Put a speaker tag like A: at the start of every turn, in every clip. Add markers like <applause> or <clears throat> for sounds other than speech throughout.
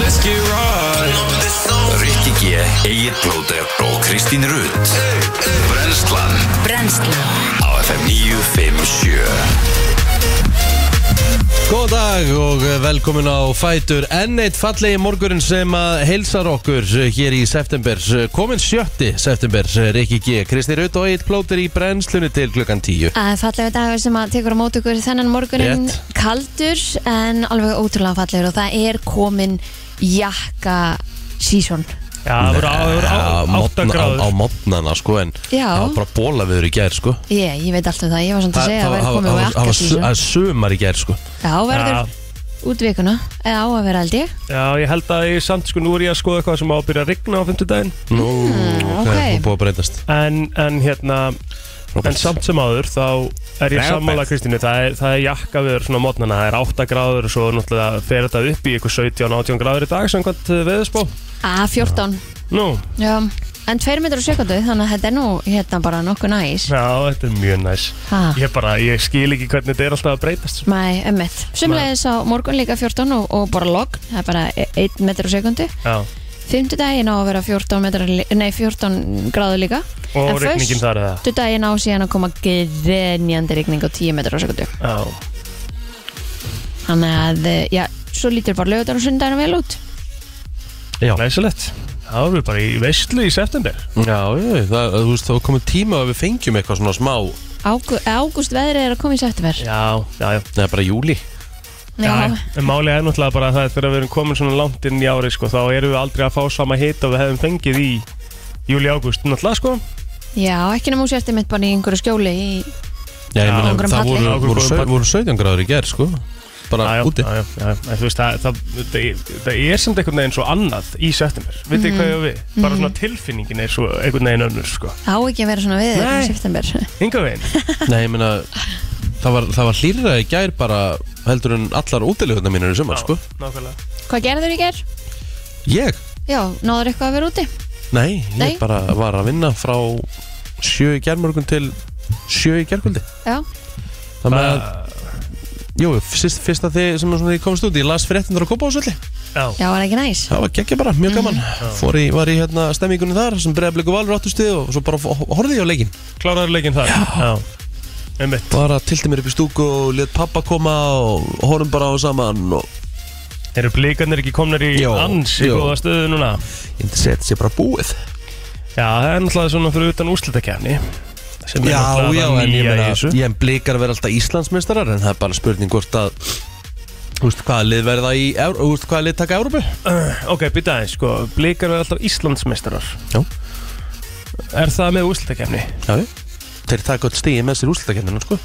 A: Let's get right Rikki G, Egil Blóter og Kristín Rutt Brenslan
B: Brennslan
A: á FM 957
C: Góðan dag og velkomin á Fætur Enn eitt fallegi morgurinn sem að heilsar okkur hér í september Komin sjötti september, Rikki G Kristi Rutt og eitt plótur í brennslunni til klukkan tíu
D: Það er fallegur dagur sem að tekur á mót okkur þennan morgunin
C: Rétt.
D: kaldur en alveg ótrúlega fallegur og það er komin jakka season
E: Já, það voru á- það voru á-
C: Á
E: átta
C: morgn- á-
E: gráður
C: á mótnana sko en
D: Já.
C: það var bara bóla viður í gær sko
D: yeah, Ég veit allt um það, ég var svona að segja að
C: það
D: verður
C: var-
D: komin á
C: það var- það
D: jakka
C: var su-
D: season
C: það er sumar í gær sko
D: Já, verður
E: Já.
D: út vikuna eða á að vera held ég
E: Já, ég held að ég samt sko nú er ég að skoða eitthvað sem á að byrja að rigna á fymtudaginn
C: Nú, ok,
D: Mm, ok.
C: nú búið að breytast
E: en, en hérna,
C: Robert.
E: en samt sem áður þá er ég sammála Kristínu það er, það er jakka viður svona mótnana, það er 8 gráður og svo náttúrulega fer þetta upp í ykkur 17-18 gráður í dag samkvæmt veðurspó
D: A14
E: Nú,
D: Já, en 2 metrur sekundu þannig að þetta er nú hérna bara nokkuð næs
E: já, þetta er mjög næs
D: Ha.
E: Ég bara, ég skil ekki hvernig þetta er alltaf að breytast
D: Mæ, emmitt Sumlegis á morgun líka 14 og, og bara logn það er bara e- 1 metrur sekundu
E: Já,
D: Fymtudaginn á að vera 14, metrar, li- nei, 14 gráður líka
E: og
D: En
E: rigningin þar eða
D: Föstudaginn á síðan að koma grenjandi rigning á 10 metrar á sekundu
E: Já,
D: Þannig að, eh, já, svo lítur bara lögudagur og sundagur vel út
C: Já,
E: næsilegt Það voru bara í veistlu í september
C: já, já það, þú veist, þá komið tíma að við fengjum eitthvað svona smá
D: Ágú- Ágúst veðrið er að koma í september
E: Já, já, já
C: Nei, bara júli
E: Já, en málið er náttúrulega bara það að þegar við erum komin svona langt inn í ári sko, þá erum við aldrei að fá sama hit og við hefum fengið í júli-ágúst náttúrulega sko
D: já ekki nema úr sérti mitt bara í einhverju skjóli í,
C: Já, ég
E: Já,
C: meina,
D: okkur um
C: það
D: palli.
C: voru,
E: Okkur
C: voru,
E: um
C: sau-
E: palli.
C: voru 17 gráður í gær, sko Bara
E: Já, já,
C: úti
E: já, já, já, en þú veist, það, það, það, það er samt einhvern veginn svo annað í september Vitið mm hvað ég á við? Bara svona tilfinningin er svo einhvern veginn önnur sko
D: á ekki að vera svona veður
E: Nei.
D: í september <laughs>
E: Enga veginn
C: Nei, ég meina Það var, það var hlýrra í gær bara heldur en allar útilegurna mínir í sumar, sko
E: Já, Nákvæmlega
D: Hvað gerður í ger?
C: Ég?
D: Já, náður eitthvað að vera úti?
C: Nei, ég
D: Nei.
C: bara var að vinna frá sjö í gærmorgun til sjö í gærkvöldi
D: Já,
C: Þannig að,
E: Ah.
C: jú, fyrst, fyrsta þið sem svona því komst út, ég las fréttindur á Kópásöldi
E: Já,
D: já, var ekki næs
C: Það var geggja bara,
E: Mhm.
C: mjög gaman Fór í, var í hérna stemmingunni þar sem breyðabliku valur áttustuð og svo bara ho- horfði ég á leikinn
E: kláraður leikinn þar Já, einmitt
C: Bara tilti mér upp í stúku og let pappa koma og horfum bara á saman og
E: Eru blíkarnir ekki komnir í
C: Jó,
E: ansi
C: jó.
E: góða stöðu núna?
C: ég myndi segja þetta sé bara búið
E: Já, það er náttúrulega svona fyrir utan úrslitakefni sem er
C: Já,
E: náttúrulega
C: já, en
E: bara
C: ég
E: nýja í
C: meina
E: þessu.
C: ég en blikar að vera alltaf Íslandsmeistarar en það er bara spurning hvort að Þú veist hvaða lið verða í Evr- Þú veist hvaða lið taka Európu
E: Ok, býta aðeins, sko, blikar eru alltaf Íslandsmeistarar
C: Já.
E: Er það með úrslitakefni?
C: Já, já. þeir taka öll stíði með sér úrslutakenninu sko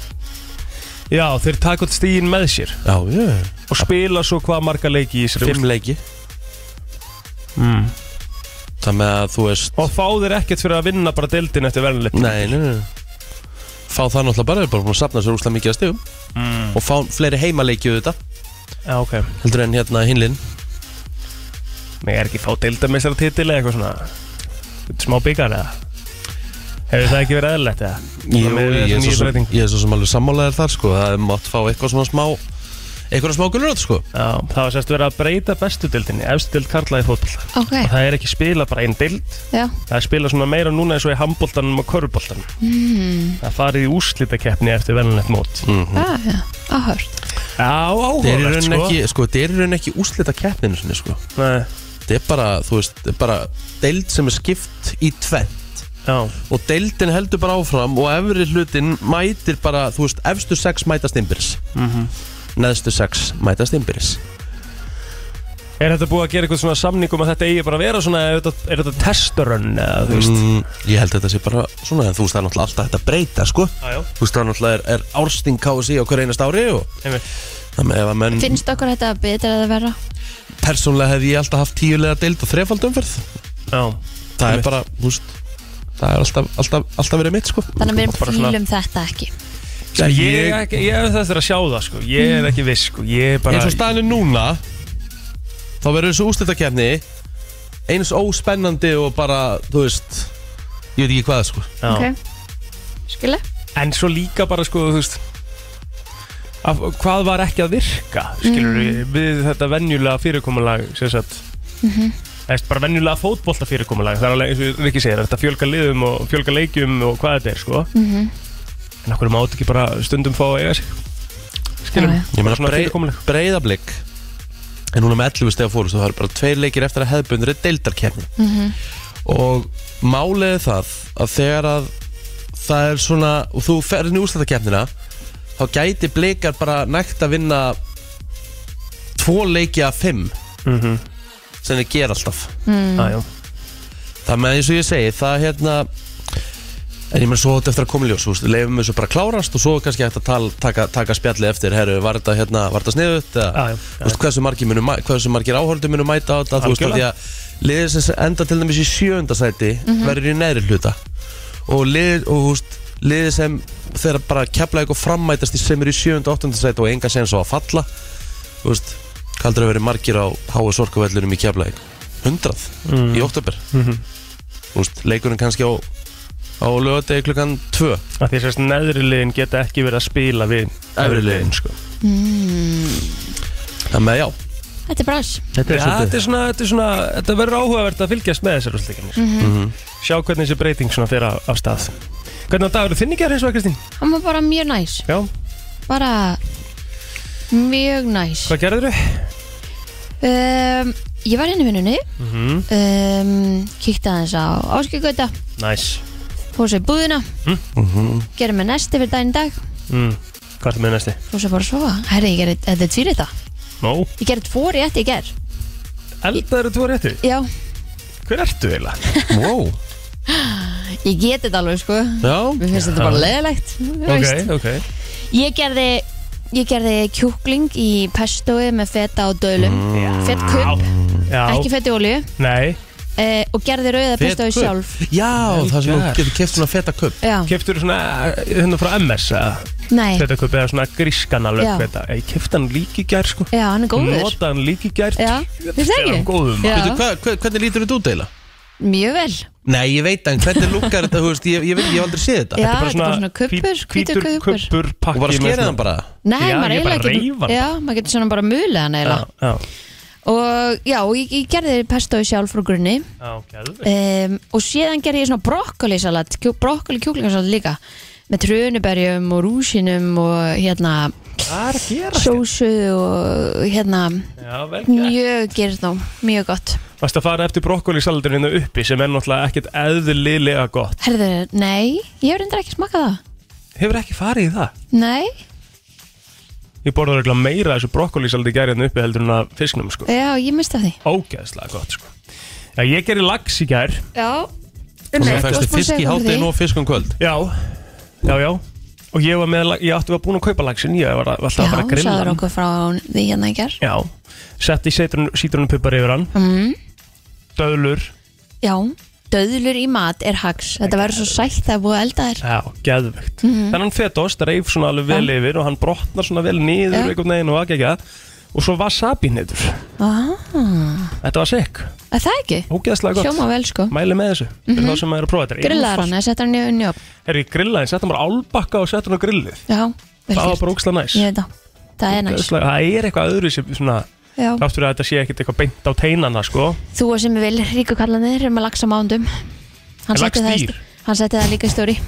E: Já, þeir taka út stíðin með sér
C: Já, já,
E: og spila svo hvað marga leiki í þessari
C: fimm leiki
E: mm.
C: Það með að þú veist
E: Og fá þeir ekkert fyrir að vinna bara deildin eftir verðanleik
C: Nei, nei, nei Fá það náttúrulega bara, þeir eru bara búin að safna sér úrslega mikið að stíðum
E: mm.
C: og fá fleiri heimaleiki auðvitað
E: Já, ok
C: heldur en hérna hinlinn
E: Nei, er ekki fá deildameistar titil eða eitthvað svona Smá byggar eða Hefur það ekki verið eðlilegt eða?
C: Jú,
E: Svona með
C: ég er
E: þessa
C: svo
E: nýju
C: sem-
E: breytingu.
C: ég er svo sem alveg sammálaðir þar sko það er mátt fá eitthvað svona smá eitthvað smá gulrót sko
E: Já, það var sérst verið að breyta bestu deildinni Efstu deild karla í fótboll
D: Ok,
E: Það er ekki spila bara einn deild
D: já,
E: Það er spila svona meira núna eins og í handbóltanum og körubóltanum mm. Það farið í úrslitakeppni eftir verðanlegt mót
D: já, já, áhört
E: Já,
C: Mm. Þeir eru
E: áhugavert
C: raunin
E: sko
C: ekki, sko, þeir eru raunin ekki úslita keppninu sinni, sko.
E: Nei,
C: Þetta er bara, þú veist, þetta er bara deild sem er skipt í tvent
E: já,
C: og deildin heldur bara áfram og efri hlutin mætir bara, þú veist, efstu sex mætast innbyrðis.
E: Mhm.
C: Neðstu sex mætast innbyrðis.
E: Er þetta búið að gera eitthvað svona samning um að þetta eigi bara að vera svona eða Er þetta, er þetta testurönn eða þú veist
C: Mm, ég held að þetta sé bara svona, en þú veist, það er náttúrulega alltaf þetta að breyta, sko.
E: Já, já,
C: Þú veist, það náttúrulega er, er ársting KSI á hver einast ári og
E: einmitt
C: þannig ef að
E: Mm.
C: menn,
D: Finnst okkur þetta betra eða verra?
C: persónlega hef ég alltaf haft tíulega deild og þrefaldumferð.
E: Já,
C: Það er
E: Einmitt.
C: bara, þú veist, það er alltaf, alltaf, alltaf verið mitt, sko.
D: Þannig að við
E: Bara svona-
D: fýlum þetta ekki
E: Sko, ég, ég, ekki, ég hef þess að sjá það sko Ég er ekki viss sko Ég er bara
C: Mm. eins og staðinu núna þá verður þessu úslitakefni eins óspennandi og bara þú veist ég veit ekki hvað sko
E: já.
D: Ok, skilja
E: En svo líka bara sko þú veist af, hvað var ekki að virka skilur
D: Mm.
E: við þetta venjulega fyrirkomulag sem sagt
D: Mhm.
E: Það er bara venjulega fótbolta fyrirkomulag Það er alveg eins og Rikki segir, þetta fjölga liðum og fjölga leikjum og hvað þetta er sko
D: Mhm.
E: En okkur máttu ekki bara stundum fá að eiga sig Skilur
D: Já, já.
C: Ég meina
E: Svona
C: brei,
E: fyrirkomulag.
C: breyðablik En núna með 11 steg fórust Það eru bara tveir leikir eftir að hefðbundur er deildarkefni Og málið er það Að þegar að það er svona Og þú ferð inn í úrslættakefnina Þá gæti blikar bara nægt að vinna Tvo leiki af fimm
E: Mhm.
C: Sem þið gera alltaf
D: Mm.
E: Já, Ah, já.
C: Það með eins og ég segi Það hérna En ég menn svo átti eftir að koma í ljós Leifum þessu bara að klárast og svo er kannski hægt að tal, taka, taka spjalli eftir Herru, var þetta, hérna, var þetta sniðut?
E: Já, já.
C: Þú veist, hversu margir, munu, mæ- hversu margir áhörðu munu mæta á þetta Þú veist, af því að liðið sem enda til dæmis í sjöunda sæti verður í neðri hluta og liðið, og þú veist, liðið sem þegar bara kepla eitthvað frammætast í sem eru í sjöunda, áttunda sæti og enga sen svo að falla Þú veist, kaldur að vera margir á HS Orkuvellurum í kepla hundrað í oktober Þú veist, leikurinn kannski á á lögadegi klukkan 2
E: Af Því að sérst neðri liðin geta ekki verið að spila við
C: Efri liðin,
E: sko
C: Það með já
D: Þetta er brás
C: Þetta
E: Já, þetta er svona, þetta er svona, þetta verður áhugavert að fylgjast með þessar úrslitinni. Mm
D: Mhm.
E: Sjá hvernig þessi breyting svona fer af, af stað. Hvernig á dagur þinn í gerð eins og að Kristín?
D: Hann var bara mjög næs
E: Já.
D: Bara mjög næs
E: Hvað gerður þau?
D: um, Ég var henni vinnunni
E: Mm -hmm.
D: um, Kíkti aðeins á áskilgöta
E: Næs.
D: Fór sér í búðina Gerum við næsti fyrir daginn í dag
E: Mm. Hvað er það með næsti?
D: Fór sér bara að sofa Herri, ég gerði, þetta er tvíri það
E: Nó.
D: Ég gerði tvo rétt ég ger
E: Eldaður þú að réttu?
D: Já,
E: Hver ertu eiginlega?
C: Wow
D: ég geti þetta alveg sko
C: Já
D: Mér finnst þetta bara leðilegt
E: ok.
D: Ég gerði Ég gerði kjúkling í pestoi með feta og dölum mm. Fett kump,
E: Já.
D: ekki fett í olju
E: Nei.
D: uh, Og gerði rauða pestoi
C: kubb.
D: sjálf
C: Já,
E: Vel
C: það sem þú
E: gert.
C: getur keft svona feta kupp
D: Já,
E: Keftur svona, eh, hérna frá MS, að
D: nei
E: þetta köpið eða svona grískan alveg
D: Já.
E: þetta. Ég kefti hann líki í gerð, sko.
D: Já, hann er góður
E: Nota hann líki í gerð.
D: Já, finnst það
E: Er
D: ekki?
E: hann góðum?
D: Já.
C: Veitu, hva, hva, hvernig lítur þetta út eila?
D: Mjög vel
C: Nei, ég veit en hvernig lukkar þetta, þú veist, ég, ég, veit, ég hef aldrei séð þetta
D: Já, þetta er bara svona kuppur, hvítur
E: hvítur
D: kuppur
E: kuppur pakki
C: Og bara
E: með
C: skerið
E: svona-
C: hann bara
D: Nei,
E: Já,
D: maður
E: ég bara
D: eiginlega
E: reif hann.
D: getur Já, maður getur svona bara mulið hann
E: Já,
D: eiginlega
E: já,
D: Og já, og ég, ég gerði pestoi sjálf frá grunni
E: já, geðveikt.
D: um, Og síðan gerði ég svona brokkolisalat kjú, Brokkoli kjúklingarsalat líka Með trönuberjum og rúsinum og hérna
E: Hvað er að gera
D: sósu og hérna
E: Já, vel gert.
D: Mjög gyrð og mjög gott
E: Varst að fara eftir brokkolisalatinu uppi sem er náttúrulega ekkert eðlilega gott
D: Herður, nei, ég hefur endur ekki smakað það
E: Hefur ekki farið í það?
D: Nei,
E: Ég borðar eitthvað meira af þessu brokkolisalati gerði hérna uppi heldur en að fisknum sko
D: já, ég misti af því
E: Ógeðslega gott sko Já, ég gerði lax í gær
D: Já,
C: Og svo
D: Nei, Um þú varst
C: fæstu
D: búin að
C: fisk í
D: segja okkur
C: hátinn
D: því.
C: og fisk um kvöld
E: Já, já, já Og ég var með, la- ég átti að búin að kaupa laxin Ég var alltaf
D: já
E: að fara að grilla
D: sagður
E: hann
D: okkur frá því hérna í ger
E: Já, setti sítrónupipar yfir hann
D: mm,
E: Döðlur
D: Já, döðlur í mat er hags Þetta verður svo sætt að búa eldaðir
E: Já, geðvögt
D: Mhm.
E: mm -hmm. Þannig hann fetost, reif svona alveg vel yfir og hann brotnar svona vel niður
D: Já.
E: einhvern veginn og aðgækja og svo wasabi niður
D: ah,
E: Þetta var sikk,
D: Er það ekki?
E: ógeðslega gott
D: Hljóma vel sko
E: Mæli með þessu, mm -hmm. það sem maður er að prófa þetta er
D: Grillar
E: einfalt.
D: hann, setjar hann í unni upp
E: Herri, ég grillaði, hann, setti hann bara álbakka og setti hann á grillið
D: Já, vel
E: Það var
D: gert
E: bara ógeðslega næs
D: Ég veit það, það er næst
E: Ógeðslega- Það er eitthvað öðru sem svona
D: Já.
E: Þáttur að þetta sé ekkit eitthvað beint á teinana sko
D: Þú og sem er vel ríkukallanir um að laxa mándum Hann
E: Er lax
D: setti það, í
E: dýr?
D: st- hann setti það líka í stóri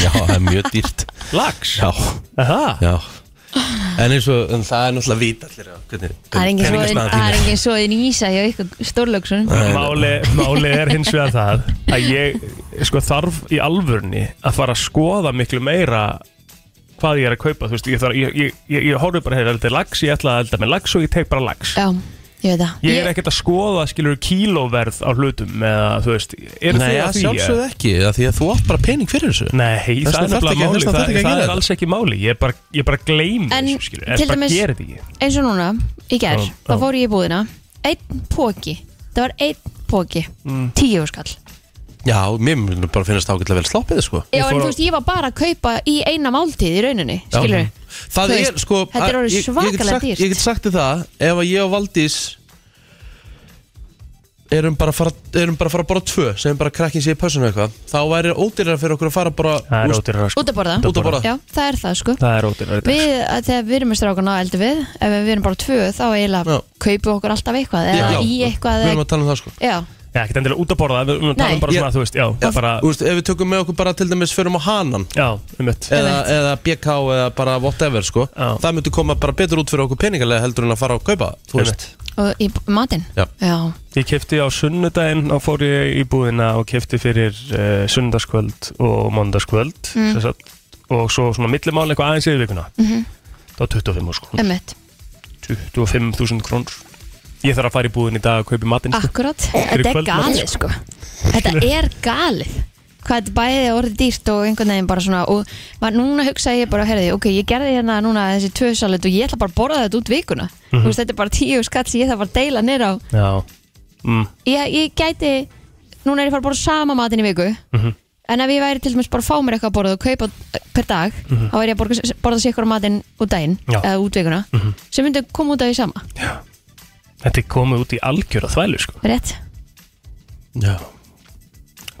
C: Já, það er mjög dýrt
E: Lags,
C: Já,
E: það
C: já En eins og, en það er náttúrulega vít allir á hvernig-
D: Það er engin svoðin-
C: peningastaðan
D: það er
C: þín
D: engin svoðin ísa hjá ykkur stórlöksun
E: Máli, máli er hins vegar það að ég sko, þarf í alvörni að fara að skoða miklu meira hvað ég er að kaupa þú veist, ég, þarf, ég, ég, ég, ég horfði bara hefur eldið lax, ég ætla að elda með lax og ég tek bara lax
D: Já, ég veit það
E: ég er ekkert að skoða skilur kílóverð á hlutum eða þú veist, eru
C: Nei,
E: þið
C: já,
E: að því?
C: sjálfsögð ekki, af því að þú átt bara pening fyrir þessu
E: Nei,
C: Þess
E: það er
C: vegna þarftu
E: nefnilega
C: ekki-
E: máli,
C: þess vegna þarftu
E: það,
C: ekki að
E: það
C: gera
E: er alls ekki máli ég bara, ég bara gleym
D: En
E: þessu skilur,
D: til
E: ég bara
D: dæmis-
E: gera þetta ekki
D: eins og núna, í gær,
E: Já,
D: þá
E: já.
D: fór ég í búðina einn póki, það var einn póki
C: Mm.
D: tíu skall já,
C: Já, mér mun bara finnast ágætlega vel sloppið, sko
D: en
E: fór
D: þú
E: á-
D: veist, ég var bara að kaupa í eina máltíð í rauninni, skilur
C: Já. Það
D: Þú
C: er
D: veist,
C: sko
D: þetta er
C: ég-
D: orðið
C: ég get
D: svakalega
C: sagt-
D: dýrt.
C: Ég get sagt þér það Ef að ég og Valdís erum bara að fara, erum bara að fara að borða tvö sem bara krakkin sér í pössun eitthvað þá væri ódýrar fyrir okkur að fara bara
E: Það er
C: úst-
E: ódýrar sko.
D: Út að borða
C: út að borða
D: Já, það er það sko
E: Það er ódýrar
D: Við, að þegar við erum með strákana á eldu við Ef við erum bara tvö, þá eiginlega
C: Já.
D: kaupum við okkur alltaf eitthvað Eða
C: Já,
D: í eitthvað
C: Við
D: eða,
C: erum að tala um það sko
D: Já,
E: Já, ekkert endilega út að borða Við við
D: Nei.
E: talum bara svona,
C: Ég-
E: þú veist, já,
C: Já,
E: bara
C: Þú veist, ef við tökum með okkur bara til dæmis fyrir á hanan
E: Já, um mitt
C: eða, eða BK eða bara whatever sko
E: Já.
C: það myndi koma bara betur út fyrir okkur peningalega heldur en að fara að kaupa þú veist
D: og í matinn
C: Já.
D: Já.
E: Ég kefti á sunnudaginn og fór ég í búðina og kefti fyrir uh, sunnudaskvöld og mondaskvöld mm. sagt, og svo svona millimál eitthvað aðeins yfir vikuna mm
D: Mhm.
E: -hmm. Það var 25 úr sko
D: Einmitt.
E: 25.000 krónur Ég þarf að fara í búðin í dag að kaupi matinn sko.
D: Akkurat, þetta er
E: kvöldmat,
D: galið sko Þetta er galið Hvað þetta bæði orðið dýrt og einhvern veginn bara svona og var, núna hugsaði ég bara, heyrði, ok, ég gerði hérna núna þessi tvö salat og ég ætla bara að borða þetta út vikuna
E: Mhm.
D: Þú veist, þetta er bara tíu skatt sem ég þarf bara að deila nýr á
E: Já mm.
D: ég, ég gæti, núna er ég fara að borða sama matinn í viku
E: Mhm.
D: en ef ég væri til dæmis bara að fá mér eitthvað að borða og kaupa per dag, þá væri ég að borga- borða sér eitthvað matinn út daginn,
E: Mhm. Já. Mhm.
D: eða út vikuna sem myndi koma út af því sama,
E: Þetta er komið út í algjör að þvælu sko
D: rétt?
C: Já.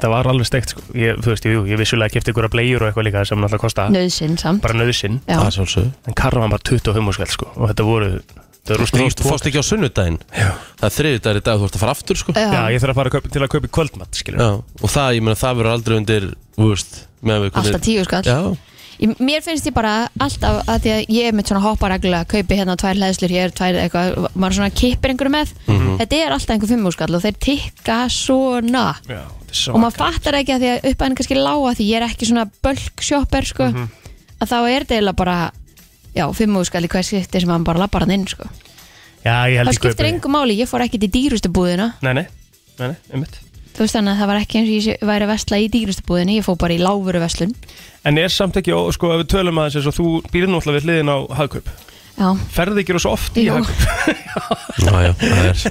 E: Það var alveg steikt sko ég, Þú veist, jú, ég vissulega kefti ykkur að bleiur og eitthvað líka sem náttúrulega kosta
D: Nauðsinn samt
E: bara nöðsinn
D: Já.
C: það er svolsög
E: en karvan bara 25 úr skall sko og þetta voru Það eru
C: Þú
E: stríð
C: veist, þú fórst ekki á sunnudaginn
E: Já.
C: það er þriðudagur í dag, þú ert að fara aftur sko
E: Já, ég þarf að fara að kaupa, til að kaupa í kvöldmatt skilur
C: Já. og það, ég meina, það verður aldrei undir þú veist, með við
D: Alltaf tíu skall
C: Já,
D: Ég- Mér finnst ég bara alltaf að því að ég er með svona hoppa reglulega kaupi hérna tvær hlæðslur, hér tvær eitthvað maður svona kippir einhverju með
E: Mhm.
D: þetta er alltaf einhver fimmúskall og þeir tikka svona
E: Já, þetta er
D: og maður
E: svaka.
D: fattar ekki að því að uppæðin kannski lága því ég er ekki svona bulk shopper sko
E: Mhm.
D: að þá er þetta eiginlega bara já, fimmúskall í hver skipti sem maður bara lappar hann inn sko
E: Já, ég held
D: það
E: ég kaupi-
D: skiptir engu máli, ég fór ekki til dýrustu búðina
E: Nei, nei, nei, nei, einmitt
D: þú veist þannig að það var ekki eins og ég sé- væri að vesla í dýrustu búðinni, ég fór bara í láfuru veslun
E: En er samt ekki, ó- sko, ef við tölum aðeins eins og þú býrð náttúrulega við hliðin á hagkaup
D: já,
E: Ferði ekki rosa oft í
D: Jú.
E: hagkaup
C: já, já <laughs> það, er,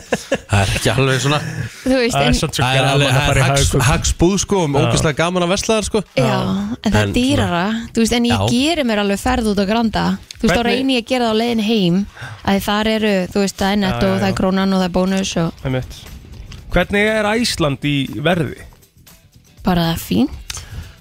C: það er ekki alveg svona
D: þú veist
E: Það
D: en-
E: er samt svo
C: Það er
E: gaman
C: alveg
E: að
C: það
E: fara
C: er
E: í
C: hags-
E: hagkaup
C: hagsbúð sko um ógeðslega gaman að veslaðar sko
D: Já, en það er
C: En
D: dýrara þú veist, En ég
C: Já.
D: geri mér alveg ferð út á granda Þú veist, þá
E: Hvernig-
D: reyni ég að gera það á leiðin heim að þar eru, þú veist, það er netto
E: Já, já,
D: og það er
E: já.
D: krónan og það er bónus og
E: Einmitt Hvernig er Æsland í verði?
D: bara það er fín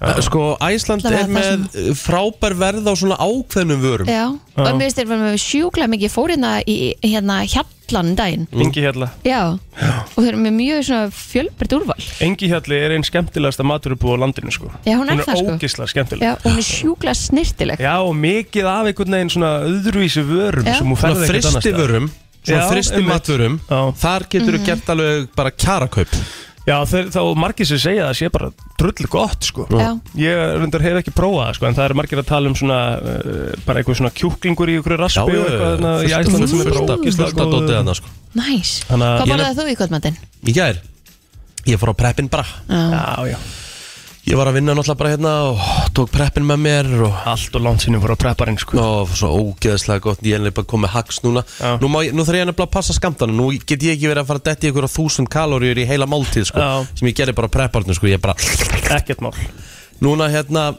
C: Eh, Sko, Æsland
D: Allavega
C: er
D: það
C: með eh, frábær verð á svona ákveðnum vörum
D: Já, og mér finnst þeir með sjúklega mikið ég fór hérna í hérna hjallan um daginn
E: Engi hérna
D: Já, og þeir eru með mjög svona fjölbreytt úrval
E: Engi hérna er einn skemmtilegasta maturubú á landinu, sko
D: Já, hún er
E: hún er
D: það, sko.
E: ógislega skemmtileg
D: Já, og hún er sjúklega snirtileg
E: Já, og mikið af einhvern veginn svona öðruvísi vörum
D: Já.
E: sem hún
C: Svona
E: ferði ekkert annars staðar.
C: fristivörum Svona
E: Já,
C: fristimatvörum
E: Já.
C: Þar getur
D: Mhm.
C: þú gert alveg bara kjarakaup
E: Já, þeir, þá margir sem segja það sé bara drull gott, sko
D: Já.
E: Ég reyndar hef ekki prófað það, sko, en það eru margir að tala um svona, uh, bara einhver svona kjúklingur í einhverju raspi og eitthvað þarna í Æslandi sem er bara ógeðslega
C: Fyrsta
E: góður.
C: dótið hann sko
D: Næs,
E: Þannig að
D: hvað
E: ég
D: borðaði þú í kvöldmatinn?
C: Í gær Ég fór á preppin bara
D: Já,
E: Já, já,
C: Ég var að vinna náttúrulega bara hérna og tók preppin með mér og
E: allt og langt sinni voru að prepparinn, sko
C: Ó, svo ógeðslega gott, ég er bara komið hags núna
E: Já.
C: nú, má, ég- nú þarf ég nefnilega að passa skamtana Nú get ég ekki verið að fara að detti ykkur á þúsund kalóriur í heila máltíð sko,
E: Já.
C: sem ég gerði bara á prepparnu sko, ég bara
E: Ekkert mál
C: Núna hérna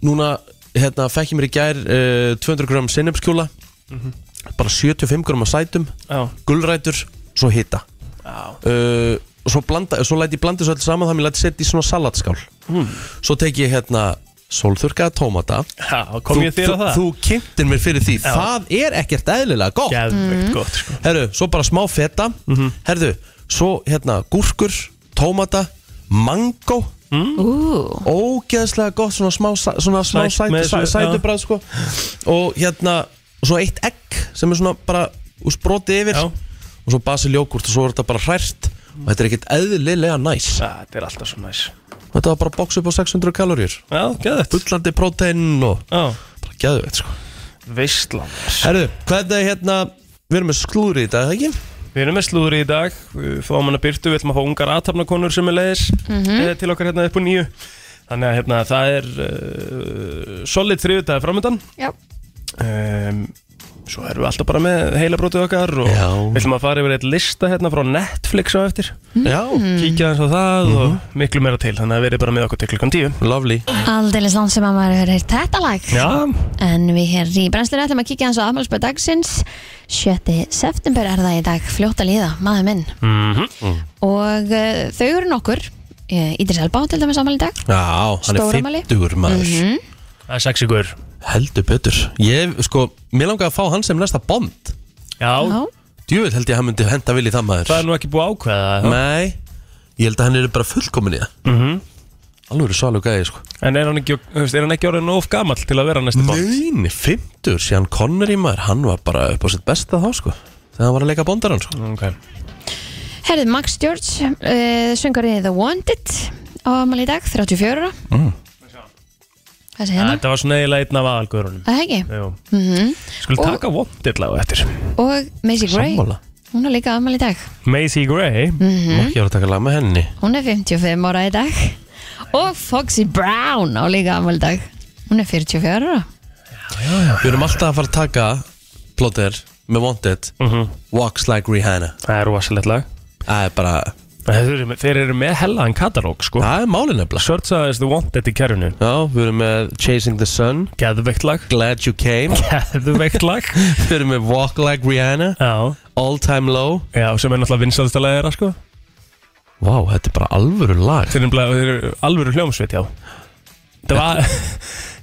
C: Núna hérna fekk ég mér í gær uh, 200 gram sinnepskjóla
E: Mhm.
C: Bara 75 gram að sætum
E: Já,
C: Gullrætur, svo hita
E: já,
C: uh, Og svo, blanda, svo læt ég blanda þessu öll saman Þannig að ég læt setja í svona salatskál
E: Hmm.
C: Svo tek ég hérna Sólþurkaða tómata
E: já kom ég þér
C: þú,
E: að það?
C: þú kynntir mér fyrir því Það er ekkert eðlilega gott
E: Geðveikt gott, sko
C: Herru, svo bara smá feta
E: Mhm.
C: Herru, svo hérna gúrkur Tómata, mangó
E: Mm.
D: ú,
C: ógeðslega gott svona smá, sa- svona smá
E: Sætt
C: sætu,
E: með
C: sæ,
E: þessu, já.
C: sætubræð sko. og hérna svo eitt egg sem er svona bara úr sproti yfir
E: Já.
C: og svo basiljókurt og svo er þetta bara hrært og þetta er ekkert eðlilega næs
E: Já, Þetta er alltaf svo næs
C: þetta var bara box upp á 600 kaloríur
E: Já, geðveikt
C: bullandi prótein og
E: Já,
C: bara geðveitt sko
E: veistlan
C: Herru, hvernig hérna við erum með sklúri í dag, það ekki?
E: Við erum með slúður í dag, við fáum hana byrtu, við ætlum að fá ungar aðtapnakonur sem er leiðis til okkar hérna upp úr nýju. Þannig að hérna, eh, það er uh, solid þriðutæði framöndan.
D: já,
E: Um, svo erum við alltaf bara með heila brotið okkar og
C: Já.
E: við ætlum að fara yfir eitt lista hérna frá Netflix á eftir
C: Já,
D: Hmm.
E: kíkja eins og það
C: Mhm.
E: og miklu meira til þannig að verið bara með okkur til klukkan 10
C: lovely
D: Aldeilis langt sem að maður hefur heyrt þetta lag
E: Já,
D: En við hér í brennslunni ætlum að kíkja hans á afmælspöð dagsins 7. september er það í dag fljótt að líða, maður minn Og uh, þau eru nokkur uh, Ídris Elba á til dæmis afmæli í dag
C: Já, hann er
D: Stórafmæli.
C: 50 maður
E: það er sexy guður
C: Heldur betur Ég, sko, mér langaði að fá hann sem næsta bond
E: Já,
D: Já,
C: Djúvel held ég að hann myndi henda vil í það maður
E: það er nú ekki búið að ákveða það.
C: Nei, ég held að hann er bara fullkomin í það mm
E: Mhm.
C: -hmm. Alveg eru svalu gæði, sko
E: En er hann ekki, þú veist, er hann ekki orðin of gamall til að vera næsti bótt?
C: Neini, 50, síðan Connery maður Hann var bara upp á sitt besta þá, sko Þegar hann var að leika bondarann, sko
E: Okay.
D: herðið Max George uh, Söngarið The Wanted á afmæli í dag, 34 ára Hvað segir hann?
E: Þetta var svona eiginlega einn af aðalguðurunum
D: Það er ekki
E: mm Skulum
D: Og-
E: taka vondirlega á eftir
D: Og Macy Gray,
C: Sammála
D: hún er líka afmæli í dag
E: Macy Gray
D: Hmm.
C: Má ekki vera að taka lag með henni
D: Hún er 55 ára í dag Og Foxy Brown á líka afmæli í dag Hún er 44 ára
C: Við erum alltaf að fara að taka Plotter með Wanted
E: Mhm.
C: Walks like Rihanna
E: Það er rosalegt lag
C: Það er bara,
E: Þeir eru með- þeir eru með hellaðan katalóg sko
C: það er málin nefnilega
E: Search as the wanted í kerfinu
C: Já, við erum með Chasing the Sun
E: Geðveikt lag
C: Glad You Came
E: Geðveikt lag
C: Við erum með Walk Like Rihanna
E: Já
C: All Time Low
E: Já, sem er náttúrulega vinsalasta lagið þeirra sko
C: Vá, þetta er bara alvöru lag
E: Þeir eru, nefnilega- þeir eru alvöru hljómsveit já Það var Þetta,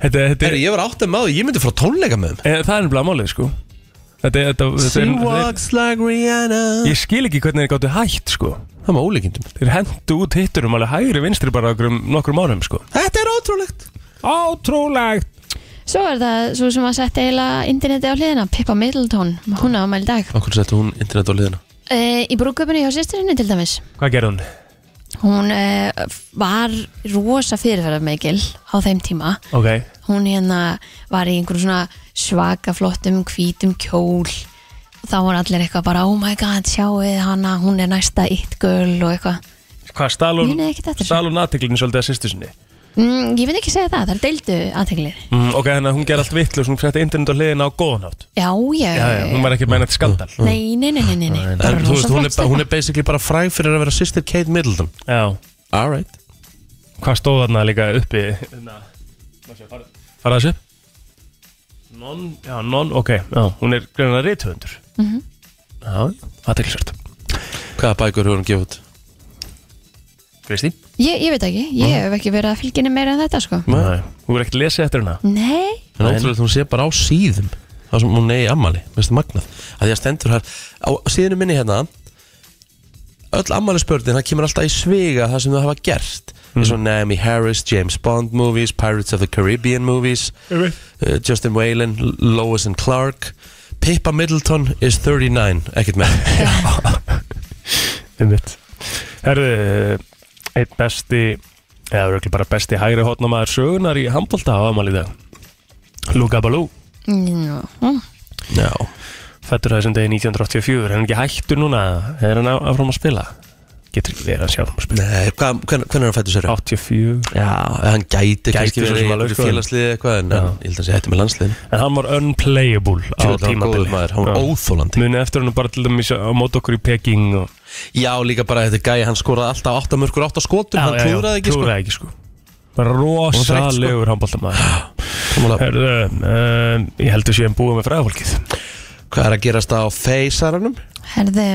E: þetta er
C: Herri, ég var áttum með því, ég myndi frá tónleika með þeim
E: e, Það er nefnilega málið sko Þetta, er- þetta, þetta er þeir,
C: like Rihanna
E: Ég skil ekki hvernig þeir gáttu hægt sko
C: Það er með ólíkindum
E: Þeir hendu út hitturum alveg hægri vinstri bara okkur um nokkrum árum sko
C: Þetta er ótrúlegt
E: Ótrúlegt
D: Svo er það svo sem að setja eiginlega interneti á hliðina, Pippa Middleton, hún á afmæli í dag.
C: Okkur settu hún internet á liðina
D: E, í brúköpunni hjá sýsturinni til dæmis,
E: Hvað gerði hún?
D: hún e, var rosa fyrirferðarmikil á þeim tíma.
E: Ok
D: Hún hérna var í einhverjum svona svaka flottum hvítum kjól og þá voru allir eitthvað bara, oh my god, sjáuð hana, hún er næsta it girl og eitthvað.
E: Hvað stal
D: Ég
E: hún
D: neði ekkert eftir þessu.
E: Stal hún aðteklinu svolítið að sýstu sinni
D: Mm, ég veit ekki segja það, það er deildu aðteglir.
E: mm, Ok, þannig að hún gerði allt vitlu Hún fætti internet á hliðina á góðanátt
D: Já, já,
E: Já, já, hún var ekki meina til skandal
D: Nei, nei, nei, nei, nei, nei. bara
C: En þú veist,
D: rosa
C: hún er,
D: flott stelpa.
C: hún er basically bara fræg fyrir að vera sýstir Kate Middleton
E: Já
C: Alright
E: Hvað stóð þarna líka uppi hérna, má sjá, fara- Fara þessu upp Non, já, non, ok já, Hún er greinlega rithöfundur mm -hmm. Já, aðteklisvert
C: Hvaða bækur hefur hún gefið út?
E: Kristín?
D: Ég, ég veit ekki, ég hef ekki verið að fylgja henni meira en þetta sko
E: Nei Þú er ekkert lesið eftir hana
D: Nei,
C: En
E: Nei.
C: ótrúlegt, hún sé bara á síðum Það sem hún eigi ammali, minnst það magnað að Því að stendur hér, á síðinu minni hérna Öll ammali spörðin Það kemur alltaf í sviga það sem þau hafa gerst eins og Naomi Harris, James Bond movies Pirates of the Caribbean movies uh, Justin Whalen, L- Lois and Clark Pippa Middleton is 39 Ekkert <laughs> með
E: Einmitt Herðu, einn besti eða auðvitað bara besti hægri hótnamaður sögunar í handbólta á aðmál í dag Luka Balú
D: Nú,
C: Já,
E: fættur þessum degi 1984 er hann ekki hættur núna er hann á- áfram að spila getur ekki verið að sjá áfram að spila
C: Nei, hvað, hvern, hvernig er hann fættu sér?
E: 84
C: Já, hann gæti, kannski
E: svo
C: verið
E: sem
C: í
E: alveg,
C: einhverju
E: sko.
C: félagsliði eitthvað en, en ég held að sé hætti með landsliðinu
E: en hann var unplayable á
C: Tjóðlega góður
E: tímabili
C: maður, hann var óþólandi
E: muni eftir hann bara til dæmis á mót okkur í Peking og,
C: Já, líka bara þetta gæi, hann skoraði alltaf 8 mörgur 8 skotum, hann klúraði ekki sko.
E: klúraði ekki sko
C: Og þreytt, sko.
E: rosalegur handbóltamaður
C: Samanlega,
E: Herðu, um, ég heldur séum búið með fræðafólkið
C: Hvað er að gerast á feysaranum?
D: herði,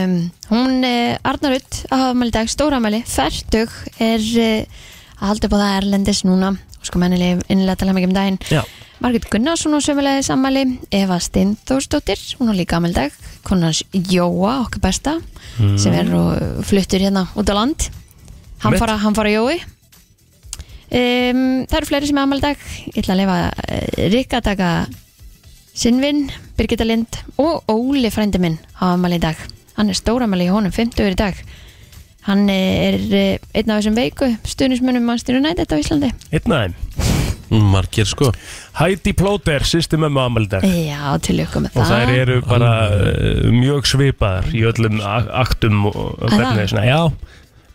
D: hún eh, Arna Rutt á afmæli í dag, stóramæli, færtug er eh, að halda upp á það erlendis núna og sko mennileg innlega tala mikið um daginn
E: Já.
D: Margit Gunnarsson og sömulegði sammæli Eva Steinþórsdóttir, hún á líka afmæli í dag konans Jóa, okkar besta sem er og fluttur hérna út á land hann
E: Mitt.
D: fara, hann fara Jói um, það eru fleiri sem er afmæli í dag ég ætla að lifa uh, Rikka að taka Sinvin, Birgitta Lind og Óli frændi minn á afmæli í dag hann er stóramæli í honum, 50 í dag hann er eh, einn af þessum veiku stuðnismunum mannstýru nætt á Íslandi
E: einn af þeim
C: Margir sko
E: Heidi Plóter, sýsti mömmu ámaldag
D: já, til lukku með
E: og
D: það
E: þær eru bara uh, mjög svipaðar í öllum a- aktum og og
D: Er
E: hvernig
D: það?
E: svona, já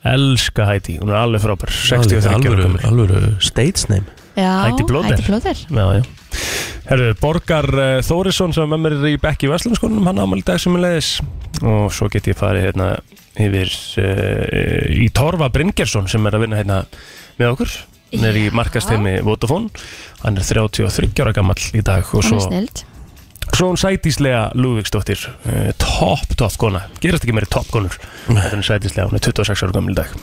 E: elska Heidi, hún er alveg frábær 63 ára
C: Alvöru,
E: gömul.
C: alvöru stage name
D: já,
E: Hæddi Blóter.
D: Hæddi Blóter
E: já, já. Herru, Borgar uh, Þórisson sem er með mér í Bekki Vestlandskonunum, hann ámæli dag sem er leiðis og svo get ég farið hérna yfir uh, í Torfa Bryngersson sem er að vinna hérna með okkur hann er í markastemi Vodafone hann er 33 ára gammal í dag og
D: Hann
E: svo,
D: er snild
E: svo hún sætíslega Lúvíksdóttir uh, topp, topp kona, gerast ekki meiri topp konur þetta er hún sætíslega, hún er 26 ára gammal í dag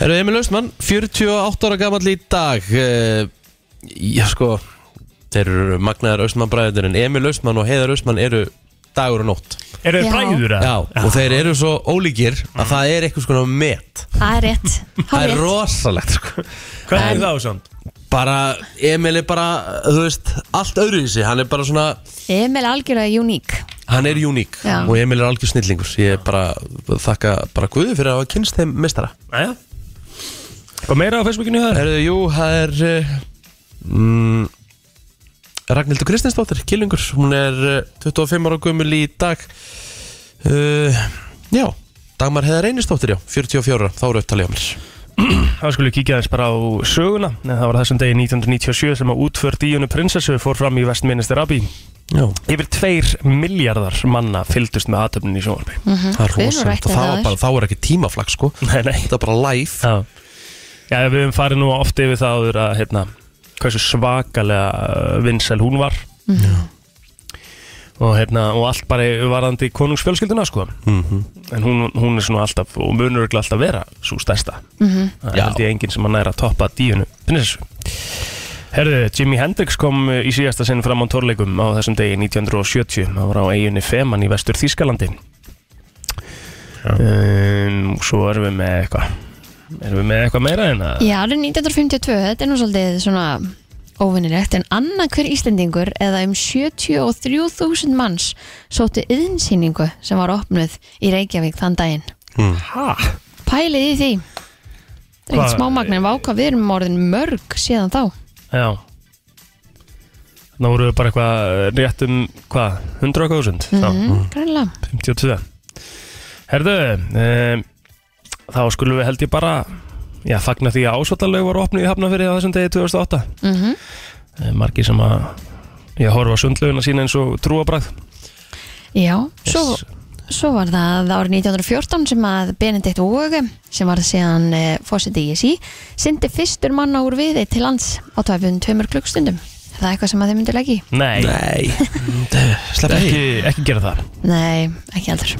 C: Herru Emil Östmann, 48 ára gamall í dag Eh, Já sko Þeir eru magnaðar Östmann bræður En Emil Östmann og Heiðar Östmann eru dagur og nótt
E: eru
D: Já.
E: þeir bræður að?
C: Já, Mm. og þeir eru svo ólíkir að það er eitthvað svona met
D: Það er rétt
C: Það er
D: Hárrétt.
C: rosalegt sko.
E: hvað er það samt?
C: Bara, Emil er bara, þú veist, allt öðru í sig Hann er bara svona,
D: Emil algjörlega uník
C: hann er uník
D: Já.
C: Og Emil er algjör snillingur Ég er bara, þakka bara Guði fyrir að hafa kynst þeim mistara
E: Æja Hvað meira á Facebookinu það?
C: Herðu, jú, það er eh, mm, Ragnhildur Kristinsdóttir, killingur Hún er eh, 25 ára gömul í dag uh, Já, Dagmar Heðar Einistóttir, já 44 ára, þá eru upptalið á mér
E: Það skulle við kíkja aðeins bara á söguna en það var þessum degi 1997 sem að útför Díunu prinsessu fór fram í vestminister Abí
C: Já,
E: Yfir tveir miljardar manna fylgdust með aðtöfnin í sjónvarpi
D: Mm.
C: það er
D: Við erum
C: rosalegt
D: rætt
C: og
D: um
C: það
D: það
C: var bara, þá er ekki tímaflag sko
E: <laughs> Nei, nei
C: Þetta er bara live
E: Já, Já við höfum farið nú oft yfir það áður að hérna, hversu svakalega vinsel hún var og, hérna, og allt bara varðandi konungsfjölskylduna sko en hún, hún er svona alltaf og munur ekki alltaf vera svo stærsta það er
C: Já.
E: held ég enginn sem að næra að toppa díunu prinsessu Herðu, Jimi Hendrix kom eh, í síðasta sinn fram á torleikum á þessum degi 1970 það var á eiginni Feman í vestur Þískalandi um, og svo erum við með eitthvað erum við með eitthvað meira en að
D: Já, árið 1952, þetta er nú svolítið svona óvinnilegt, en annan hver Íslendingur eða um 73.000 manns sóttu yðinsýningu sem var opnuð í Reykjavík þann daginn.
E: Hæ?
D: Pælið í því. Það er
E: Hvað-
D: ekkert smámagnin váka, við erum orðin mörg síðan þá.
E: Já Ná voru við bara eitthvað rétt um hvað, 100.000 mm
D: Mm, Grænlega.
E: 52 Herðu um, Þá skulum við held ég bara Já, fagna því að ásvallalög var opnið í Hafnafyrði á þessum degi 2008
D: Mm
E: Eh, Margir sem að ég horfa á sundlaugina sína eins og trúabræð
D: Já, svo, svo var það árið 1914 sem að Benedikt Óge, sem var síðan e, fósiti í sí, sindi fyrstur manna úr viði til lands á tæpun tveimur klukkstundum. Er Það er eitthvað sem að þeim myndu leggi?
E: Nei,
C: Nei, slepp ekki
E: Ekki, ekki gera það
D: Nei, ekki aldur.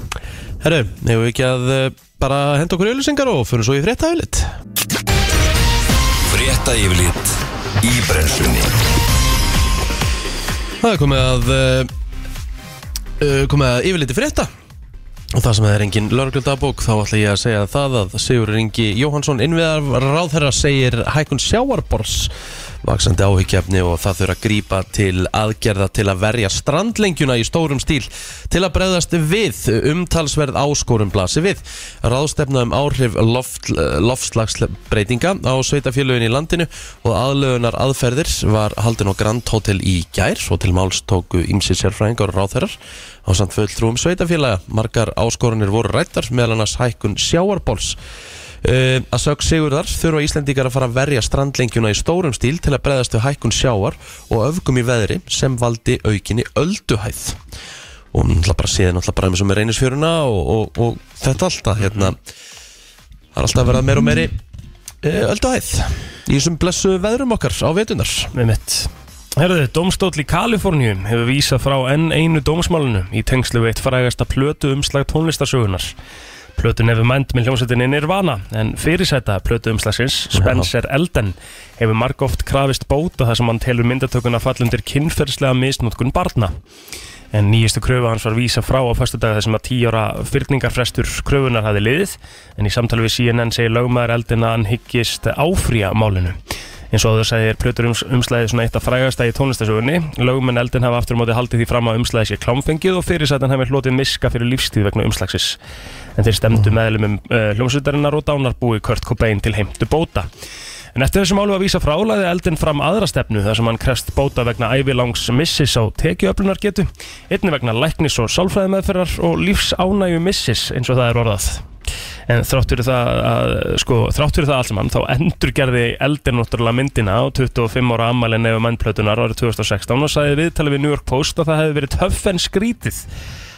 C: Herru, hefur við ekki að eh, bara henda okkur auðlýsingar og fyrir svo í fréttaöflit
A: Frétta yfirlit í brennslunni
C: Það er komið að uh, uh, komið að yfirliti frétta og það sem það er engin lörglundabók þá ætla ég að segja það að Sigur Ingi Jóhansson innviðar ráðherra segir hækun sjáarbors vaksandi áhyggjefni og það þurfa að grípa til aðgerða til að verja strandlengjuna í stórum stíl til að bregðast við umtalsverð áskorum blasi við ráðstefna um áhrif loft, eh, loftslagsbreytinga á sveitafélögin í landinu og aðlögunar aðferðir var haldin á Grand Hotel í gær svo til máls tóku ímsi sérfræðingar og ráðherrar á samt fulltrúum sveitafélaga margar áskoranir voru rættar meðal annars hækkun sjáarbóls Uh, að sög Sigurðar þurfa Íslendingar að fara að verja strandlengjuna í stórum stíl til að bregðast við hækkun sjáar og öfgum í veðri sem valdi aukinni ölduhæð og náttúrulega bara séði náttúrulega bara eins og með reynisfjöruna og, og, og þetta alltaf hérna það er alltaf að vera meira og meiri uh, ölduhæð í þessum blessu veðrum okkar á vetunar
E: Með mitt Herðu, domstóll í Kaliforníu hefur vísað frá enn einu dómsmálinu í tengslu við eitt frægasta plötu umslag tónlistarsögunar. Plötun hefur mænt með hljómsveitinni Nirvana en fyrirsæta plötu umslagsins, Spencer Elden, hefur margóft krafist bóta þar sem hann telur myndatökuna fallundir kynferðslega misnótkun barna. En nýjistu kröfu hans var vísa frá á föstudag þessum að 10 ára fyrningarfrestur kröfunar hafi liðið en í samtali við CNN segir lögmaður eldin að hann hyggist áfrýja málinu. Eins og þau segir plötur ums, umslæðið svona eitt að frægasta í tónlistasögunni. Lögumenn eldin hafa aftur á móti haldið því fram að umslæðið sé klámfengið og fyrirsætan hefði hlotið miska fyrir lífstíð vegna umslagsins. En þeir stemdu meðlumum uh, hljómsveitarinnar og dánarbúi Kurt Cobain til heimtu bóta. En eftir þessum álu að vísa frálaði eldin fram aðra stefnu þar sem hann krest bóta vegna ævilangs missis á tekiöflunar getu, einni vegna læknis og sálfræðimeðferðar og lífsánægju missis eins og það er orðað. en þrátt fyrir það að, sko, þrátt fyrir það allt saman þá endurgerði eldir náttúrulega myndina á 25 ára ammælin eða mannplötunar árið 2016 og sagði viðtalið við New York Post að það hefði verið töff en skrítið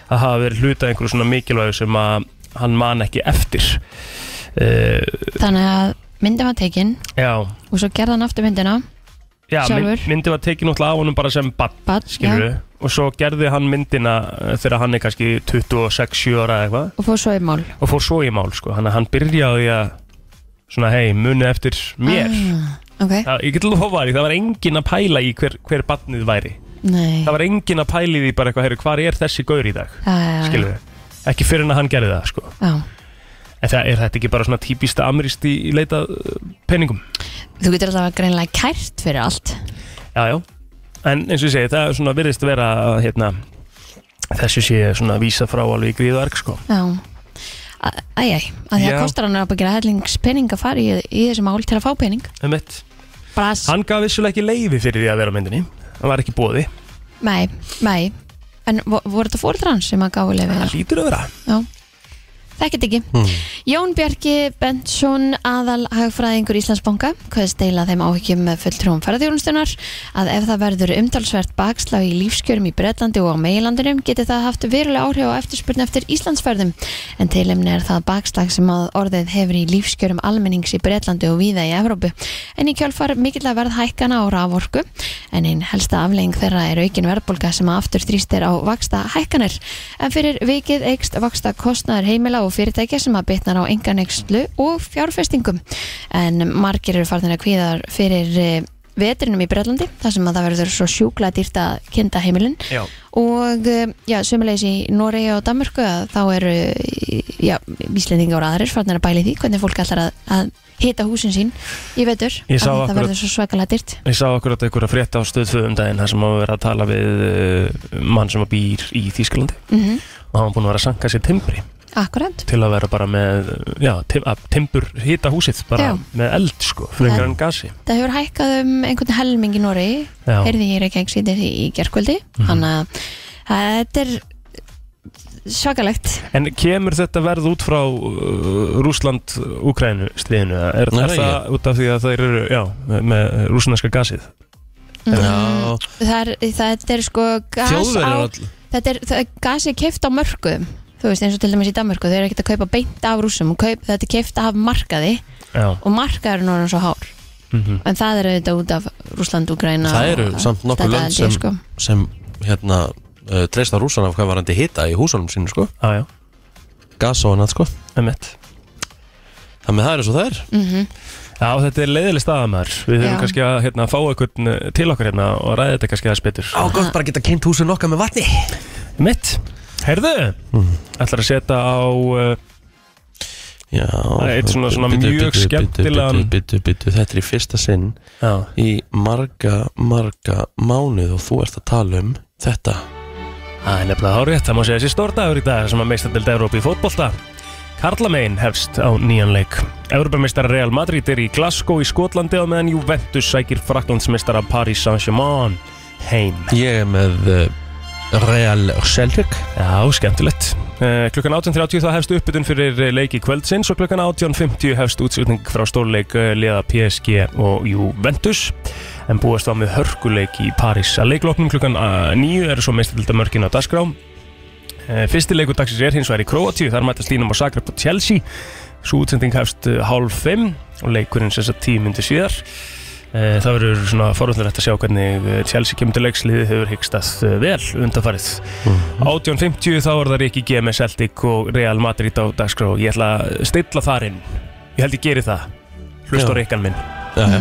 E: að hafa verið hluta einhverju svona mikilvægu sem að hann man ekki eftir uh,
D: Þannig að myndin var tekin
E: já,
D: og svo gerði hann aftur myndina
E: já mynd,
D: Sjálfur.
E: myndi var tekið náttúrulega á honum bara sem bann
D: bad,
E: skilur og svo gerði hann myndina eh, þegar hann er kannski 26-7 ára eða eitthvað
D: og fór svo í mál
E: og fór svo í mál sko hann, hann byrjaði að svona hei muni eftir mér
D: ah, Ok,
E: það, ég get lofa því það var engin að pæla í hver, hver barnið væri
D: nei Ah,
E: það var engin að pæla í því bara eitthvað heyru hvar er þessi gaur í dag
D: var,
E: skilur við ekki fyrir en að hann gerði það sko
D: Já,
E: en það er þetta ekki bara svona típista amrist í, í leita uh, peningum
D: þú getur alltaf greinlega kært fyrir allt
E: já já en eins og ég segi það er svona virðist vera að, hérna þessu sé svona vísa frá alveg í gríðu erg sko
D: Já Æjæ, að því að
E: Já.
D: kostar hann að bara gera hellingspenning að fara í, í þessi mál til að fá pening
E: um
D: Bras,
E: hann gaf vissulega ekki leiði fyrir því að vera á myndinni hann var ekki bóði
D: nei, nei En vo- voru þetta fóruður hans sem að gáði lefið?
E: það lítur að vera
D: Þekkit ekki. Jón Bjarki Bentsson, aðal hagfræðingur Íslandsbanka, hvaðist deila þeim áhyggjum með fulltrúum ferðarþjónustunar að ef það verður umtalsvert bakslag í lífskjörum í Bretlandi og á meilandinum geti það haft verulega áhrif á eftirspurn eftir Íslandsferðum. En tilimni er það bakslag sem að orðið hefur í lífskjörum almennings í Bretlandi og víða í Evrópu. En í kjálfar mikill að verð hækkana á raforku, en einn helsta aflegging þeirra er aukin verðbólga sem að aftur þrýstir á vaksta hækkanir. En fyrir vikið eikst vaksta kostnaður heimila og fyrirtækja sem að bitnar á enganekslu og fjárfestingum. En margir eru farnir að kvíðar fyrir eh, vetrinum í Bretlandi, þar sem að það verður svo sjúkla dýrt að kynda heimilin
E: já
D: og eh, já, sömulegis í Noregi og Danmörku að þá eru eh, já, víslendingar og aðrir farnir að bæli því hvernig fólk ætlar að, að hita húsin sín í vetur
E: Ég sá
D: að það
E: akkurat-
D: verður svo svakalega dyrt
E: Ég sá okkur að einhverja frétta á stöðföðum daginn þar sem að vera að tala við uh, mann sem að býr í Þýskalandi
D: mm
E: og hann var búin að vera að sanka sér timbri
D: Akkurat,
E: til að vera bara með, uh, já, tim, að timbur hita húsið
D: Já.
E: bara með eld sko,
D: Já.
E: fyrir einhverjan gasi
D: það hefur hækkað um einhvern helming í Noregi
E: Já,
D: heyrði ég ekki ekki sýttir í gerkvöldi
E: Mhm.
D: þannig að að þetta er svakalegt
E: en kemur þetta verð út frá uh, Rúsland-Ukrænu stríðinu, eða er,
C: Nei,
E: er það út af því að það eru, já, með, með rúslandska gasið
C: Já.
D: Mm, það er, það er sko gas
C: Þjóðverjar
D: á
C: all
D: þetta er, það, gas er keift á mörkuðum þú veist eins og til dæmis í Danmörku þau eru ekkert að kaupa beint af rúsum og kaup, þetta er keift af markaði
E: Já,
D: og markaðurinn orðin svo hár
E: mm
D: en það eru þetta út af Rúsland, Ukraina
C: Það eru samt nokkur lönd sem-
D: sko.
C: sem hérna uh, treysta rúsan af hvað var hann hita í húsunum sínu sko
E: já, Ah, já,
C: gas og hann sko
E: emitt
C: þannig að það er eins og það er
D: mm
E: Já, þetta er leiðileg staðamæður. Við
D: Já.
E: þurfum kannski að hérna, fá einhvern eh, til okkar hérna og ræða þetta kannski aðeins betur.
C: gott bara að geta kynnt húsun okkar með vatni
E: Mitt, heyrðu, ætlar að setja á uh,
C: Já
E: Það er eitt svona- svona
C: Bíddu,
E: mjög
C: bíddu,
E: skemmtilegan-
C: bíddu, bíddu, bíddu, Þetta er í fyrsta sinn
E: já,
C: í marga, marga mánuð og þú ert að tala um þetta
E: það er nefnilega hárétt. Það má segja þessi stór dagur í dag sem að meista til Európi í fótbolta. Karlamein hefst á nýjan leik. Evropameistara Real Madrid er í Glasgow í Skotlandi og meðan Juventus sækir Fraklandsmeistara Paris Saint-Germain heim.
C: Ég er með uh, Real Celtic
E: Já, skemmtilegt. Eh, Klukkan 18.30 þá hefst uppbytun fyrir eh, leiki kvöldsins og klukkan 18.50 hefst útsýtning frá stórleik eh, liða PSG og Juventus en búast á með hörkuleik í París. Að leikloknum klukkan eh, 9 eru svo meistildamörkin á Dasgrá. Fyrsti leikur dagsins er hins vegar í Kroatíu, þar mætast Dínum og Zagreb og Chelsea. Svo útsending hefst eh, hálf 5 og leikurinn sem sagt 10 myndi síðar. Eh, Það verður svona forvöldulegt að sjá hvernig eh, Chelsea kemur til leiksliði hefur hyggstað eh, vel undanfarið. 18.50 þá er það Ríkki G með Celtic og Real Madrid á dagskrá Ég ætla að stilla þar inn Ég held ég geri það Hlust á
C: Já.
E: Ríkkan minn
C: Já,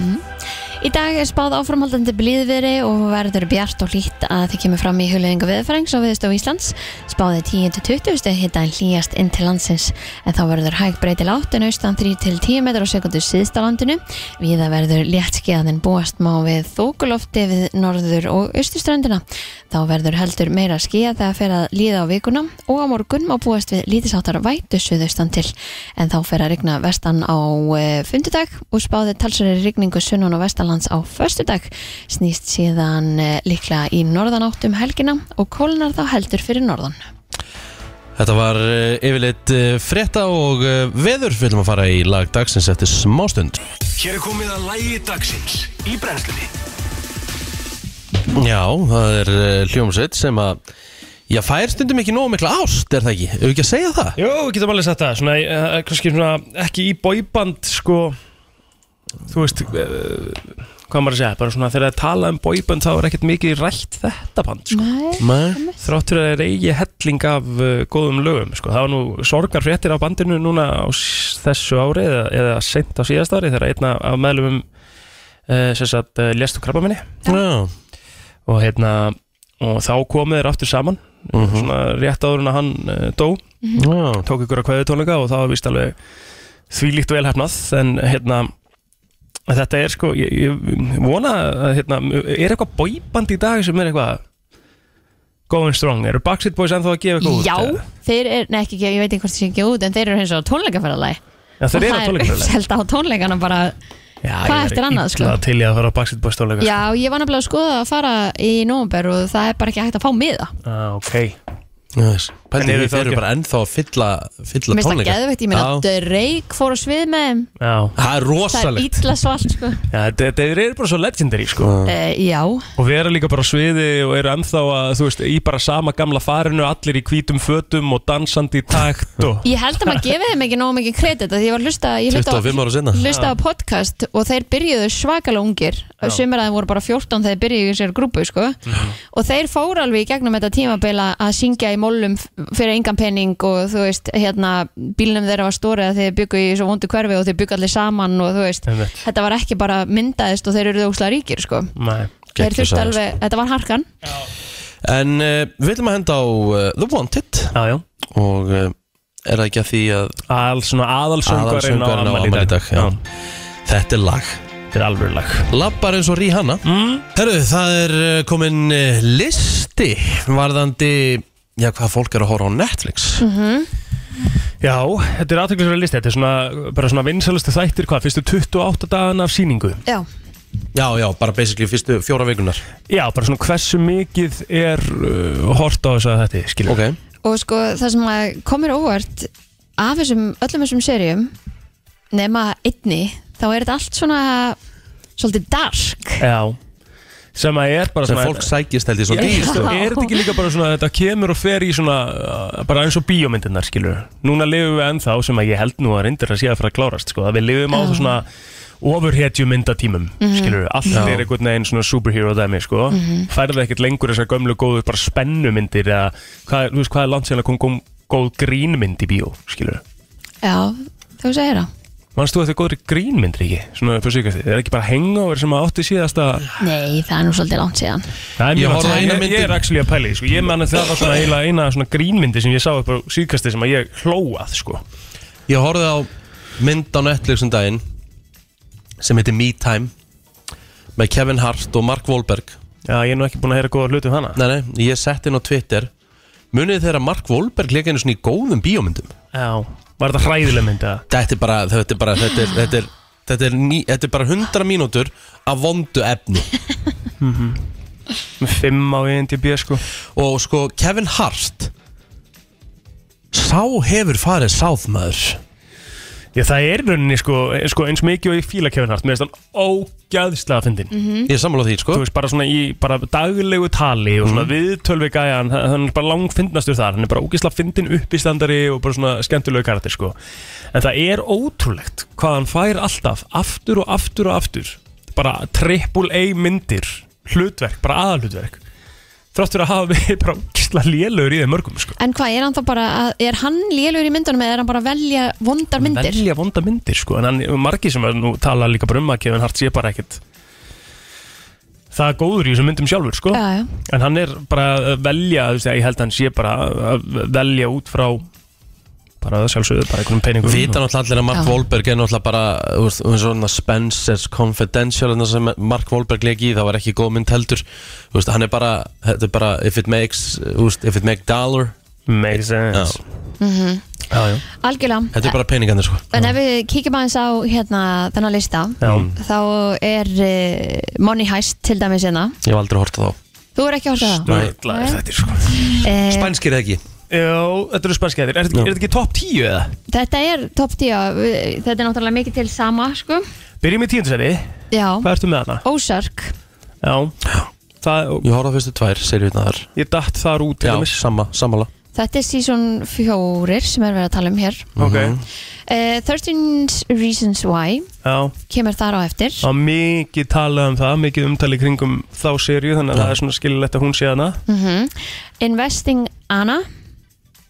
D: Í dag er spáð áframhaldandi blíðveri og verður bjart og hlýtt að þið kemur fram í hulöðingu viðfærings á viðstof Íslands. Spáði 10-20 steg hitta en hlýjast inn til landsins en þá verður hæg breytil átt en austan 3-10 metrar á sekundu síðst á landinu. Viða verður létt skeiðan en búast má við þókulofti við norður og austurströndina. Þá verður heldur meira skeið þegar fer að líða á vikuna og á morgun má búast við lítisáttar vætu suðaustan til en þá fer að rigna vestan á e, fundudag og spáði talsverið rigningu sunnun og vestanlands á föstudag snýst eh, síðan e, líklega í norðanátt um helgina og kólnar þá heldur fyrir norðan
C: Þetta var uh, yfirleitt uh, frétta og uh, veður Við viljum að fara í lag dagsins eftir smástund
A: Hér er komið að lægi dagsins í brennslunni
C: Já, það er uh, hljómsveit sem að Já, fær stundum ekki nóg mikla ást, er það ekki? Ef ekki að segja það?
E: Jú, við getum alveg sagt það svona, uh, kannski svona, ekki í bóiband sko þú veist uh, hvað maður að segja, bara svona þegar það er talað um bóiband þá er ekkert mikið rætt þetta band sko.
D: Nei,
C: Nei,
E: þráttur að það er eigi helling af uh, góðum lögum sko. það var nú sorgar fréttir á bandinu núna á s- þessu ári eða, eða seint á síðast ári þegar einna af meðlumum uh, sem sagt uh, lést úr krabba minni
C: já,
E: og hérna og þá komu þeir aftur saman svona rétt áður en að hann uh, dó
D: Mhm.
C: já
E: tók ykkur að kveðu tónleika og það var vist alveg þvílíkt vel hefnað en hérna þetta er sko, ég, ég vona að hérna, er eitthvað bóiband í dag sem er eitthvað going strong, eru Backstreet Boys ennþá að gefa eitthvað út?
D: já,
E: eða?
D: þeir eru, nei ekki, ég veit ekki hvort það sé ekki út en þeir eru hins og tónleikaferðalagi
E: Já, þeir eru að
D: og það er <laughs>
E: tónleika
D: uppselt á tónleikana bara
E: Já,
D: hvað eftir annað, sko?
E: Það til ég að fara á Backstreet Boys tónleika
D: já, ég var nefnilega að skoða að fara í nómber og það er bara ekki hægt að fá miða
E: ah, okay.
C: Yes.
E: En
C: Pældi,
E: eru
C: við
E: þá
C: fyrir
E: ekki-
C: bara ennþá að fylla, fylla
D: Mér finnst það
C: tónleika
D: geðvegt, ég meina
C: Já.
D: Drake fór á svið með þeim
E: Já,
C: Það er
D: Það er
C: rosalegt
D: ítla svalt sko
E: Já, þetta þeir eru bara svo legendary sko
D: uh, Já,
E: Og við erum líka bara á sviði og eru ennþá að, þú veist, í bara sama gamla farinu Allir í hvítum fötum og dansandi í takt og
D: ég held
C: <laughs>
D: að maður gefi þeim ekki nógu mikið kredit af Því ég var að hlusta, ég hlusta,
C: 25 ára sinna
D: hlusta á podcast og þeir byrjuðu svakalega ungir Sumir að þeim voru bara 14 þegar þeir byrjuðu í sér grúpu sko Og þeir fóru alveg í gegnum þetta tímabila að syngja í mollum f- fyrir engan penning og þú veist, hérna bílnum þeirra var stórið að þeir byggu í svo vondu hverfi og þeir byggu allir saman og þú veist
E: Einmitt.
D: Þetta var ekki bara myndaðist og þeir eru óslega ríkir sko
E: Nei
D: Þeir
C: Gekkjur
D: þurftu
C: saga, sko.
D: alveg, þetta var harkan
C: En uh, við viljum að henda á uh, The Wanted
E: Já, já
C: Og uh, er það ekki að því að
E: Al, svona aðalsöngvarinn á
C: Aðalsöngvarinn á
E: afmæli í dag
C: afmæli í dag, já. þetta er lag
E: Þetta er alveg lag
C: Lappar eins og Rihanna mm. Herru, það er eh, komin eh, listi Varðandi, já hvað fólk er að horfa á Netflix
D: Mhm.
E: Já, þetta er aðtöklisverið listi Þetta er svona, bara svona vinsalustu þættir Hvað, fyrstu 28 dagana af síningu
D: Já,
C: Já, já, bara basically fyrstu fjóra vikunar
E: Já, bara svona hversu mikið er uh, hort á þess að þetta skilur
C: Ok,
D: og sko það sem að komir óvart af þessum, öllum þessum serjum nema einni þá er þetta allt svona svolítið dark
E: Já Sem að er bara
C: sem
E: svona
C: fólk sækist held ég
E: Er,
C: svona
E: er,
C: dýr sko.
E: er þetta ekki líka bara svona Þetta kemur og fer í svona uh, Bara eins og bíómyndirnar skilur Núna lifum við ennþá sem að ég held nú að reyndir að sé að fara að klárast sko, að Við lifum á
D: Já.
E: svona ofurhetju myndatímum skilur, allt er einhvern veginn svona superhero dæmi sko, mm færðu ekkert lengur þessar gömlu góðu bara spennumyndir eða hvað, er- þú veist hvað er langt síðan að kom, kom góð grínmynd í bíó, skilur
D: Já, þú segir það
E: Manst þú eftir góðri grínmynd, ekki? Svona fyrir síkast, er ekki bara hangover sem að átti síðast að
D: Nei, það er nú svolítið langt síðan
E: Það
C: Ég
E: er mjög
C: horfði á
E: langt
C: eina
E: síðan. Ég- Ég er
C: myndin.
E: actually að pæli, sko Ég man að það var svona eina, eina svona grínmyndi sem ég sá upp á síðkasti sem að ég hlóað, sko
C: Ég horfði á mynd á Netflix um daginn sem heitir Me Time með Kevin Hart og Mark Wahlberg
E: Já, ég er nú ekki búin að heyra góða hluti um hana
C: Nei, nei, ég sett inn á Twitter Munið þegar að Mark Wahlberg leika einu svona í góðum bíómyndum
E: Já, var þetta hræðileg mynd, eða?
C: Þetta er bara, þetta er bara, þetta er, þetta er, þetta er, ný, þetta er bara 100 mínútur af vondu efni
E: Með fimm á INDB, sko
C: Og sko, Kevin Hart Sá hefur farið sáðmaður
E: Já, það er í rauninni, sko, eh, sko eins mikið og ég fíla Kevin Hart Mér finnst hann ógæðslega að fyndin
C: Ég er sammála því, sko
E: Þú veist, bara svona í bara daglegu tali og svona mm. viðtölvi gæjan, hann er bara langfindnastur þar, hann er bara ógislega fyndin uppistandari og bara svona skemmtilegu karakter sko. En það er ótrúlegt hvað hann fær alltaf, aftur og aftur og aftur, bara triple A myndir, hlutverk, bara aðalhlutverk, þrátt fyrir að hafa verið bara ógislega lélögur í þeim mörgum sko.
D: En hvað, er hann þá bara, að, er hann lélur í myndunum eða er hann bara að velja vondar myndir?
E: Velja vonda myndir sko En hann, margir sem er nú tala líka bara um að Kevin Hart sé bara ekkit Það er góður í þessum myndum sjálfur sko
D: Já, já.
E: En hann er bara að velja þú veist, Ég held að hann sé bara að velja út frá Bara að sjálfsögðu Bara einhvernum peningum
C: Vita náttúrulega allir að Mark
D: Já.
C: Wahlberg er náttúrulega bara þú veist, um svona Spencer's Confidential þarna sem Mark Wahlberg leik í, það var ekki góð mynd heldur Þú veist, hann er bara, þetta er bara if it makes, þú veist, if it make dollar
E: Makes
C: Já,
E: sense Já, já,
D: Algjörlega
C: þetta er bara peningarnir sko
D: En ef við kíkjum aðeins á hérna þennan lista
E: já.
D: þá er uh, Money Heist til dæmis hérna
C: Ég hef aldrei hortið á þá
D: Þú er ekki að horfa á það?
E: Sturlaður þetta er sko
D: Eh,
C: Spænskir eða ekki?
E: Jó, þetta eru spanskæðir Er,
C: Já.
E: er þetta ekki topp 10 eða?
D: Þetta er topp 10 við- Þetta er náttúrulega mikið til sama sko.
E: Byrjum í tíundsæti
D: Já,
E: Hvað ertu með hana?
D: Ósark
E: Já Það,
C: Ég horfði á fyrstu tvær seriutnaðar
E: Ég datt þar út til
C: Já,
E: dæmis.
C: sama, samala
D: Þetta er season 4 sem er verið að tala um hér
C: Mhm.
E: Ok
D: uh, 13 Reasons Why
E: Já,
D: kemur þar á eftir
E: það var mikið talað um það, mikið umtalið kringum þá sériu, þannig að það er svona skililegt að hún sé hana
D: mm Investing Anna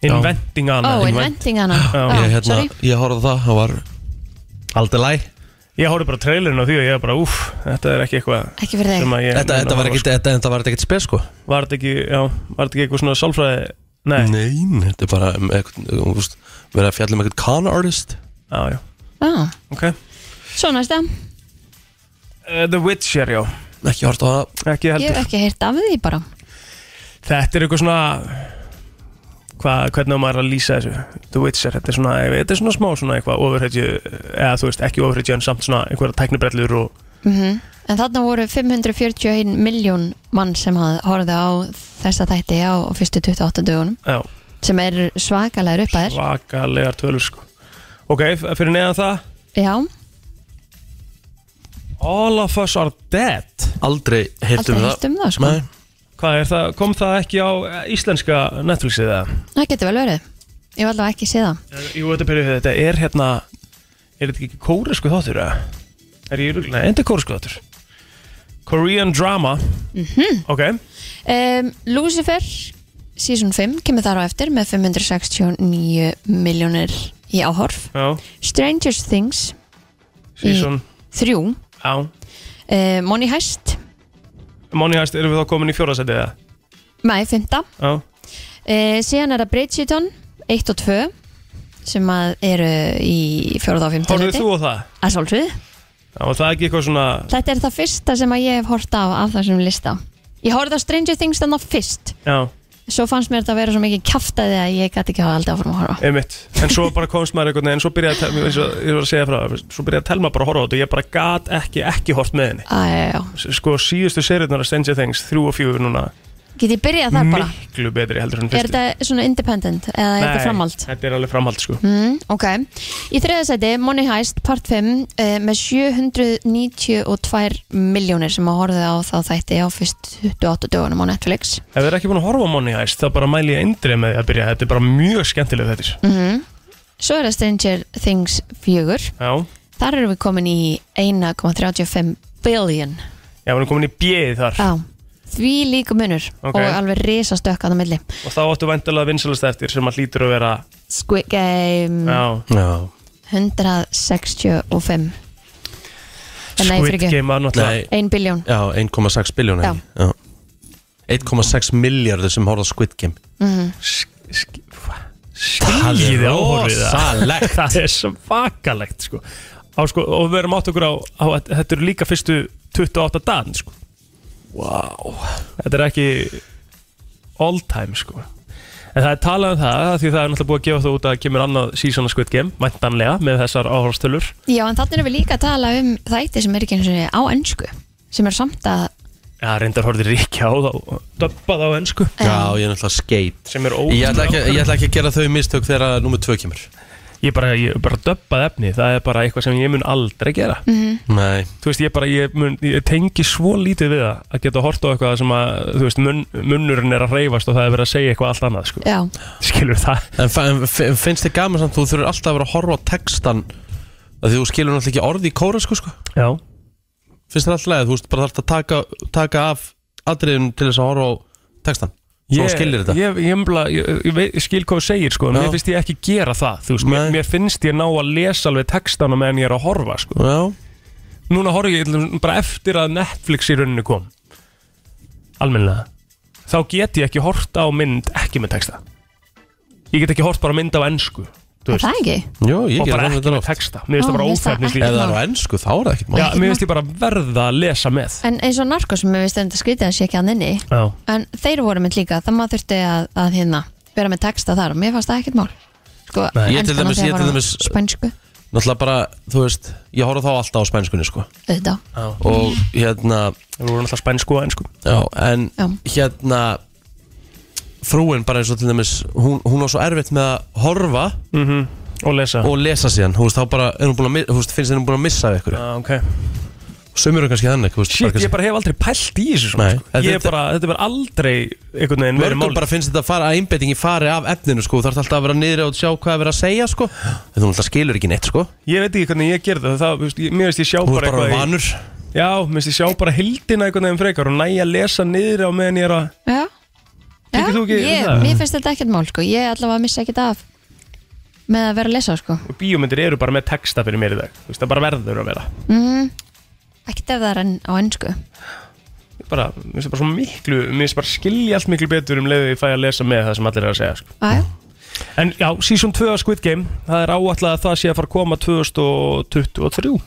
E: Inventing hana
D: Ó, oh, Inventing Anna
E: Já.
D: ah,
C: Ég, hérna,
D: sorry.
C: ég horfði á það, það var Aldrei læ
E: Ég horfði bara trailerin á því og ég var bara, úff, þetta er ekki eitthvað
D: Ekki fyrir þig
E: sem að ég
C: Þetta, þetta var sko- ekkit, þetta, þetta var ekkit spes sko
E: Var þetta ekki, já, var þetta ekki eitthvað svona sálfræði
C: Mm.
E: Nei,
C: Nein, þetta er bara um eitthvað, þú veist, Við erum að fjalla um eitthvað con artist
E: já, já,
D: ah,
E: ok uh,
D: Svo næsta,
E: The Witcher, já,
C: Ekki horfði á það
E: ekki
D: ég
E: heldur
D: hef ekki heyrt af því bara
E: Þetta er eitthvað svona hva, hvernig á maður að lýsa þessu The Witcher, þetta er svona, þetta er svona smá svona eitthvað ofurheitju, eða þú veist, ekki ofurheitju en samt svona einhverja tæknibrellur og
D: mm En þarna voru 541 miljón mann sem hafði horfði á þessa þætti á fyrstu 28 dögunum
E: já,
D: sem er svakalega uppæðir
E: svakalegar tölur sko. ok, f- fyrir neðan það
D: Já,
E: All of us are dead
C: Aldrei heyrtum það
D: aldrei heyrt um það sko
C: Nei,
E: hvað er það, kom það ekki á eh, íslenska Netflixið eða?
D: Það getur vel verið Ég hef allavega ekki séð það
E: Eh, Jú, þetta, byrjuð, þetta er hérna er þetta ekki kóresku þáttur eða? er ég, í rugl- nei, þetta er kóresku þáttur Korean drama
D: Mhm.
E: ok,
D: um, Lucifer Season 5 kemur þar á eftir með 569 miljónir í áhorf
E: já,
D: Stranger Things
E: season
D: 3 uh,
E: já,
D: Money Heist
E: Money Heist erum við þá komin í fjórðasæti eða?
D: Nei, 5 uh,
E: já,
D: Síðan er það Bridgerton 1 og 2 sem að eru í 4. og 5.
E: horfðu þú á það?
D: Að sjálfsögðu.
E: Já, og það er ekki eitthvað svona
D: Þetta er það fyrsta sem að ég hef hort af af þessum lista Ég horfði á Stranger Things þannig fyrst
E: já,
D: Svo fannst mér þetta að vera svo mikið kjaftaði að ég gæti ekki hafa aldrei áfram að horfa
E: Einmitt. En svo bara komst maður einhvern veginn, svo byrjaði að telma, eins og ég var að segja frá, það, svo byrjaði að telma bara að horfa á þetta og ég bara gat ekki, ekki hort með henni.
D: Æ, já, já.
E: S- Sko síðustu seriðnar að Stranger Things, þrjú og fjögur núna,
D: Get ég byrjað þar bara?
E: miklu betri heldur en
D: Er
E: fyrstu.
D: þetta svona independent eða er þetta framhald?
E: Þetta er alveg framhald sko.
D: Mm, ok, í þriðasæti Money Heist part 5 uh, með 792 miljónir sem að horfið á þá þætti á fyrst 28 dögunum á Netflix
E: Ef þið er ekki búin að horfa á Money Heist, þá bara mæli ég eindrið með því að byrja, þetta er bara mjög skemmtileg þetta.
D: mm Svo er það Stranger Things 4
E: Já,
D: Þar erum við komin í 1,35 billion
E: já, við erum komin í bjöði þar
D: á því líka munur
E: Ok.
D: og alveg risastökk að það milli
E: og þá áttu vendalega vinsalast eftir sem að hlýtur að vera,
D: Squid Game
E: já,
D: 165 Nei,
E: Squid
D: fyrir ekki
E: Game var náttúrulega,
C: Nei
D: 1 biljón
C: já, 1,6 biljón
D: Já.
C: 1,6 miljardur sem horfði á Squid Game
E: skiljiði áhorfið það.
C: rosalegt
E: <laughs> það er svakalegt sko. Á, sko, og við erum átt okkur á, á að þetta eru líka fyrstu 28 dagan sko.
C: Wow
E: þetta er ekki all time sko. en það er talað um það af því það er náttúrulega búið að gefa það út að kemur annað season of Squid Game, væntanlega með þessar áhorfstölur
D: Já, en þannig erum við líka að tala um þætti sem er ekki eins og á ennsku sem er samt að
E: já, reyndar horfið ríkja á þá döbba þá enn sko
C: Já, ég er náttúrulega skeit
E: sem er
C: Ég ætla, ekki, ég
E: ótrúlega
C: ætla ekki að gera þau mistök þegar að nummer 2 kemur
E: ég bara, ég bara döbbað efni, það er bara eitthvað sem ég mun aldrei gera
C: Nei,
E: þú veist, ég bara, ég, mun, ég tengi svo lítið við það að geta hort á eitthvað sem að, þú veist, mun, munnurinn er að reyfast og það er verið að segja eitthvað allt annað, sko.
D: já,
E: Skilur það?
C: en, fa- en f- en finnst þið gaman samt Þú þurfur alltaf að vera að horfa á textan af Því þú skilur náttúrulega ekki orði í kóra sko, sko.
E: Já.
C: Finnst þér alltaf leið, þú veist, bara þarf að taka, taka af Atriðum til þess að horfa á textan Svo
E: Ég-
C: skilur þetta
E: Ég, ég, ég, ég, ég, veit- ég skil hvað þú segir, sko, en
C: Já.
E: mér finnst ég ekki gera það, þú veist, mér,
C: Nei.
E: mér finnst ég ná að lesa alveg textana meðan ég er að horfa, sko.
C: Já,
E: Núna horf ég til dæmis bara eftir að Netflix í rauninni kom. Almennilega. Þá get ég ekki hort á mynd ekki með texta. Ég get ekki hort bara á mynd á ennsku.
D: er það ekki?
C: Jú, ég
E: og
C: gera
E: bara
C: það
E: ekki
C: þetta
E: með
C: oft
E: texta mér finnst
D: Ó,
E: það bara
D: mér finnst það
E: ófæfnis
C: Ef
E: líka
D: ekki-
C: það er á ennsku þá er það ekkert mál
E: já,
D: ekki
E: mér
D: mál.
E: finnst ég bara verða að lesa með
D: En eins og narko sem við stöndum að skrítið að sé ekki að nynni
E: já,
D: en þeir voru mynd líka, það maður þurfti að, að hérna, vera með texta þar og mér fannst það ekkert mál sko,
E: Nei.
C: Ég til
D: enskan
C: dæmis-
D: átti að
C: ég til
D: fara á
C: dæmis-
D: spænsku,
C: Náttúrulega bara, þú veist, ég horfði þá alltaf á spænskunni sko
D: auðvitað
E: já.
C: Og hérna,
E: það voru alltaf spænsku og ennsku
C: já, en
D: Já.
C: hérna frúin bara eins og til dæmis hún, hún á svo erfitt með að horfa
E: Mm. og lesa
C: og lesa síðan þú veist, þá bara er hún búin að, mi- þú veist, finnst henni hún búin að missa af ykkur
E: Ah, okay.
C: sömur er kannski þannig þú veist,
E: Shit,
C: kannski-
E: ég bara hef aldrei pælt í þessu svona,
C: Nei,
E: sko. Ég er
C: þetta-
E: bara, þetta er bara aldrei einhvern veginn verið
C: Mörgum
E: mál
C: bara finnst þetta að fara að einbeitingi fari af efninu sko, þú þarf alltaf að vera niðri og sjá hvað er verið að segja sko, en þú alltaf skilur ekki neitt sko,
E: Ég veit ekki hvernig ég gerði það, það þú veist, ég, Mér veist ég sjá
C: þú
E: bara
C: ert bara
E: eitthvað í-
C: vanur
E: Já, mér veist ég sjá bara hildina einhvern veginn frekar og næja að lesa niður á meðan ég er að
D: Já,
E: Tekur þú ekki
D: ég,
E: það?
D: mér finnst þetta ekkert mál sko. Ég allavega missi ekkert af með að vera að lesa sko.
E: og Bíómyndir eru bara með texta fyrir mér í dag þú veist, Það bara verður að vera
D: mm, Ekkert ef það er enn á ennsku
E: Ég bara, Mér finnst bara svo miklu, mér finnst bara skilja allt miklu betur um leiðið ég fæ að lesa með það sem allir er að segja sko.
D: Æja,
E: En já, season 2 af Squid Game Það er áætlað að það sé að fara að koma 2023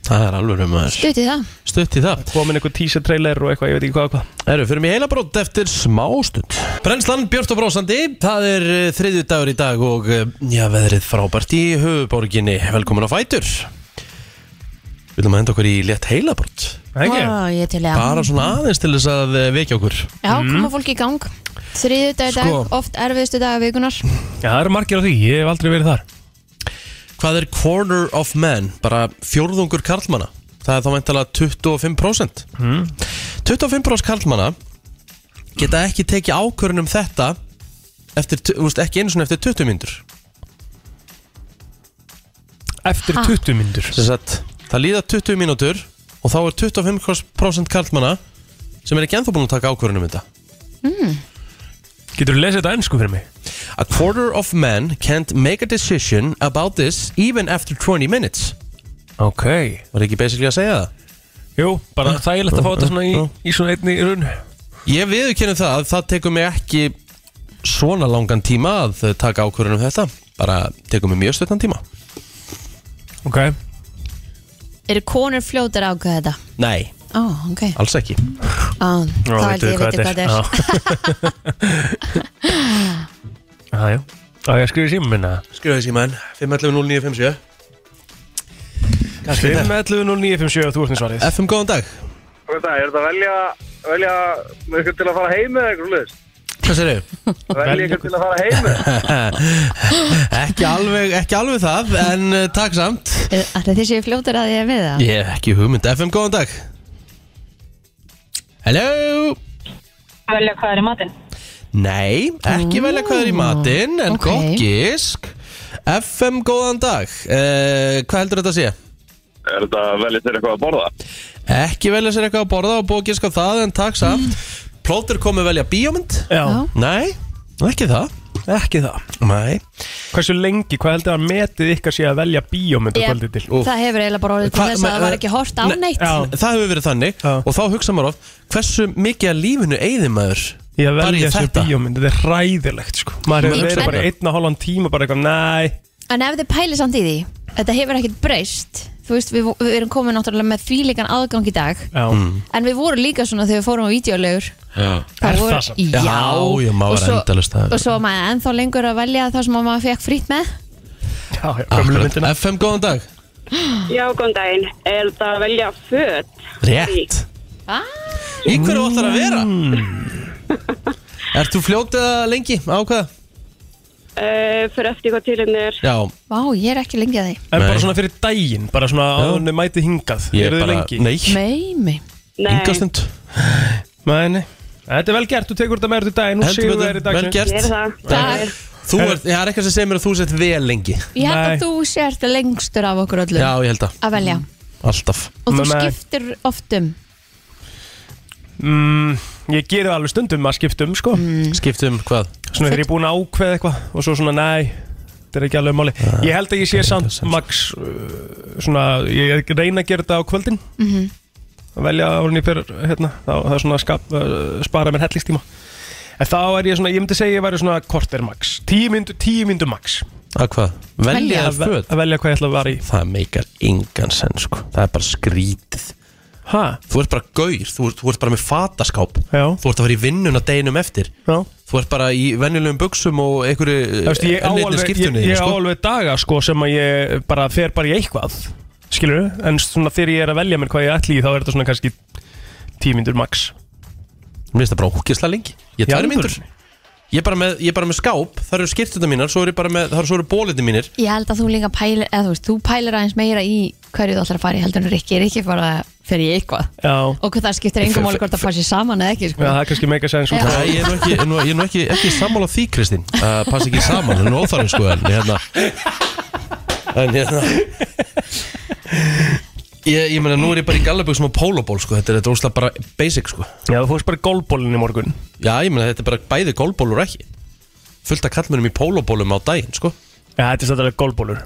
C: það er alveg um að
D: stutt í það
C: stutt í það
E: Komin einhver teaser trailer og eitthvað, ég veit ekki hvað og hvað
C: Erum fyrir mig heila brótt eftir smástund Brennslan Björn og Brósandi Það er eh, þriðju dagur í dag og eh, já, veðrið frábært í höfuborginni Velkomin á Fætur Viljum að henda okkur í létt heilabrótt
E: Það ekki?
D: Ó, Ég til ég
C: Bara svona aðeins til þess að eh, vekja okkur
D: Já, koma fólk í gang Þriðu dag í dag,
C: Sko.
D: oft erfiðustu dag vikunar
E: Já, það eru margir á því, ég hef aldrei verið þar
C: Hvað er quarter of man? Bara fjórðungur karlmanna Það er þá veintalega 25% 25% karlmanna geta ekki tekið ákvörun um þetta eftir, tu- þú veist, ekki einu svona eftir 20 myndur
E: Eftir
D: Ha?
E: 20 myndur
C: sem sagt, það líða 20 mínútur og þá er 25% karlmanna sem er ekki ennþá búin að taka ákvörðunum þetta
E: Getur þú lesið þetta ennsku fyrir mig?
C: A quarter of men can't make a decision about this even after 20 minutes
E: Ok
C: Var ekki basically að segja það?
E: Jú, bara þægilegt að fá þetta svona í, í svona einni runn
C: Ég viðurkennum það að það tekur mig ekki svona langan tíma að taka ákvörðunum þetta bara tekur mig mjög stöttan tíma
E: Ok
D: Eru konur fljótar ákveða þetta?
C: Nei,
D: Ó, ok
C: alls ekki
D: Ó, Þá held ég veitir hvað þetta er
E: Já, <laughs> já Á ég að skrifa í símum minna
C: <laughs> Skrifaði síma enn 511-0957 Kannski þetta.
E: 511-0957 þú ert með svarið
C: FM góðan dag
B: Hvað er það, er Sko, þetta að velja, velja ykkur til að fara heim eða eitthvað sluðist?
C: Hvað sér þau?
B: Velja ykkur til að fara heim eða?
C: Ekki alveg, ekki alveg það en uh, takk samt
D: Ætli þið séu fljótar að ég er við það?
C: Ég hef ekki hugmynd FM, góðan dag Hello
F: að velja hvað er í matinn.
C: Nei, ekki velja hvað er í matinn En
D: ok.
C: gott gísk FM, góðan dag uh, Hvað heldur þetta að sé?
B: Er þetta að velja þér eitthvað að borða?
C: Ekki velja sér eitthvað að borða og búið að gíska á það En takk samt
F: Mm.
C: Plóter komið velja bíómynd?
E: Já
D: Já.
C: Nei, ekki það
E: Ekki það
C: Nei
E: Hversu lengi, hvað heldur að metið ykkar sé að velja bíómyndu
D: Ég-
E: kvöldið til?
C: Úf.
D: Það hefur eiginlega bara orðið til
C: Hva-
D: þess að
C: ma-
D: það var ekki hort á
C: Nei,
D: neitt
E: já.
C: Það hefur verið þannig
E: Já.
C: Og þá hugsa maður of Hversu mikið að lífinu eigði maður?
E: Ég að
C: Bara í
E: velja þessu
C: þetta?
E: bíómynd, þetta er ræðilegt sko Maður
C: Ég
E: hefur verið
C: hugsa
E: bara
C: það.
E: einn og hálfan tíma bara eitthvað, næ
D: En ef þið pælið samt í því, þetta hefur ekkert breyst Þú veist, við, við erum komin náttúrulega með þvíleikan aðgang í dag
E: Já,
D: En við vorum líka svona þegar við fórum á videolegur
C: Já
E: Er
D: voru,
E: það samt?
D: Já,
C: Já, já, maður
D: Og
C: var
D: svo-
C: endalaust að-
D: Og svo var maður ennþá lengur að velja það sem maður fekk frýtt með
E: já, já, gömlu myndina
C: FM, góðan dag
F: Já, góðan daginn. Er þetta að velja föt?
C: Rétt
D: Ah.
C: Í hverju ætlar að vera? Ert þú fljótið lengi? Á hvað?
F: Uh, fyrir eftir hvað tilinn er.
C: Já,
D: Vá, ég er ekki lengi að því
E: En bara
C: Nei.
E: svona fyrir daginn, bara svona áður en þið mætið hingað
C: ég
E: Eruð
C: er
E: þið
C: bara
E: lengi?
C: Nei,
D: Meimi
F: Nei,
C: yngastund
E: Nei, nei Þetta er vel gert, þú tekur þetta með þér til daginn og
C: Heldur
E: sigur þér
C: betur,
E: í dag
C: vel gert
F: ég er það.
D: Takk.
C: Þú ert, það er eitthvað sem segir mér að þú sett vel lengi
D: Ég held
E: Nei. Mm.
D: að þú sért lengstur af okkur öllum
C: Já, ég held að,
D: að velja
C: alltaf
D: Og þú
E: Nei.
D: skiptir oft um
E: mm, Ég geri það alveg stundum að skiptum, sko
C: Mm. Skiptum um hvað?
E: Svona þegar ég er búin að ákveða eitthvað og svo svona, næ, þetta er ekki alveg máli
C: Ah,
E: Ég held að ég sé samt, Max, uh, svona, ég reyna að gera þetta á kvöldin Að velja árun ég fyrir, hérna, þá, það er svona að skap, uh, spara mér hellingstíma En þá er ég svona, ég myndi segja ég væri svona korter max Tíu myndu, tíu myndu max
C: Að hvað? Velja
D: Velja.
C: þér föt?
E: Að velja hvað ég ætla að vara í
C: Það meikar engan senn sko Það er bara skrítið
E: Hæ?
C: Þú ert bara gaur, þú ert, þú ert bara með fataskáp
E: Já,
C: Þú ert að fara í vinnuna deginum eftir
E: já
C: Þú ert bara í venjulegum buksum og einhverju
E: Þú veist, ég á
C: enneinni
E: alveg, ég,
C: skiptunni
E: ég á
C: sko.
E: alveg daga sko sem að ég bara fer bara í eitthvað skilur en svona þegar ég er að velja mér hvað ég ætli í þá er þetta svona kannski tímyndur max
C: Mér finnst það bara ógislega lengi Ég
E: Í
C: tvær
E: alvörunni?
C: mínútur Ég er bara með, ég er bara með skáp, það eru skýrtuna mínar, svo eru, bara með, það eru, svo eru bólitni mínir
D: Ég held að þú líka pælir, eða þú veist, þú pælir aðeins meira í hverju þú ætlar að fara í heldur en Rikki er ekki fara fyrir í eitthvað
E: Já,
D: og hvað það skiptir engum máli hvort það fara sér saman eða ekki
E: já
D: sko.
E: það er kannski meika sens út
C: Nei, ég er nú ekki, ég er nú, ég er nú ekki, ekki sammála því, Kristín uh, Passa ekki saman, það er nú óþarinn sko En hérna En hérna Ég, ég meina, nú er ég bara í gallaböksum og pólóból sko Þetta er þetta óslega bara basic sko
E: Já, þú fórst bara gólbólinn í morgun
C: Já, ég meina, þetta er bara bæði gólból og ekki Fullt að kallmennum í pólóbólum á daginn sko
E: Já, þetta er stættilega gólbólur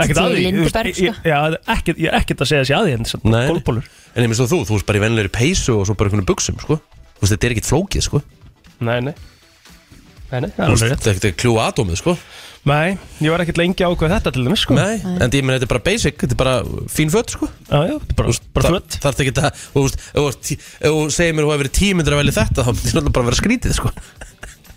E: Ekkert
D: Til
E: að því þú veist,
D: Lindeberg,
E: ég- ég- Já, ekkert, ég er ekkert að segja þessi að því En þetta
C: Nei.
E: er gólbólur
C: En ég minnst þú, þú veist bara í venlegri peysu og svo bara einhvern buksum sko Þú veist, þetta er ekkert flókið sko Þú
E: Nei, nei Nei, nei, það
C: veist,
E: er alveg rétt
C: Þetta er ekkert kljú atómið sko
E: Nei, ég var ekkert lengi ákveð þetta til dæmis sko
C: Nei, en ég meina, þetta er bara basic, þetta er bara fín fött sko
E: Já, já, þetta er bara, bara föt
C: Það er ekki það Ef þú veist, ef þú ert tí- ef þú segir mér að þú hefur verið tímyndir að velja þetta þá myndir þetta bara að vera skrítið sko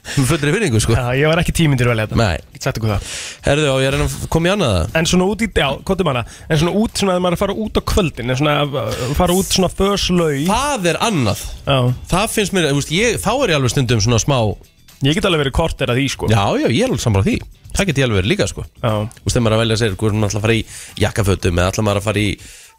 C: <laughs> Með fullri vinningu sko
E: Já, ég var ekki tímyndir vel þetta
C: Nei.
E: Ég get sagt ykkur það
C: Herðu á, ég er enn að koma í annað það
E: En svona út í, já, kóttum hana En svona út, svona að maður er að fara út á kvöldin En svona að fara út svona förslöi
C: Það er annað
E: Já,
C: Það finnst mér, þú veist, ég, þá er ég alveg stundum svona smá
E: ég get alveg verið kort er að því sko
C: Já, já, ég er alveg samar á því Það get ég alveg verið líka sko
E: já,
C: Þú veist, þegar maður er að velja sér, hvort maður ætla að fara í jakkafötum eða ætla maður að fara í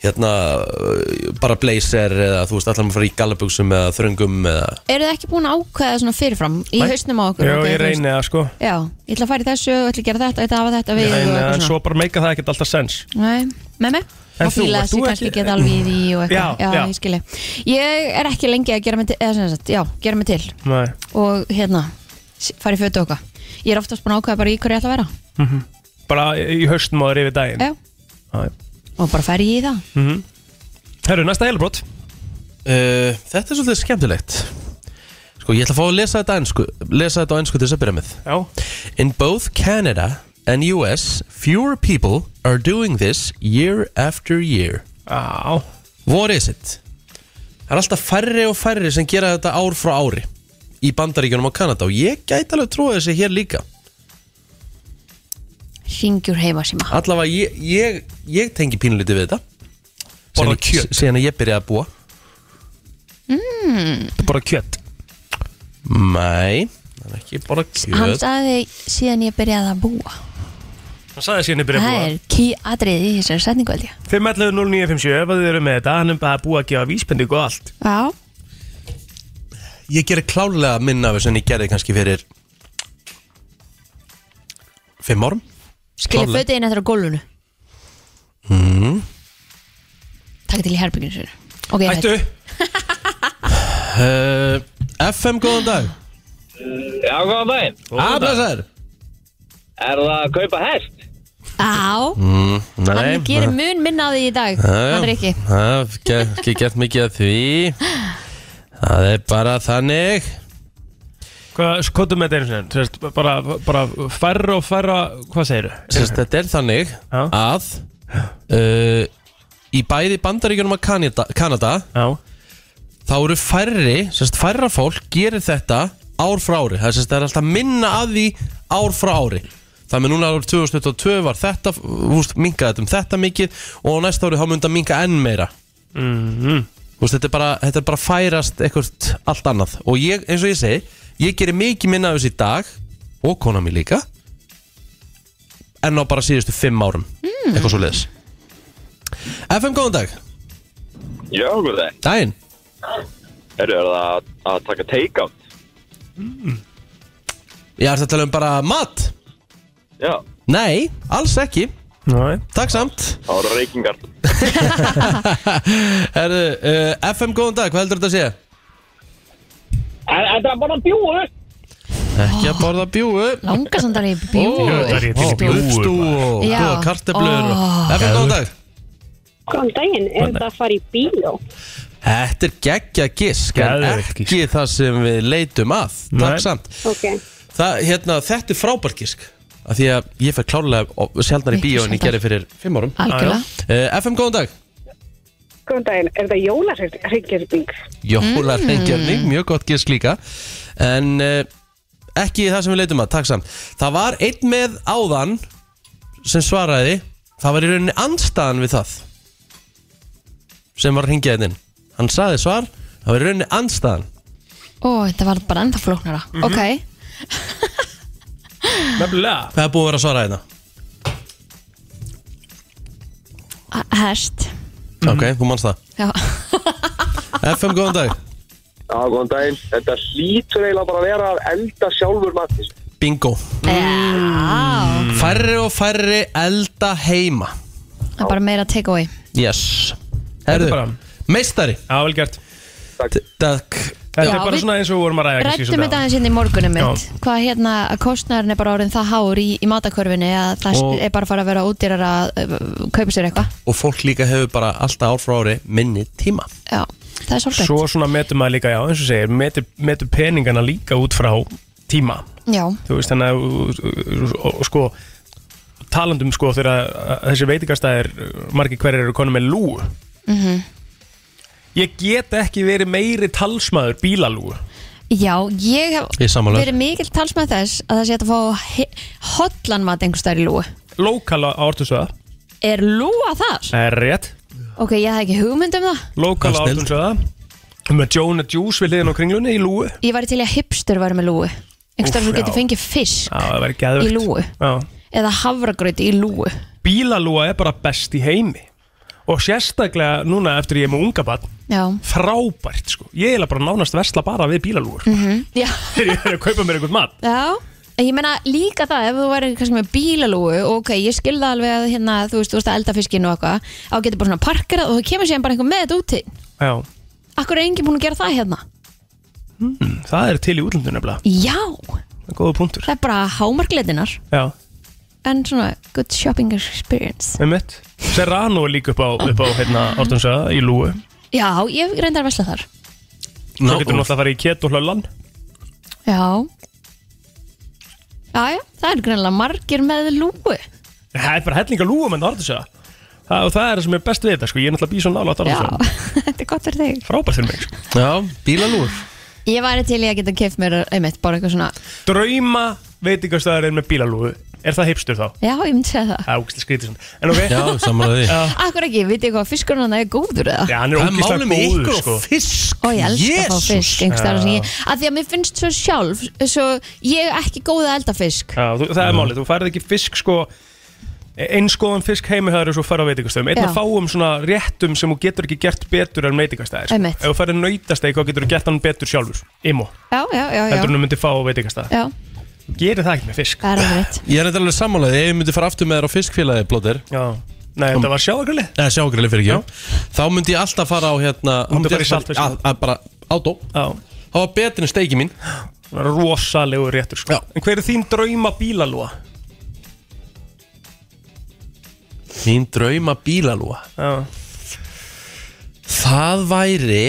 C: hérna, uh, bara blazer eða þú veist, ætla maður að fara í gallabuxum eða þröngum eða
D: Eru þið ekki búin að ákveða svona fyrirfram í
C: Nei.
D: hausnum á okkur?
E: já
D: ok,
E: ég
D: þú veist,
E: reyni það sko
D: Já, ég ætla að fara í þessu og ætla að gera þetta, ég ætla að hafa þetta við og
E: En
D: eitthvað
E: eh,
D: svona.
E: svo bara meika það ekkert alltaf sens
D: Nei, með mig og
E: En þú,
D: fíla þess,
E: ert þú
D: ég
E: ekki-
D: kannski get alveg í því og eitthvað,
E: Já,
D: já,
E: já.
D: ég skilji Ég er ekki lengi að gera mig til, eða sem sagt, já, gera mig til
E: Nei
D: og hérna, s- fara í fötu okkar Ég er oftast búin að ákveða bara í hverju ég ætla að vera
E: Bara í haustum og yfir daginn
D: Já, og bara fer ég í það
E: Herru, næsta helbrot
C: Uh, þetta er svolítið skemmtilegt Sko, ég ætla að fá að lesa þetta, á ensku, lesa þetta á ensku til þess að byrja með
E: Já
C: In both Canada and US fewer people are doing this year after year
E: Já
C: What is it? Það er alltaf færri og færri sem gera þetta ár frá ári í bandaríkjunum á Kanada og ég gæti alveg trúið þessi hér líka
D: Ringjur heima síma
C: Allavega ég, ég, ég tengi pínlítið við þetta
E: Borða
C: Síðan-
E: kjöt.
C: Síðan að ég byrjaði að búa
E: Bara kjött
C: Nei, það er ekki borða
D: Hann
C: kjöt
D: sagði síðan ég byrjaði að búa
E: Hann sagði síðan yfir að
D: Það
E: búa
D: er ký atrið í þessari setningu held ég
E: 5.11.09.57 Ef þið eru með þetta Hann er bara búið að gefa vísbendingu og allt
D: Já,
C: Ég gerir klálega minna af þessu en ég gerði kannski fyrir Fimm árum
D: skilja
C: Klárlega.
D: fötu inn eftir á gólfinu mm.
E: Mm-hmm.
D: Takk til í herbygginu sér Ok, ég
E: Ættu
D: veit.
C: uh, FM, góðan dag Ah,
B: Já, góðan daginn.
C: Ablasar
B: Er það að kaupa hest?
D: Á,
C: Nei,
D: hann gerir mun minna á því í dag Hann er ekki
C: Það er ge- ekki gert mikið að því Það er bara þannig
E: Hvað, kóttum með þetta einu sinni Sérst, bara, bara færra og færra Hvað segirðu?
C: Sérst, Þetta er þannig
E: Já.
C: að uh, Í bæði bandaríkjunum að Kanada, Kanada
E: Já
C: Þá eru færri, sérst færra fólk gerir þetta ár frá ári Það er, sérst, það er alltaf minna að því ár frá ári Þannig núna árið 2022 var þetta, húst, minkaði þetta um þetta mikið og á næsta árið þá mun þetta minka enn meira
E: Mhm.
C: Þú veist, þetta, er bara, þetta er bara færast eitthvað allt annað og ég, eins og ég segi, ég gerir mikið minna af þessu í dag og kona mér líka en á bara síðustu fimm árum eitthvað svo leiðis FM, góðan dag,
B: Já, góðan daginn.
C: daginn
B: Er það að, að taka take-out?
C: ég ætla að tala um bara mat
B: Já,
C: nei, alls ekki,
E: Nei
C: takk samt <laughs>
B: það voru reykingar.
C: Herðu, uh, FM, góðan dag, hvað heldur þetta að segja?
B: Er, er það bara bjúu?
C: ekki að borða bjúu
D: Langar samt að það er bjú
C: Ó,
E: það er ég til í
C: ó,
E: bjúgu,
C: gullstú og
D: Já.
C: góða karteblur og-
D: Ó.
C: FM, góðan dag
F: Góðan daginn, er það að fara í bíó?
C: Þetta er geggja gisk en
E: Geðveikt
C: ekki
E: gisk.
C: það sem við leitum að
E: Nei.
C: Takk samt
F: Ok,
C: það, hérna, Þetta er frábært gisk af því að ég fær klálega sjaldnar í bíó en
D: Miklu
C: ég
D: sjaldnar.
C: gerði fyrir fimm árum uh,
D: Algjörlega
C: FM, góðan dag
F: góðan daginn, er það jólarreikirbyng?
C: Jólar mm. mjög gott gisk líka en uh, ekki það sem við leitum að, takk samt Það var einn með áðan sem svaraði, það var í rauninni andstaðan við það sem var hringjaðinn hann saði svar, það var í rauninni andstaðan
D: Ó, þetta var bara ennþá flóknara Ok
E: Nefnilega
C: Það er búið að vera að svara hérna
D: H- Hest
C: Ok, þú manns <laughs> það
D: Já,
C: FM, góðan dag
B: Já, góðan daginn. Þetta hlýtur eiginlega bara að vera að elda sjálfur matinn.
C: Bingo
D: Já.
C: Mm. Færri og færri elda heima
D: það er bara meira take away
C: Yes
E: er
C: Herðu,
E: bara-
C: meistari
E: Já, vel gert
C: Takk
E: Þetta
D: Já,
E: er bara
D: við-
E: svona eins og við vorum að ræða kannski í
D: Rættum þetta
E: dag.
D: aðeins inn í morgunum mitt Hvað hérna, að kostnæðurinn er bara orðin það hár í, í matakörfinni að það
C: Og-
D: er bara að fara að vera útýrar að uh, kaupa sér eitthvað
C: Og fólk líka hefur bara alltaf ár frá ári minni tíma
D: Já, það er sorglegt
E: Svo svona metum maður líka, já, eins og segir metur, metur peningana líka út frá tíma
D: Já,
E: Þú veist, þannig að og- og- og sko talandum sko þegar að- að þessi veitingastæðir margir hverjir eru konum með lúu
D: Mhm.
E: Ég get ekki verið meiri talsmaður bílalúu
D: já, ég hef
C: Ég sammála.
D: verið mikill talsmað þess að það sé hægt að fá hotlan mat einhvers staðar í lúu
E: Lókala á orðunsöða
D: Er lúa þar?
E: Það er rétt
D: Ok, ég hafði ekki hugmynd um það
E: Lókala
C: Það
E: á
C: er snilld.
E: orðunsöða með Jonah Juice við hliðin á kringlunni í lúu Já,
D: Ég var til í að hipster væri með lúu Einhvers staðar
E: Úff,
D: þú getur
E: já.
D: fengið fisk
E: það verður geðvögt
D: Í lúgu? eða havragröti í lúu
E: Bílalúa er bara best í heimi og sérstaklega núna eftir ég er með unga barn
D: Já,
E: frábært sko ég er bara nánast versla bara við
D: <laughs>
E: bílalúur
D: já
E: þegar ég er að kaupa mér einhvern mat
D: Mhm. Já, ég meina líka það ef þú væri kannski með bílalúu og ok, ég skilða alveg að hérna, þú veist, þú veist að elda fiskinn og eitthvað á getur bara svona parkerað og þú kemur sér bara einhver með þetta úti
E: Já.
D: Akkur er enginn búin að gera það hérna?
E: það er til í útlöndun nefnilega
D: Já,
E: það er góða punktur
D: það er bara hámarkleitinar
E: Já,
D: en svona good shopping experience
E: með mitt Serrano er líka upp á, upp á hérna orðunsöða í lúu
D: Já, ég reyndar að vesla þar
E: svo getur náttúrulega að fara í keto hlölan
D: Já Já, já, það er greinlega margir með lúu
E: það er bara hellinga lúu með orðunsöða það, og það er það sem er best við þetta sko ég er náttúrulega býð svo nála
D: Já,
E: orðunsöða
D: <laughs> þetta er gott fyrir þig
E: frábært fyrir mig sko.
C: Já, bílalúr
D: Ég væri til í að geta keft mér einmitt bara eitthvað svona
E: drauma veitingastæðarinn með bílalúu er það hipstur þá?
D: Já, ég myndi segja það
E: Það er ógæslega skrítið svona. en ok,
C: Já, samanlega því
D: Akkur ekki, vitið þið hvað fiskurinn hann er góður eða?
E: Já, hann er
C: Það er
E: ógæslega
C: málum með
E: góður
C: ykkur
E: sko.
C: og fisk
D: Ó, ég elska að fá
C: Jesus.
D: fisk einhverstaðar sem ég, að því að mér finnst svo sjálf svo ég er ekki góð að elda fisk
E: Já, þú, það er málið, þú færið ekki fisk sko eins góðan fisk heimi það eru svo fara á veitingastæðum einn
D: Já.
E: að fáum svona réttum sem þú getur ekki gert betur en veitingastæðir sko.
D: Einmitt.
E: ef þú færið nautastæði, hvað getur þú gert hann betur sjálfur imo,
D: Já, já, já, já,
E: heldur en þú myndir fá á veitingastæði
D: já
E: gerir það ekki með fisk
D: það er alveg rétt
C: Ég er þetta alveg samanlega Ef ég myndi fara aftur með þér á fiskfélagi, Blóter
E: Já. Nei, þetta var sjáagrali
C: Eða sjágrili fyrir ekki Þá myndi ég alltaf fara á hérna þá
E: Myndi
C: myndi ég
E: fara í
C: alltaf-
E: saltfiskinn.
C: að- að Bara átó
E: Já,
C: Það var betur en steiki mín
E: það var rosalegur réttur sko.
C: Já.
E: En hver er þín drauma bílalúa?
C: Mín drauma bílalúa
E: Já,
C: Það væri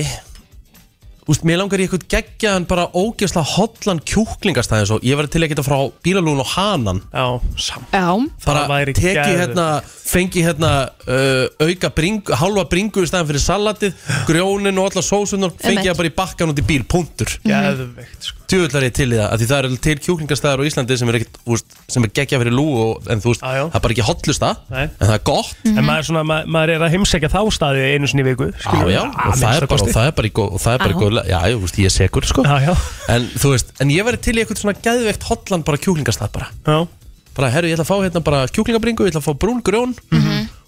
C: Úst, mér langar í eitthvað geggjaðan bara ógeðsla hotlan kjúklingastæði svo Ég var til að geta frá bílalún og hanan
E: já, samt
D: Já,
E: Það
C: bara
E: væri
C: teki
E: geðveikt.
C: hérna, fengi hérna uh, auka bringu, hálfa bringu í staðan fyrir salatið, grjónin og alla sósunar fengi
D: Einmitt.
C: það bara í bakkan út í bíl, punktur
D: Mhm.
E: Geðveikt sko.
C: djöðlar ég til í það, af því það eru til kjúklingastæðar á Íslandi sem er, ekkit, úst, sem er geggja fyrir lú og, en þú veist,
E: Já, já.
C: það er bara ekki hotlusta
E: Nei.
C: en það er gott
D: Mhm.
E: En maður, er svona, maður, maður er að heimsækja þá staði einu sinni í viku
C: Já,
E: skilur við.
C: já,
E: Að
C: og það er
E: minnsta
C: bara, og
E: kosti.
C: það er bara, í gó- og það er bara í
D: Já.
C: góð, já, ég, veist, ég er segur, sko
E: Já, já.
C: En þú veist, en ég verið til í eitthvað svona geðveikt hotland bara kjúklingastæð bara
E: Já.
C: Bara, herru, ég ætla að fá hérna bara kjúklingabringu, ég ætla að fá brún grjón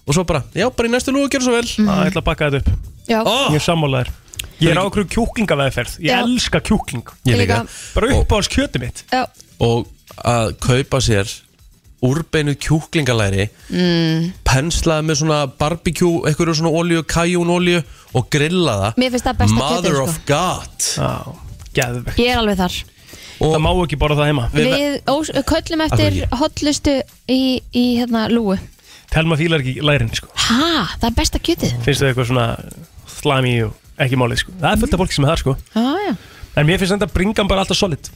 C: Og svo bara, já, bara í næstu lúgu, gjör svo vel
E: Já,
D: Mhm.
E: ég ætla að bakka þetta upp
D: já,
C: Ó,
E: Ég er sammálaður Ég er ákveður kjúklingaveðferð Ég
D: Já.
E: elska kjúkling
C: Ég líka
E: Bara upp á hans kjöti mitt
D: já,
C: Og að kaupa sér úrbeinu kjúklingalæri mm. Penslaði með svona barbecue, eitthvað svona olíu, kajúnolíu Og grillaða
D: Mér finnst það besta kjötið,
C: Mother
D: sko.
C: of God
E: Já, geðvegt
D: ég er alveg þar
E: Það má ekki borða það heima
C: Við-
D: Við ós, köllum eftir
C: Akkur
D: hotlustu í, í hérna lúu
E: Telma fílar ekki lærin sko
D: Ha, það er besta kjötið
E: Finnst þau eitthvað svona slami og ekki málið sko Það er fullt af fólki sem er það sko
D: Já, já
E: En mér finnst þetta bringan bara alltaf solid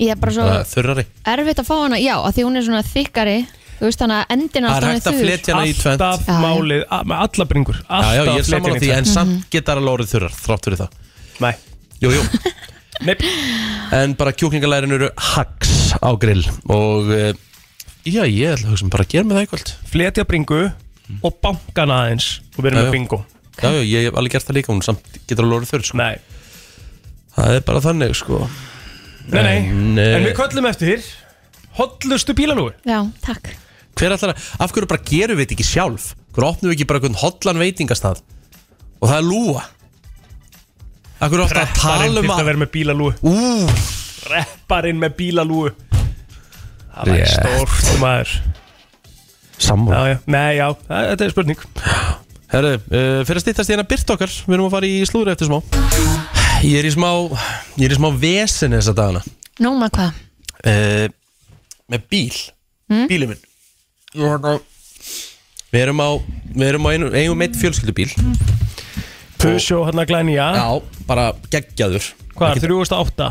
D: Ég er bara svo
C: Það er Þurrari
D: erfitt að fá hana, já, að því hún er svona þykkari Þú veist þannig að endin
C: Það er
D: alltaf hann
C: hægt að
D: þurr.
C: fletja hana í tvent
E: Alltaf
D: Já, já.
E: málið, a- með alla bringur
C: Já,
E: Alltaf
C: já, ég er
E: fletja
C: saman
E: inn
C: því,
E: í
C: en
D: Mhm.
C: samt geta alveg orðið þurrar, þrátt fyrir það
E: tvennt. Nei,
C: Jú, jú,
D: <laughs>
E: neip
C: en bara kjúklingalærin eru hags á grill og eh, já, ég ætla að hugsa um bara að gera með það í kvöld
E: Fletja bringu og bankana aðeins Og
C: Já,
E: við erum
C: já.
E: með bingo
C: Já, já, ég hef alveg gert það líka, hún samt getur alveg orðið þurr sko.
E: Nei,
C: Það er bara þannig, sko
E: Nei, nei,
C: En,
E: en,
C: eh,
E: við köllum eftir Hollustu bílalúi
D: Já, takk
C: Hver ætlar að, af hverju bara gerum við þetta ekki sjálf? Hver opnum við ekki bara einhvern hotlan veitingastað? Og það er lúa Af hverju ofta að
E: Repparinn
C: tala
E: til
C: um
E: að
C: að
E: vera með bílalúi
C: Ú,
E: Repparinn með bílalúi Það væri
C: Rétt.
E: stórt maður Já,
C: sammála
E: já, nei, já, það- þetta er spurning
C: Herðu, uh, fyrir að stýttast í hérna byrt okkar Við erum að fara í slúður eftir smá Ég er í smá, ég er í smá vesen þessa dagana
D: Nóma hvað?
C: uh, Með bíl
E: Hmm?
C: mm? Bílið minn Ég var að- Við erum á, við erum á einu, eigum eitt fjölskyldubíl
E: Hmm? Peugeot hann að glæni, hérna, já
C: Já, bara geggjaður
E: Hvað er, 308?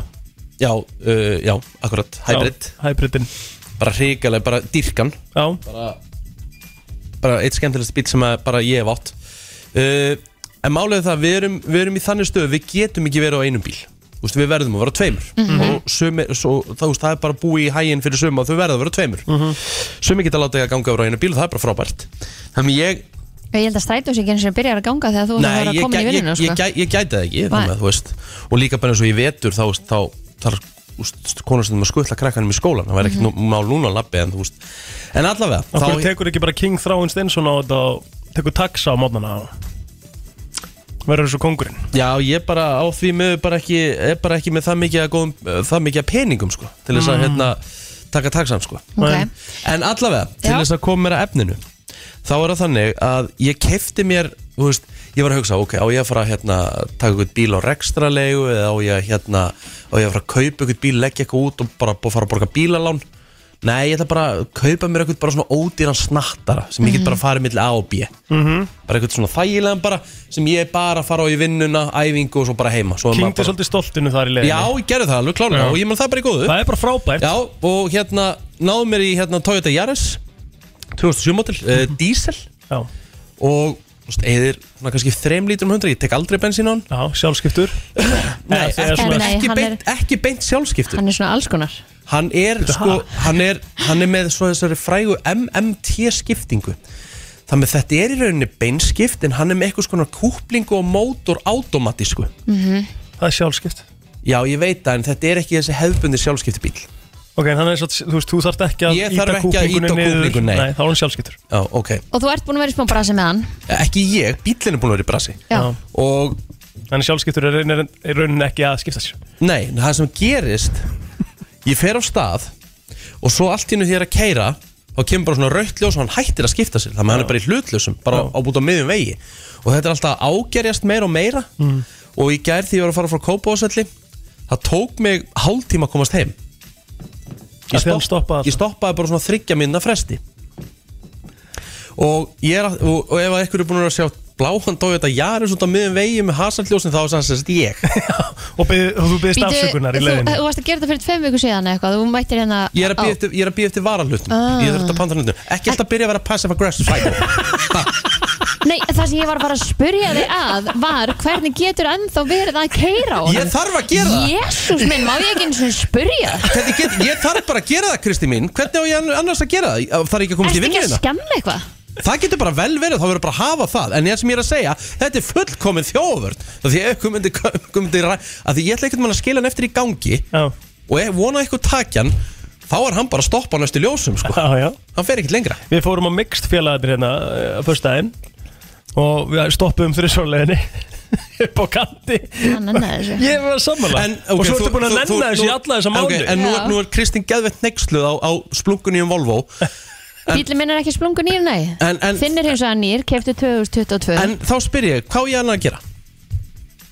C: Já, uh, já, akkurat, hybrid
E: Já, Hybridin,
C: Bara hrikalega, bara dýrkan
E: já
C: bara eitt skemmtilegst bíl sem að bara ég hef átt uh, en málið er það við erum, við erum í þannig stöðu, við getum ekki verið á einum bíl Úst, við verðum að vera á tveimur
D: Mhm.
C: og sumi, svo, það, úst, það er bara búið í hæginn fyrir suma og þau verða að vera á tveimur mm
D: Mhm.
C: -hmm. sumi geta látið að ganga yfir á einu bíl og það er bara frábært þannig ég,
D: Ég held að strætó sig ekki eins og byrjar að ganga þegar þú
C: nei,
D: verður að
C: ég,
D: koma
C: gæ-
D: í
C: ég,
D: vinnuna
C: ég,
D: sko.
C: ég, gæ- ég gæti það ekki
D: Nei.
C: þannig, að, þú veist, og líka bara eins og ég vetur þá, þá, þá þar konastundum að skutla krakkanum í skólan það væri ekkert
D: Mhm.
C: mm mál núna að labbi en, þú veist. en allavega
E: Okkur
C: þá-
E: tekur ekki bara King Þráin Steinsson á þetta og tekur taxa á mótnana Verður þessu kongurinn
C: Já, ég bara á því miður bara ekki, er bara ekki með það mikið að, góðum, það mikið að peningum sko, til þess að hérna, taka taksam sko.
D: Ok.
C: En allavega, til
D: Já.
C: þess að koma mér að efninu þá er það þannig að ég kefti mér, þú veist, ég var að hugsa ok, á ég að fara að hérna, taka eitthvað bíl á rekstralegu eða á ég að hérna, á ég að fara að kaupa eitthvað bíl, leggja eitthvað út og bara og fara að borga bílalán Nei, ég ætla bara að kaupa mér eitthvað bara svona ódýran snattara sem ég get
E: Mhm.
C: bara að fara milli A og B bara eitthvað svona þægilegan bara sem ég er bara að fara á í vinnuna, æfingu og svo bara heima Svo er maður
E: Kingdi
C: bara,
E: svolítið stoltinu þar í leiðinni
C: Já, ég gerði það alveg klálega
E: Já.
C: og ég menn það er bara í góðu
E: Það er bara frábært
C: Já, og hérna náðu mér í hérna Toyota Yaris 2007 model, uh,
E: Mhm.
C: diesel
E: Já,
C: og þú veist, eðir svona kannski 3 lítrum 100, ég tek aldrei bensín á hann
E: já sjálfskiptur
C: Nei,
E: það er
C: ekki,
E: svona-
D: Nei,
C: ekki,
D: hann er-
C: beint, ekki beint sjálfskiptur
D: Hann er svona alls konar
C: Hann er, sko, hann er, hann er með svo þessari frægu MMT skiptingu Þannig að þetta er í rauninni beinskipt en hann er með eitthvað skona kúplingu og mótor automatísku
E: Það er sjálfskipt
C: Já, ég veit það, en þetta er ekki þessi hefðbundi sjálfskiptibíl
E: Ok, en hann er svo, þú veist, þú þarft ekki að
C: Ég þarf ekki að
E: kúplingunni
C: ýta á
E: niður.
C: kúplingun, nei.
E: Nei, þá er hann sjálfskiptur
C: Já, ok
D: Og þú ert búin að vera í smá brasi með hann
C: Ekki ég, bílinn er búin að vera í brasi
D: Já,
E: Já.
C: Og
E: Þannig sjálfskiptur er, er, er raunin ekki að skipta sér
C: nei, það sem gerist Ég fer á stað Og svo allt í hennu þegar ég er að keira Þá kemur bara svona rautt ljós og hann hættir að skipta sér Þannig að hann er bara í hlutlausum, bara á búin á miðjum vegi Og þetta er alltaf að ágerjast meira og meira
E: Mm.
C: Og í gær því ég var að fara frá Kópavóðsvelli Það tók mig hálftíma að komast heim
E: Af því hann stoppaði
C: ég stoppaði bara svona þryggja minna fresti og, ég er, að- og, og ef að ykkur er búin að sjá bláhan dói þetta jaris út á miðum vegi með hasarljósin þá er það sannst ég
E: Og, beð, og þú beðist
D: Bíddu,
E: afsökunar í
D: þú,
E: leiðinni
D: þú varst að gera þetta fyrir tveim viku síðan eða eitthvað Þú mættir hérna
C: Ég er að býða
D: á- Ah.
C: eftir, ég er að bíða eftir varalutnum Ég þurft að panta hlutum Ekki alltaf byrja að vera passive aggressive
D: <laughs>
C: psycho.
D: Nei, það sem ég var að fara að spurja þig að var hvernig getur ennþá verið að keira á hann?
C: Ég þarf að gera það
D: Jésús minn, má ég ekki eins og spurja?
C: Hvernig get, Ég þarf bara að gera það Kristi mín Hvernig á ég ann- annars að gera það? Það er ekki að komast
D: Ertu
C: í
D: ekki að
C: vinnuðina
D: skemma eitthvað?
C: Það getur bara vel verið, þá verður bara að hafa það En ég sem ég er að segja, þetta er fullkomin þjóðvörn Því að ykkur myndi, ykkur myndi ræ- af Því ég ætla ekkert mann að skila hann eftir í gangi
E: Já,
C: og ef vona eitthvað takjan þá er hann bara að stoppa á næstu ljósum sko.
E: já, já
C: hann fer ekkert lengra
E: Við fórum á mixt félagarnir hérna eh, á föstudaginn og við stoppuðum þrjusvörleginni <laughs> upp á kanti
D: Hann nennaði þessu.
E: Ég var sammála
C: en, ok,
E: og svo ertu búin að
C: þú- þú-
E: nenna þessu í
C: nú-
E: alla þessa
C: ok,
E: mánu
C: en nú,
D: Já.
C: nú er Kristinn geðvett nexluð á, á splunkunni um Volvo
D: Bílinn minn er ekki splungun nýr, nei.
C: En- en-
D: Finnir hins vegar nýr, keftu 2022.
C: en þá spyr ég, hvað á ég annað að gera?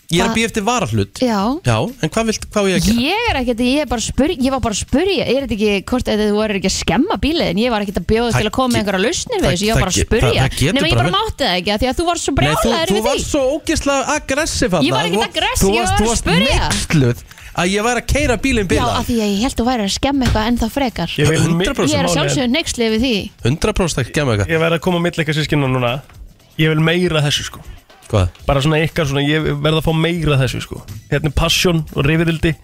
C: ég er
D: Hva-
C: að býja eftir varahlut
D: Já.
C: já, en hvað, vilt, hvað á ég að gera?
D: Ég er ekkert, ég, er bara að spyrja, ég var bara að spurja, er þetta ekki, hvort eða þú eru ekki að skemma bíliðin, ég var ekkert að bjóða
C: Það
D: til að koma með
C: ge-
D: einhverja lausnir við
C: það-
D: þessu, ég var bara að
C: það ge- það-
D: spurja,
C: það getur
D: nema ég
C: bara
D: bara
C: verið-
D: mátti það ekki, af því að þú varst svo
C: Nei, þú,
D: brjálæður
C: þú
D: við því.
C: varst svo ógeðslega aggressiv
D: Ég var ekkert aggressiv, ég var
C: þú
D: að
C: varst
D: spyrja.
C: nexluð að ég væri að keira bílinn
D: Já, af
C: bílaðan
D: því að ég held þú væri að skemma eitthvað ennþá frekar.
E: Ég veit
C: 100%
D: Ég er að
E: máli en
D: sjálfsögur nexlið við því.
C: 100% ekki að með
E: Ég verð að koma á milli eitthvað sískinu núna Ég vil meira þessu sko
C: eitthvað hvað?
E: Bara svona ykkar svona, ég verð að fá meira þessu sko Hérna er passion og rifidildi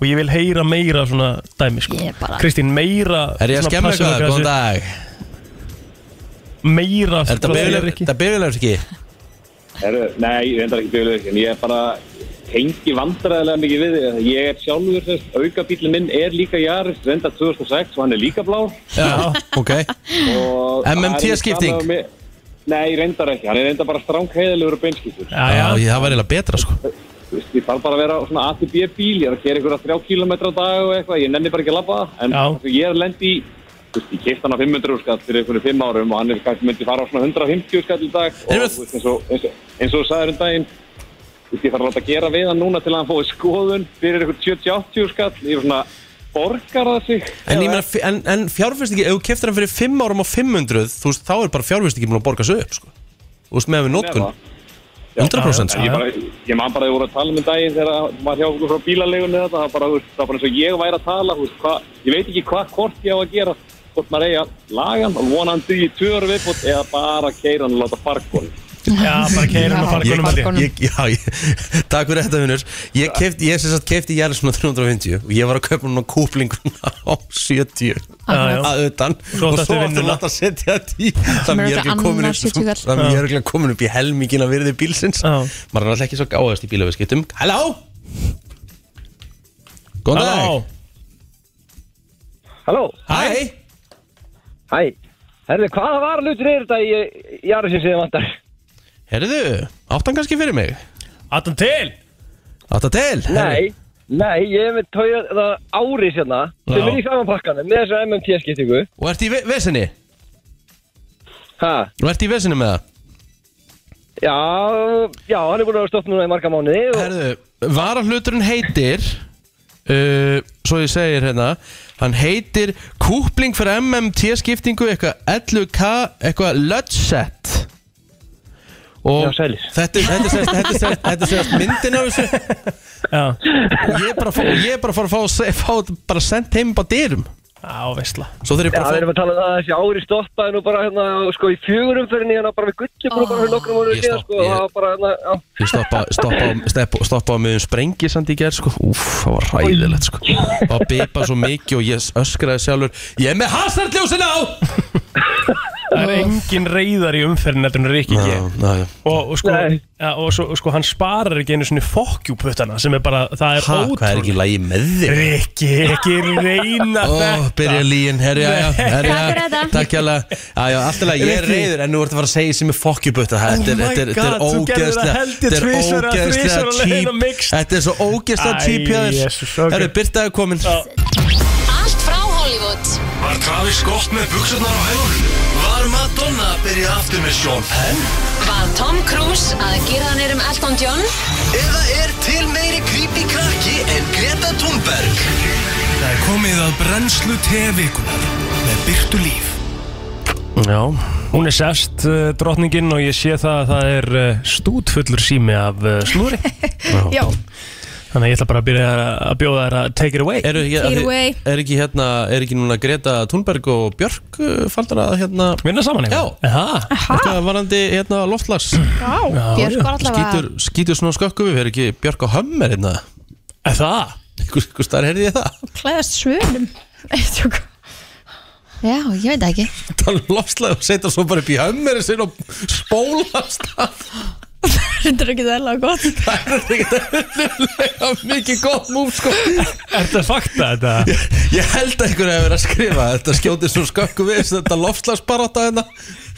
E: og ég vil heyra meira svona dæmi sko
D: Ég er bara-
E: Kristín, meira
C: er ég að
E: svona
C: skemma
E: passion
C: eitthvað? góðan
E: aggressive-
C: dag
E: Meira
C: er
E: sko,
C: þetta
E: það er ekki-
C: byrjulegur ekki?
G: Heru, nei, ég endar ekki bílulegur en ég er bara tengi vandræðilega mikið við því að ég er sjálfur þess, aukabílin minn er líka jarist, reynda 2006 og hann er líka blá
C: Já, ok
G: og
C: MMT
G: það er í
C: skipting?
G: sama með- Nei, reyndar ekki, hann er reyndar bara strángheðilegur og beinskiptur
E: Já,
C: Já,
E: já,
C: ég- það var eiginlega betra sko
G: Þú veist, ég þarf bara að vera svona ATB bíl, ég er að gera ykkur að þrjá kílometra á dag og eitthvað, ég nenni bara ekki að labba það. en
E: Já.
G: þessu, ég er lend í, þú veist, ég keift hann á 500 úr skatt fyrir ykkur fimm árum og hann er kannski myndi fara á svona 150 skatt í dag og
C: Erum við-
G: þú veist, eins og, eins og, eins og þú sagðir um daginn, þú veist, ég þarf að láta gera við hann núna til að hann fóði skoðun fyrir ykkur 70-80 skatt, ég er svona, borgar það sig?
C: En, ég meina, f- en, en fjárfestingi, ef þú keftir hann fyrir 5 árum á 500 þú veist, þá er bara fjárfestingi múin að borga sig upp sko. þú veist, með við notkun
G: Nema.
C: 100%
G: En
C: sko.
G: ég, bara, ég man bara að þið voru að tala um en daginn þegar maður hjá okkur frá bílalegunni þetta, það var bara, þú veist, það var bara eins og ég væri að tala, þú veist, hva, ég veit ekki hvað hvort ég á að gera, hvort maður eigi að laga hann og vona hann dugi í tvör viðbútt eða bara keira hann og láta farkon.
E: bara keirin og
D: Já,
E: fara konum
D: bara
E: held ég
D: konum.
C: ég, já, ég, <laughs> takk fyrir þetta vinnur ég kefti, ég sem sagt kefti Jælisson á 350 og ég var að kaupa hann á kúplingun <laughs> á 70
E: Já, já.
C: að utan
E: Svo
C: og
E: áttu
C: svo aftur
E: vinnuna.
C: látt að setja þetta í
D: Sem
C: þannig
D: er
C: ég er ekki
D: örugglega
C: komin
D: annar 70 kall.
C: upp þannig ég er ekki komin upp í helmingin að virði bílsins
E: Já.
C: maður er alltaf ekki svo gáðast í bílaviðskiptum Halló Góðan dag
H: Halló,
C: Hæ
H: hæ Herðu, hvaða var hlutur er þetta í Jarðsins eða vantar?
C: Herðu, áttan kannski fyrir mig
E: Adam til
C: Átta til herðu.
H: Nei, nei, ég er með tóið það ári sérna sem
E: Já.
H: er í saman pakkanum með þessu MMT-skiptingu
C: Og ert í ve- vesinni?
H: Ha,
C: Og ert í vesinni með það?
H: já, já, hann er búin að vera stótt núna í marga mánuði og...
C: Herðu, varahluturinn heitir uh, Svo ég segir hérna Hann heitir Kúpling fyrir MMT skiptingu Eitthvað 11K Eitthvað Ludsett Og
H: Já, sælir.
C: þetta, er- þetta, sést, þetta, sést, þetta sést myndin af þessu
E: Já,
C: Og ég er bara að fá- ég er bara að fara að fá, að se- fá þetta bara sendt heim bara dyrum
E: á veistla
C: Svo þeir eru
H: Já,
C: bara
H: við
C: að
H: erum
C: fá
H: að tala um það að þessi ári stoppaði nú bara hérna, sko, í fjögurum fyrir nýjana bara við gulli bara bara fyrir nokkrum
C: Ég
H: mánuði síðan,
C: stopp-
H: sko, og
C: ég-
H: það var bara hérna, já
C: Ég stoppa, stoppa, stoppa, stoppa á miðum sprengi samt í gerð sko. Úf, það var hræðilegt sko. Það var bipa svo mikið og ég öskraði sjálfur Ég er með hasardljósin á
E: Það er engin reyðar í umferðin heldur en Rikki G
C: Já, já, já.
E: og, og, sko,
H: Nei.
E: ja, og svo, sko hann sparar ekki einu svona fokkjúputtana sem er bara, það er
C: Ha,
E: ótrúlegt
C: hvað er ekki í lagi með þig?
E: Rikki, ekki reyna
C: Ó,
E: þetta
C: byrja líin, herja, já, herja
D: Takk fyrir þetta.
C: Takk hérlega Já, já, alltaf að ég er
E: Rikki.
C: reyður en nú ertu að fara að segja sem er fokkjubutta Þetta er,
E: Oh my
C: þetta er, þetta er
E: God, þú gerðir það
C: ógeðslega
E: held
C: Þetta
E: ég
C: er
E: tvisvar
C: ógeðslega
E: eða þrisvar á leiðinni á
C: cheap
E: mixed.
C: Þetta er svo ógeðslega
E: Æ,
C: cheap hjá þér
E: Jesus, ok.
C: Herru, Birta er komin
I: Allt frá Hollywood
A: Var Travis gott með buksurnar á hælunum? Var Madonna að byrja aftur með Sean Penn?
I: Var Tom Cruise að gera hann um Elton John
A: Eða er til meiri creepy krakki en Greta Thunberg? Það er komið að brennslu tevikunar með byrtu líf.
E: Já, hún er sest uh, drottningin og ég sé það að það er uh, stútfullur sími af uh, slúri
D: Já,
E: Þannig að ég ætla bara að byrja að bjóða þær að take it away
C: Eru ekki,
D: Either way.
C: er ekki hérna, er ekki núna Greta Thunberg og Björk uh, faldar að hérna
E: Vinna saman
C: Já.
E: Aha.
C: eitthvað varandi hérna loftlags
D: Björk var allavega
C: skýtur, skýtur svona skökkum við, er ekki Björk og Hömmer hérna
E: Er Það?
C: Einhvers einhvers staðar heyrði ég það?
D: klæðast svönum <laughs> Já, ég veit það ekki
C: Tala um loftslag og setja svo bara upp í Hömmer sinn og spólast af
D: Þetta er ekki það alveg gott
C: Það er ekkert eðlilega mikið gott múf sko
E: Er þetta fakta
C: <laughs>
E: þetta?
C: Ég held að einhverju hefur verið að skrifa Þetta skjótið svona skökkum við þessu, Þetta loftslagsbarátta hérna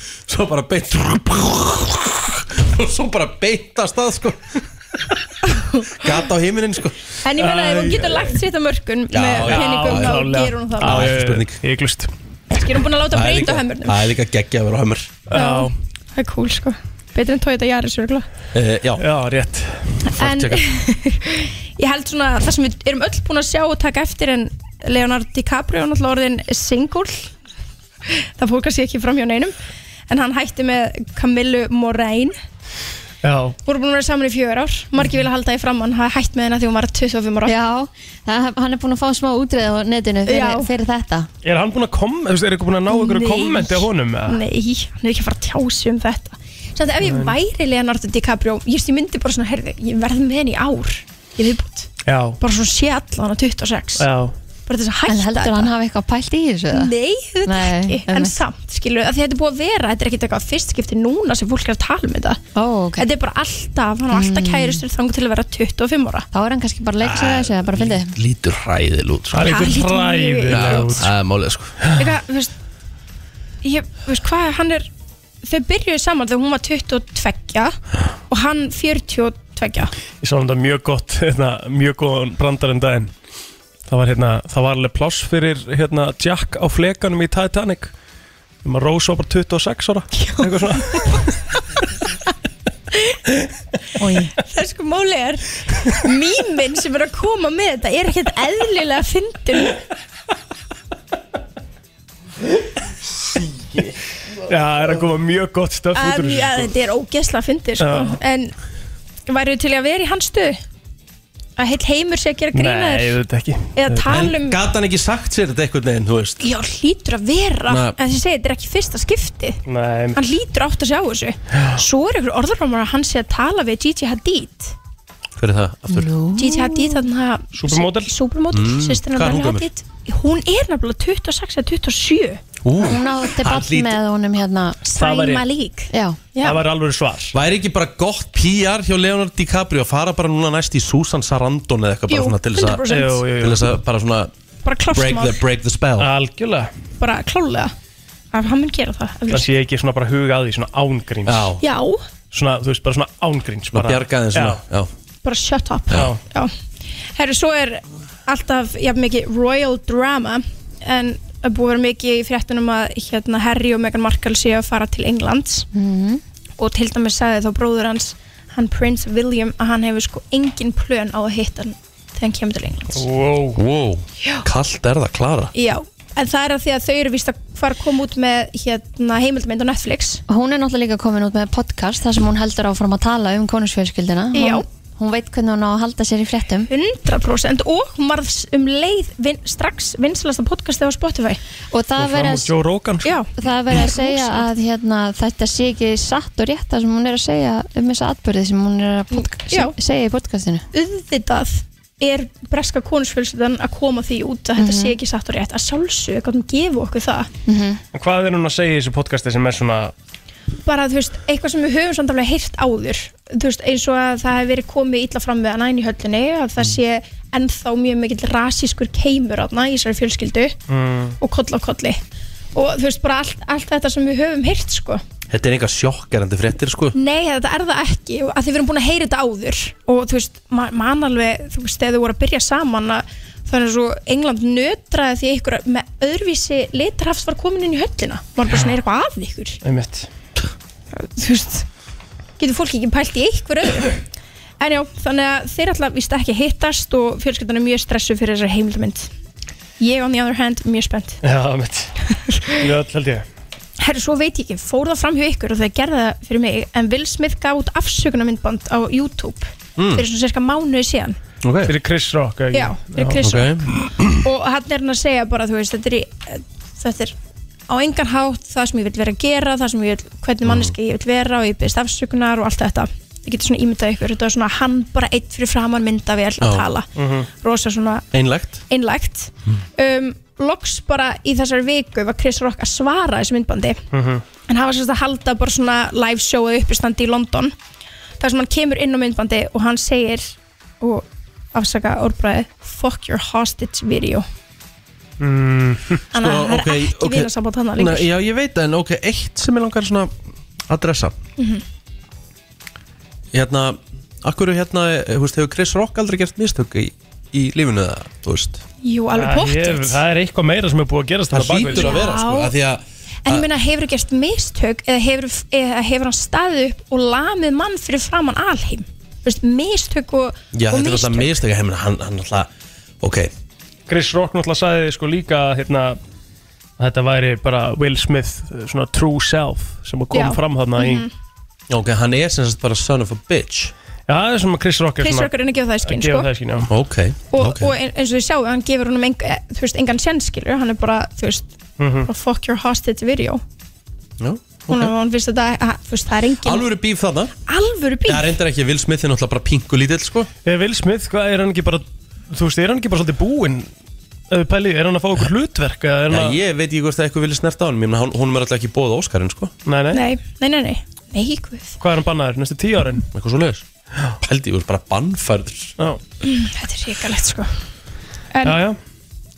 C: Svo bara beint Og svo bara beintast að sko Gata á heiminin sko
D: En ég meina, ef hún getur lagt sitt á mörkun
C: Já,
D: með
C: já,
D: peningum,
E: já,
D: þá
E: klárlega.
D: gerur hún það
E: Já,
C: Ekki
E: ég-
C: spurning.
E: Ég er glust
D: Ég er hún búin að láta
C: Það er
D: breyta
C: líka-
D: á hömurnum
C: Það er líka geggja að vera á hömmer
E: Já,
D: Það er cool, sko Betur en Toyota Yaris, örgulega
C: uh, Já,
E: já rétt
D: En ég held svona það sem við erum öll búin að sjá og taka eftir en Leonardo DiCaprio er náttúrulega orðin single það fór kannski ekki fram hjá neinum en hann hætti með Camillu Moraine
E: Já,
D: voru búin að vera saman í fjögur ár margir vilja halda því fram hann hafði hætt með hennar því hún var 25 ára
J: Já, það, hann er búin að fá smá útreið á netinu
D: Já.
J: fyrir, fyrir þetta
E: er hann búinn að koma, þú veist, er eitthvað búinn að ná einhverju
D: Nei.
E: kommenti á honum? eða?
D: Nei, hann er ekki að fara að tjási um þetta Samt ef ég væri Leonardo DiCaprio ég, veist, ég myndi bara svona, herði, ég verð með henni í ár ég viðbútt,
E: Já,
D: bara svona sé allan á 26
E: já
K: bara til þess að hætta
D: En heldur hann hafi eitthvað pælt í þessu? eða?
K: Nei, þetta
D: Nei,
K: ekki, en
D: einmitt.
K: samt skilur, að því þetta er búið að vera, þetta er ekkert eitthvað fyrst skipti núna sem fólk er að tala um þetta
D: Ó, ok
K: Þetta er bara alltaf, hann var alltaf
D: Mm.
K: kæristur þangu til að vera 25 ára
D: Þá er hann kannski bara að leika sér að þessu, eða bara fyndið
C: Lítur hræðil út sko.
D: Það lítur Það lítur hræðilega
C: Já,
D: út.
C: Það er málið sko
K: Eitthvað, þú veist, ég, þú veist hvað, hann er, þau byrjuðu saman þegar hún var 22 og hann 42
E: Ég sá um þetta mjög gott, <laughs> hérna, mjög góðan brandar en daginn. Það var, hérna, það var alveg pláss fyrir hérna, Jack á flekanum í Titanic. Um að Rose var bara 26 ára. Eitthvað svona.
K: Það er sko máli
D: <laughs>
K: er Míminn sem er að koma með þetta er ekkert eðlilega fyndin
E: Já, það er að koma mjög gott stöf út úr
K: um,
C: sko.
E: þessu.
K: ja,
E: sko.
K: Þetta er ógeðslega fyndið sko.
E: Já.
K: En væru til í að vera í hans stöðu? Að heill heimur sé að gera
C: Nei,
K: grínaður
E: auðvitað ekki
K: Eða tala um-
C: En gat hann ekki sagt sér þetta einhvern veginn, þú veist
K: Já, hlýtur að vera
C: Nei.
K: En þessi segi, þetta er ekki fyrsta skipti
E: Nei,
K: Hann hlýtur átt að sjá þessu Svo er ykkur orðarhámar að hann sé að tala við Gigi Hadid
C: Hver er það aftur?
K: Gigi Hadid, þannig að
C: Supermodel?
K: Supermodel,
C: Mm,
K: mm, sýstina
C: hvað er hún gömul?
K: Hadid Hún er nefnilega 26 eða 27
C: Ú,
D: Hún á
C: hann
D: debatt
C: hlýtur-
D: með honum hérna
C: Það væri- Sæma
K: lík
D: Já,
C: Það
E: var alveg svar
C: Væri ekki bara gott PR hjá Leonardo DiCaprio að fara bara núna næst í Susan Sarandon eða eitthvað
K: Jú,
C: bara svona til þess að
K: 100%. Jú, jú, jú.
C: til þess að bara svona
K: Bara klárt
C: break
K: mál.
C: the, break the spell
E: Algjörlega
K: Bara klálega Að hann mun gera það
E: Það sé ekki svona bara huga að því, svona ángríns.
C: Já.
K: Já,
E: Svona, þú veist, bara svona ángríns.
C: Svona bjargaði svona, já.
K: bara shut up
E: Já.
K: Já. Herru, svo er alltaf jafn mikið royal drama en það er búið að vera mikið í fréttunum að hérna, Harry og Meghan Markle séu að fara til Englands
D: Mhm.
K: og til dæmis sagði þá bróður hans hann Prince William að hann hefur sko engin plön á að hitta hann þegar hann kemur til Englands
E: Wow,
C: wow. Kallt er það, Klara
K: Já, en það er að því að þau eru víst að fara að koma út með hérna, heimildmynd á Netflix
D: Hún er náttúrulega líka komin út með podcast þar sem hún heldur áfram að tala um konusfjölskyldina
K: Já.
D: hún, hún veit hvernig hún á að halda sér í fréttum
K: 100% og hún varð um leið vin, strax vinsalasta podcastið á Spotify
D: Og það Og fram verið- úr Joe
E: Rogan sko.
K: Já,
D: Það er verið að segja að hérna, þetta sé ekki satt og rétt það sem hún er að segja um þessa atbyrði sem hún er að podca-
K: Já.
D: se- segja í podcastinu
K: auðvitað er breska konusfjölsöldan að koma því út að þetta sé ekki satt og rétt að sjálfsög að hún gefa okkur það
E: En hvað er hún að segja í þessu podcasti sem er svona
K: bara þú veist, eitthvað sem við höfum samt alveg heyrt áður þú veist, eins og að það hefur verið komið illa fram við hana inn í höllinni að það sé ennþá mjög mikill rasískur keimur hana í þessari fjölskyldu
C: mm.
K: og koll á kolli og þú veist, bara allt, allt þetta sem við höfum heyrt sko
C: Þetta er enga sjokkerandi fréttir sko
K: Nei, þetta er það ekki að þið verum búin að heyra þetta áður og þú veist, ma man alveg þú veist, þegar þau voru að byrja saman að þannig að svo England nötraði því ykkur að með öðruvísi litrafs var komin inn í höllina var bara svona er eitthvað að ykkur
E: Einmitt
K: þú veist getur fólk ekki pælt í ykkur öðru en já, þannig að þeir alltaf víst ekki að hittast og fjölskyldan er mjög stressu fyrir þessari heimildamynd ég on the other hand, mjög spennt
E: Já, einmitt Ljöld held ég
K: Herri, svo veit ég ekki, fór það fram hjá ykkur og það gerði það fyrir mig, en Will Smith gaf út afsökunarmyndband á YouTube
E: Mm.
K: fyrir svona cirka mánuði síðan
C: okay.
E: Fyrir Chris Rock ekki?
K: Já, fyrir Chris
E: Rock
K: <clears throat> og hann er hann að segja bara, þú veist, þetta er, í, þetta er á engan hátt það sem ég vil vera að gera, það sem ég vil, hvernig manneski ég vil vera og ég byrst afsökunar og allt þetta ég geti svona ímyndað ykkur, þetta er svona hann bara eitt fyrir framann myndavél að tala rosa svona
C: Einlægt
K: einlægt um, loks bara í þessari viku var Chris Rock að svara þessu myndbandi
C: Mhm.
K: en hann var sérst að halda bara svona live show eða uppistandi í London þar sem hann kemur inn á myndbandi og hann segir og afsaka orðbræði fuck your hostage video
E: mm.
K: Þannig að það
C: Sko,
K: er
C: ok,
K: ekki
C: ok.
K: vinasamband þarna
C: Nei,
K: lengur.
C: Já, ég veit það, en ok, eitt sem ég langar svona að dressa
K: Mhm.
C: Hérna, akkur hérna, þú veist, hefur Chris Rock aldrei gert mistök í, í lífinu það, þú veist
K: Jú, alveg
E: ég,
K: pottitt
E: Það er eitthvað meira sem er búið að gerast
C: Það
E: þarna bak við
C: hlýtur að
E: þessu.
C: vera, sko, að því að
K: en ég meina hefur gert mistök eða hefur, eða hefur hann staðið upp og lamið mann fyrir framann alheim Þú veist, mistök og,
C: Já,
K: og
C: þetta er alltaf mistök, ég meina, hann, hann alltaf, ok
E: Chris Rock náttúrulega sagði sko líka hérna að Þetta væri bara Will Smith eh, svona true self sem kom
K: Já.
E: fram þarna
K: Mhm.
C: Já, ok, hann er sem sagt bara son of a bitch
E: Já, það er sem að Chris Rock er
K: Chris
E: svona
K: Rock er að gefa það í skinn,
E: að gefa
K: sko.
E: það í skinn, já
C: Ok,
K: og,
C: ok
K: og ein- eins og þið sjáu, hann gefur honum enga, eh, þú veist, engan sjenskilur, hann er bara, þú veist
C: Mhm.
K: bara fuck your hostage video
C: Já,
K: hún okay. hann finnst þetta, að, þú veist, það er engin
C: Alvöru bíf þarna
K: alvöru bíl
C: Það reyndar ekki að Will Smith
E: Eh,
C: er náttúrulega bara pingu lítill sko
E: Eða Will Smith, hvað er hann ekki bara Þú veist, er hann ekki bara svolítið búinn ef við pæli, er hann að fá okkur hlutverk eða er
C: Já,
E: hann að...
C: ég veit ekki hvort það eitthvað vilja snerta á hann Mér meina, hún- honum er alltaf ekki bóð Óskarinn, sko
E: Nei, nei,
K: Nei, nei, nei, nei, nei, guð
E: Hvað er hann bannaður, næstu tíu árin?
C: Eitthvað svo leiðis Pældi, ég voru bara bannfærður
E: Já,
K: Mm, Þetta er ríkalegt sko En
E: já, já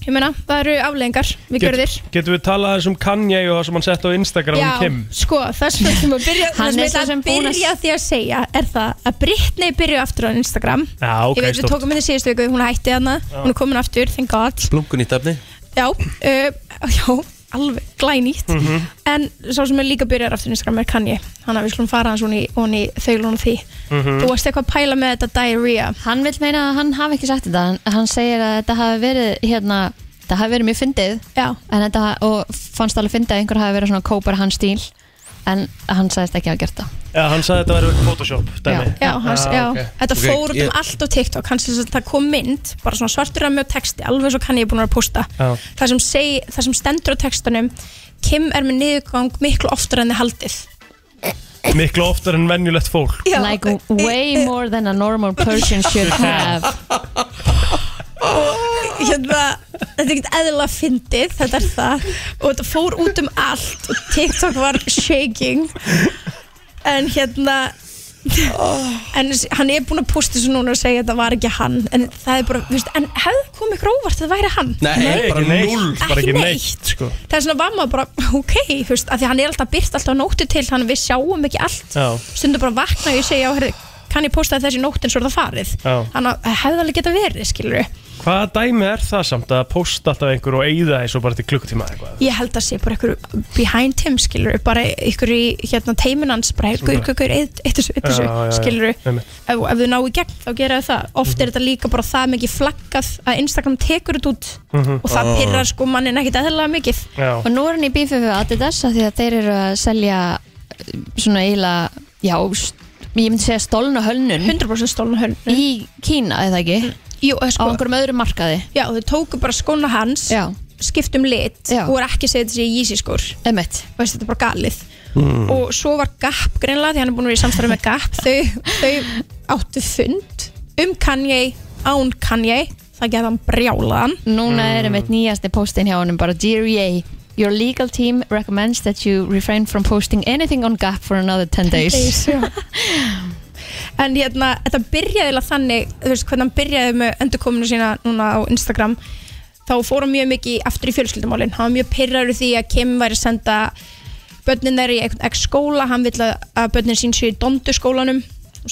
K: ég meina, það eru afleðingar Við görðir
E: Getum við talað aðeins um Kanye og það sem hann sett á Instagram um Kim?
K: sko, það sem við ætlum að byrja
J: <laughs> Hann
K: Það sem
J: er
K: við
J: svo sem
K: ætlum að
J: búin að-
K: byrja á því að segja Er það að Britney byrju aftur á Instagram
E: Já, ok,
K: Ég veit, við
E: stórt.
K: tókum henni síðustu viku, hún hætti hana
E: Já.
K: Hún er komin aftur, thank god
C: Blunkun í tefni
K: Já, uh, <laughs> já alveg glænýtt
C: Mhm.
K: En sá sem er líka byrjar aftur á Instagram er Kanye Þannig að við slum fara hans hún í, hún í þaulun og því
E: Mhm.
K: Þú varst eitthvað að pæla með þetta diarrhea
D: Hann vil meina að hann hafi ekki sagt þetta en hann segir að þetta hafi verið hérna, þetta hafi verið mjög fyndið
K: Já.
D: en þetta, og fannst alveg fyndið að einhver hafi verið svona kópar hans stíl en hann sagðist ekki hafa gert það
E: Já, hann sagði þetta væri Photoshop, dæmi
K: Já, hans, já,
E: ok.
K: þetta
E: Ok,
K: fór út um
E: ég-
K: allt á TikTok hans þess að það kom mynd, bara svona svartur rammi og texti, alveg svo kann ég er búin að vera að posta
E: Já.
K: það sem, seg, það sem stendur á textunum Kim er með niðurgang miklu oftar en þið haldið
E: Miklu oftar en venjulegt fólk
D: like way more than a normal person should have
K: og hérna, þetta er ekkert eðla fyndið, þetta er það og þetta fór út um allt og TikTok var shaking en hérna en hann er búin að posta þessu núna og segja að þetta var ekki hann en það er bara, þú veist, en hefði komið ykkur óvart að það væri hann
E: ekki neitt, bara
K: Ekki
E: ekki
K: neitt.
E: neitt sko.
K: það er svona var maður bara, ok þú veist, að því að hann er alltaf byrt alltaf á nóttu til þannig að við sjáum ekki allt
E: Já,
K: stundum bara vakna og ég segja, hérðu, kann ég posta þessi nótt eins og er það farið
E: já
K: þannig að það hefði alveg geta verið, skilur
E: Hvaða dæmi er það samt að posta alltaf einhver og eyða þessu bara til klukkutíma eða eitthvað?
K: ég held að sé bara ykkur behind him, skilur bara ykkur í hérna teiminans bara
E: Svona.
K: ykkur, ykkur, ykkur, eitt eitt þessu, eitt þessu,
E: Já, Mhm. já, já.
K: skilur
E: Einmitt.
K: ef, ef þau ná í gegn, þá gera þau það oft er þetta líka bara það mikið flaggað að Instagram tekur þetta út
D: Mhm.
K: og það
D: Ah.
K: pyrrar sko mannin ekkit eðlilega mikið
E: Já.
D: og nú er hann í bífið við Adidas af því að þeir eru að selja eh, svona eiginlega, já st- ég myndi segja stólna hönnun
K: 100% stólna hönnun
D: í Kína, eða ekki?
K: Jú, sko,
D: á einhverjum öðrum markaði
K: Já, þau tóku bara skóna hans
D: Já.
K: skiptum lit
D: Já.
K: og voru ekki að segja þetta sé Yeezy skór
D: Emmett
K: Veist, þetta er bara galið
D: Mm.
K: og svo var Gap greinlega því hann er búin að vera í samstarfi með Gap þau, þau áttu fund um Kanye, án Kanye það gerði hann brjálaðan
D: Núna er
C: Mm.
D: einmitt nýjasti postin hjá honum bara Dear EA, your legal team recommends that you refrain from posting anything on Gap for another 10 days,
K: en hérna, þetta byrjaði eiginlega þannig, þú veist hvernig hann byrjaði með endurkominu sína núna á Instagram þá fór hann mjög mikið í- aftur í fjölskyldumálin hann var mjög pyrraður því að Kim væri að senda börnin þeirra í einhvern ekki skóla hann vill að að börnin sín séu í dondu skólanum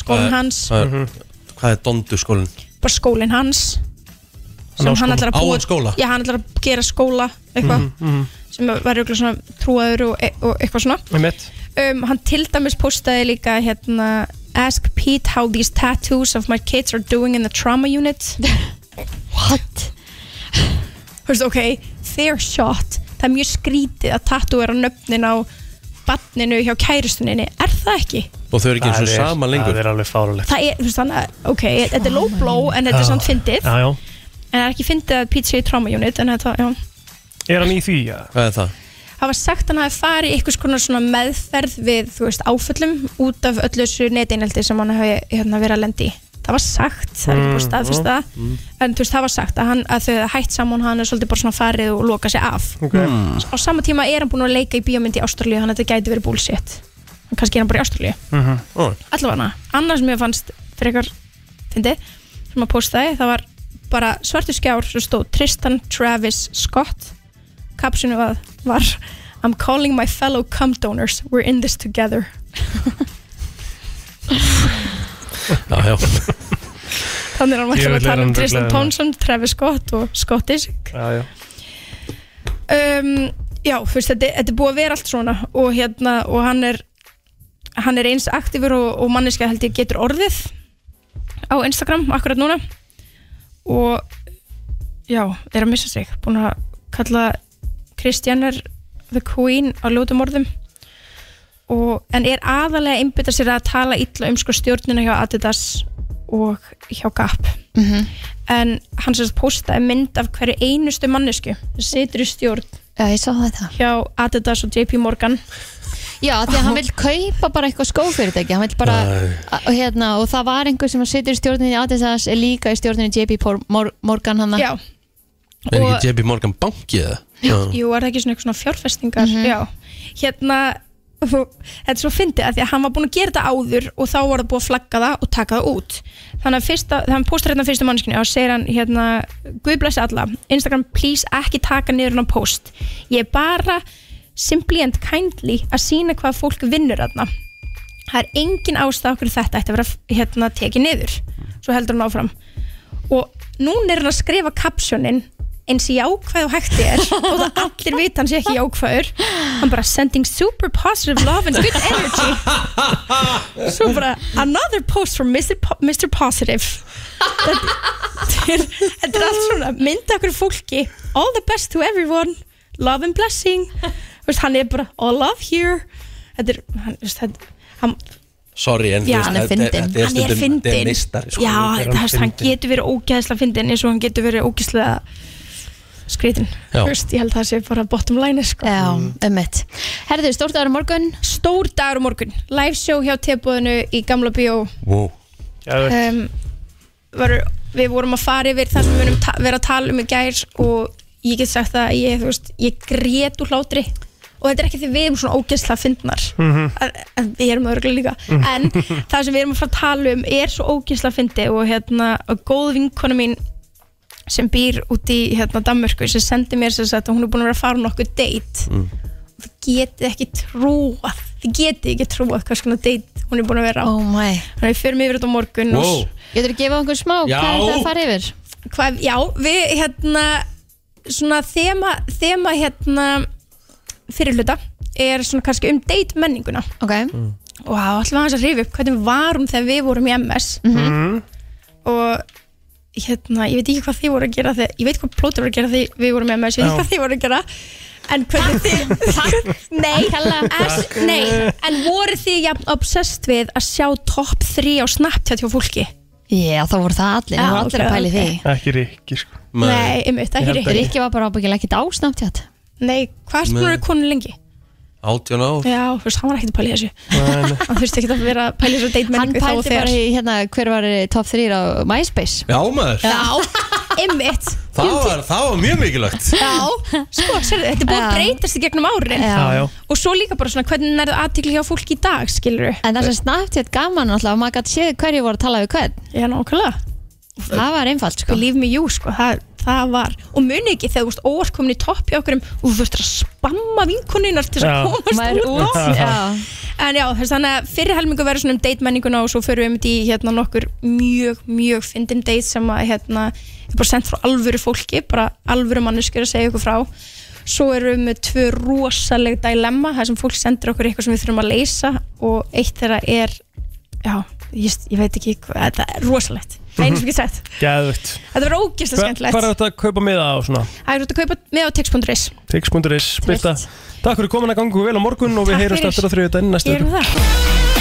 K: skólinn hans,
C: Það er- Hvað er dondu sko? skólinn?
K: bara skólinn hans
C: Hann á
K: sem hann
C: skóla.
K: ætlar að
C: Á
K: búa
C: hann skóla?
K: já, hann ætlar að gera skóla eitthvað sem var eitthvað svona trúaður og, e- og eitthvað svona
E: Einmitt.
K: um, hann til dæmis postaði líka hérna ask Pete how these tattoos of my kids are doing in the trauma unit what? Hörst, ok, fair shot það er mjög skrítið að tattooera nöfnin á banninu hjá kærustuninni er það ekki?
C: Og þau eru ekki eins og
E: Það er-
C: saman lengur
E: Það er alveg fárulegt
K: það er, þú veist þannig að, ok, þetta er low blow en þetta er samt fyndið
E: Já, já
K: en það er ekki fyndið að Pete sé í trauma unit en þetta, já
E: Er hann í því? Ja?
C: Hvað er það?
K: hafa sagt að hann hafi farið í einhvers konar svona meðferð við þú veist, áföllum út af öllu þessu neteineldi sem hann hafi hérna, verið að lendi í. Það var sagt, það er ekki búið staðfist það
E: Mm.
K: en þú veist, það var sagt að, hann, að þau hafi hætt saman hann er svolítið bara svona farið og lokað sér af
E: Ok.
C: Hmm.
E: Mm.
K: á sama tíma er hann búin að leika í bíómynd í Ástralíu þannig að þetta gæti verið bullshit en kannski er hann bara í Ástralíu
E: Mhm.
K: allavega, annars mér fannst frekar fyndi, sem að postaði það var bara svartu skjár sem stóð Tristan Travis Scott kapsinu var, var I'm calling my fellow cum donors we're in this together
C: Já, já
K: þannig er hann
C: Ég
K: alltaf
C: vil vera
K: að tala um
C: hann
K: Tristan
C: ruglaður.
K: Thompson, Travis Scott og Scott Disick
E: Já, já
K: um, já, þú veist, þetta, þetta er búið að vera allt svona og hérna, og hann er hann er eins aktífur og, og manneska held ég getur orðið á Instagram akkurat núna og já, er að missa sig búin að kalla Kristjanar the Queen á ljótum orðum og, en er aðalega að einbytta sér að tala illa um sko stjórnina hjá Adidas og hjá Gap
D: Mhm.
K: en hann sérst postaði mynd af hverju einustu mannesku sem situr í stjórn
D: Já, ég sá þetta
K: hjá Adidas og JP Morgan
D: Já, af því <laughs> að hann vil kaupa bara eitthvað skófyrirtæki hann vil bara, og hérna og það var einhver sem situr í stjórninni Adidas er líka í stjórninni JP Por- Mor- Morgan hann
K: Já.
C: Er ekki JP Morgan banki eða? Já.
K: Jú, er það ekki svona eitthvað svona fjárfestingar? Já, hérna þetta er svo fyndið að því að hann var búin að gera þetta áður og þá var það búið að flagga það og taka það út þannig að fyrsta, þannig að hann postar hérna fyrstu mannskinu og segir hann hérna, Guð blessi alla Instagram, please ekki taka niður hann post ég er bara simply and kindly að sína hvað fólk vinnur þarna það er engin ástæð okkur þetta ætti að vera hérna tekið niður svo heldur hann áfram og núna er hann að skrifa kapsjónin eins í jákvæð og hægt er og það allir vita hann sé ekki jákvæður hann bara sending super positive love and good energy svo bara another post from Mr. Po Mr. Positive þetta er, þetta er allt svona mynda okkur fólki all the best to everyone love and blessing Þú veist, hann er bara all love here þetta er hann, þú veist, þetta, hann,
C: Sorry, en þú
K: Já,
C: veist,
K: hann er
C: þetta-
K: fyndin
C: þetta
K: Hann er
C: stundum-
K: fyndin
C: Þetta er mistari sko.
K: Já,
C: Þetta er
K: það veist, hann
C: fyndinn.
K: getur verið ógeðslega fyndin eins og hann getur verið ógeðslega skrítin
C: Já.
K: Þú veist, Ég held það sé bara bottom line sko. Já, um mitt Herðu, stór dagur morgun Stór dagur morgun Live show hjá tebúðinu í Gamla Bíó
C: Wow.
K: um, var, Við vorum að fara yfir það sem við munum ta- vera að tala um í gær og ég get sagt það að ég, þú veist, ég grét úr hlátri og þetta er ekki því við erum svona ógeðslega fyndnar að, að við erum örgulega líka en það sem við erum að fara að tala um er svo ógeðslega fyndi og hérna og góð vinkona mín sem býr út í hérna Danmörku sem sendi mér sem sagt að hún er búin að vera að fara á nokkuð date og þið getið ekki trúað þið getið ekki trúað hvers konar date hún er búin að vera á oh þannig að við förum yfir þetta á morgun
C: Wow.
K: Getur þið gefað okkur smá,
C: Já. hvað er það að fara
K: yfir? Hvað, já, við hérna svona þema, þema hérna fyrirluta er svona kannski um date menninguna Ok mm. Og það var alltaf aðeins að hrifja upp hvernig var hún þegar við vorum í MS og hérna, ég veit ekki hvað þið voru að gera þegar, ég veit hvað plótið voru að gera þegar við vorum með MS, ég veit
L: Já.
K: ekki hvað þið voru að gera en hvernig þið <laughs> nei, as,
L: Takk.
K: nei, en voru þið jafn obsessed við að sjá top 3 á Snapchat hjá fólki
D: Já, þá voru það allir, það voru allir að pæli því
K: Eh.
E: Ekki rikki sko
K: nei,
D: Ég
K: einmitt, ekki
D: held
K: Rikki
D: ekki. Rikki
K: var bara ábyggilega ekkit á Snapchat nei, hvað er
C: Nei.
K: spurður konu lengi?
C: 18 ár
K: já, þú veist, hann var ekkit að pæli þessu
C: Nei, nei.
K: hann þurfti ekkit að vera að pæli þessu date
D: Hann
K: menningu þá og
D: pældi bara
K: þegar
D: í hérna, hver var eh, top 3 á MySpace
C: Já maður
K: já, einmitt
C: Það var, það var mjög mikilvægt
K: Já, sko, sér, þetta er búið að breytast í gegnum árin
C: Já. Já, já.
K: Og svo líka bara svona, hvernig nærðu aðtikli hjá fólki í dag, skilur
D: En það sem Snapchat gaf mann alltaf maður gæti séð hverju voru að tala við hvern
K: Já, nákvæmlega
D: Það var einfalt sko
K: Believe me you, sko, það, það var Og muni ekki þegar þú veist óvarkomin í topp í okkur um, og þú veist að spamma vinkonunar til þess
L: Já.
K: að komast
L: Maður
K: út,
L: út,
C: <laughs>
K: út.
L: já.
K: En já, þess, þannig að fyrir helmingu verður svona um date menninguna og svo förum við um í hérna nokkur mjög, mjög fyndin date sem að hérna er bara sendt frá alvöru fólki, bara alvöru manneskjur að segja ykkur frá Svo erum við með tvö rosaleg dilemma, það sem fólk sendir okkur eitthvað sem við þurfum að leysa og eitt þeirra er, já, ég, ég veit ekki, hvað, þetta er rosalegt, það er eins og ekki sagt
E: Gæðvögt
K: Þetta verður ógeðslega skemmtilegt
E: Hvað er þetta að kaupa miða á svona?
K: Það er út að kaupa með á text.is
E: Tix.is Birta, takk fyrir komin að ganga ykkur vel á morgun og við
K: Takk
E: heyrjumst
K: fyrir.
E: aftur á þriðið daginn næstu
K: Gerum það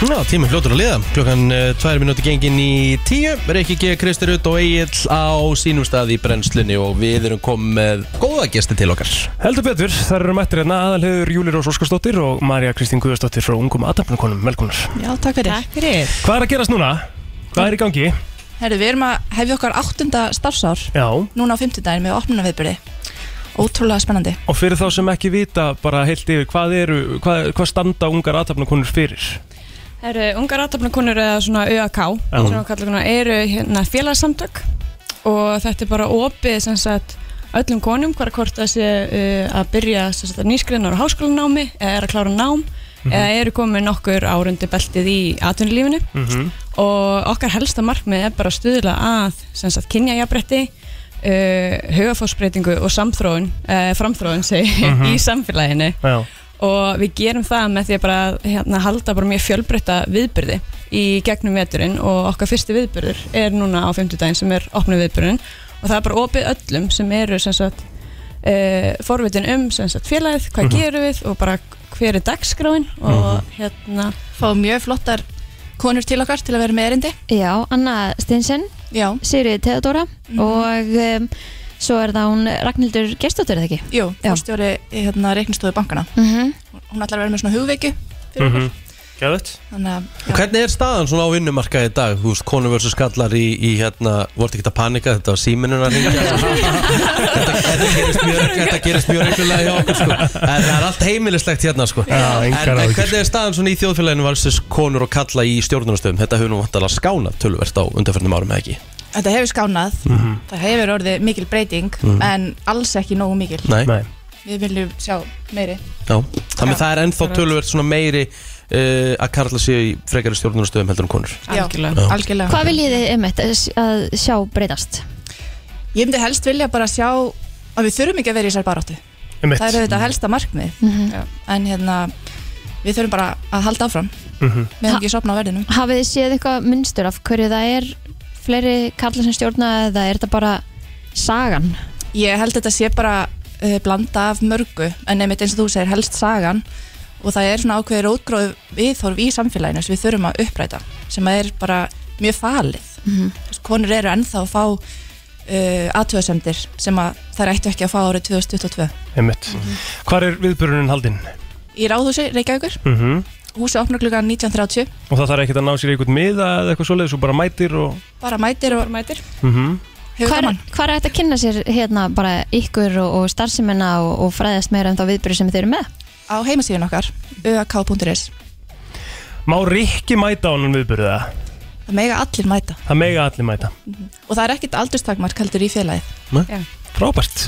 C: Ná, tíminn fljótur að liða Klokkan uh, tvær minúti gengin í tíu Reykjik G. Kristur Rutt og Egil á sínum stað í brennslunni og við erum komið með góða gesti til okkar
E: Heldur betur, þar eru mættir hérna aðalhegur Júli Rós Óskarsdóttir og Marja Kristín Guðarsdóttir frá Ungum Aðdapnukonum, velkonar
M: Já, takk fyrir. Takk fyrir.
E: Hvað er að gerast núna? Hvað er í gangi?
M: Herru, við erum að hefja okkar áttunda starfsár
E: Já
M: núna á fimmtudaginn með opnunaviðbyrði. Ótrúlega spennandi.
E: Og fyrir þá sem ekki vita bara heilt yfir, hvað, eru, hvað, hvað standa ungar aðtapnukonur fyrir?
N: Það eru ungar aðtöfnakonur eða svona ÖAK
E: Já.
N: sem við kallum hana, eru hérna félagsamtök og þetta er bara opið sem sagt öllum konum hvar hvort það sé uh, að byrja sem sagt, nýskriðnar á háskólanámi eða er að klára nám
L: Mhm.
N: eða eru komið nokkur árundi beltið í atvinnulífinu
E: Mhm.
N: og okkar helsta markmið er bara að stuðla að sem sagt kynjajabretti uh, hugafósbreytingu og samþróun uh, framþróun segi, ég,
L: Mhm.
N: í samfélaginu
E: Já.
N: og við gerum það með því að bara hérna, halda bara mjög fjölbreytta viðbyrði í gegnum veturinn og okkar fyrsti viðbyrður er núna á 50 daginn sem er opnu viðbyrðin og það er bara opið öllum sem eru sem sagt uh, forvitin um sem sagt félagið, hvað
M: Mhm.
N: gerum við og bara hver er dagskráin og hérna
M: Fáum mjög flottar konur til okkar til að vera með erindi.
D: Já, Anna Stinsen
M: Já.
D: Sigrid Teodora
K: Mhm.
D: og um, svo er það hún Ragnhildur Gestóttur eða ekki?
M: Jú,
D: Já.
M: fórstjóri hérna reiknistöðu bankana.
D: Mhm.
E: Mhm.
M: Hún ætlar að vera með svona hugveiki fyrir okkur.
E: Gæðut
M: Þannig að
C: Og Hvernig er staðan svona á vinnumarkaði í dag? Þú veist, konur versus kallar í, í hérna, vortu ekki að panika, þetta var síminun að ringja. þetta gerist mjög reglulega hjá okkur, sko. En það er allt heimilislegt hérna, sko.
E: Já,
C: en,
E: engar
C: en
E: áhyggjur.
C: hvernig er staðan svona í þjóðfélaginu versus konur og kalla í stjórnunastöðum? Þetta hefur nú vantalega skánað tölverst á undanferðnum árum, eða ekki?
M: þetta hefur skánað
C: Mhm.
M: það hefur orðið mikil breyting
C: Mhm.
M: en alls ekki nógu mikil
C: Nei. Nei.
M: við viljum sjá meiri
C: Já. Þannig það er ennþá tölverst svona meiri uh, að karla sig í frekari stjórnunastöðum heldur en konur.
M: Já,
C: Já.
M: algjörlega.
D: Hvað viljið þið um að sjá breytast?
M: ég myndi helst vilja bara sjá að við þurfum ekki að vera í sér baróttu
E: Einmitt.
M: það eru þetta helsta markmið
D: Mhm.
M: Já. en hérna við þurfum bara að halda áfram
D: Mhm.
M: við höfum ekki sopna á verðinum
D: Hafið þið séð eitthvað munstur af hverju það er fleiri kallar sem stjórna eða er þetta bara sagan?
M: Ég held þetta sé bara uh, blanda af mörgu en einmitt eins og þú segir helst sagan og það er svona ákveðið rótgróð viðhorf í samfélaginu sem við þurfum að uppræta sem að er bara mjög falið
D: Mhm.
M: Þú veist, konur eru ennþá að fá uh, aðtöðasemdir sem að þær ættu ekki að fá árið 2022
E: Einmitt
M: Mhm.
E: Hvar er viðbörunin haldinn?
M: Í ráðhúsi Reykjavíkur,
E: Mhm.
M: húsi opnar klukkan 19.30
E: Og það þarf ekkert að ná sér í einhvern miða eða eitthvað svoleiðis og bara mætir og
M: bara mætir og bara mætir.
E: Mhm.
D: Hvar, hvar er þetta að kynna sér hérna bara ykkur og, og starfseminna og, og fræðast meira um þá viðbyrju sem þið eru með?
M: á heimasíðun okkar uak.is
E: Má Rikki mæta á hann viðböruða?
M: Það mega allir mæta
E: Það mega allir mæta
M: og það er ekkit aldurstakmark heldur í félagið
E: Nei.
M: Já.
E: Frábært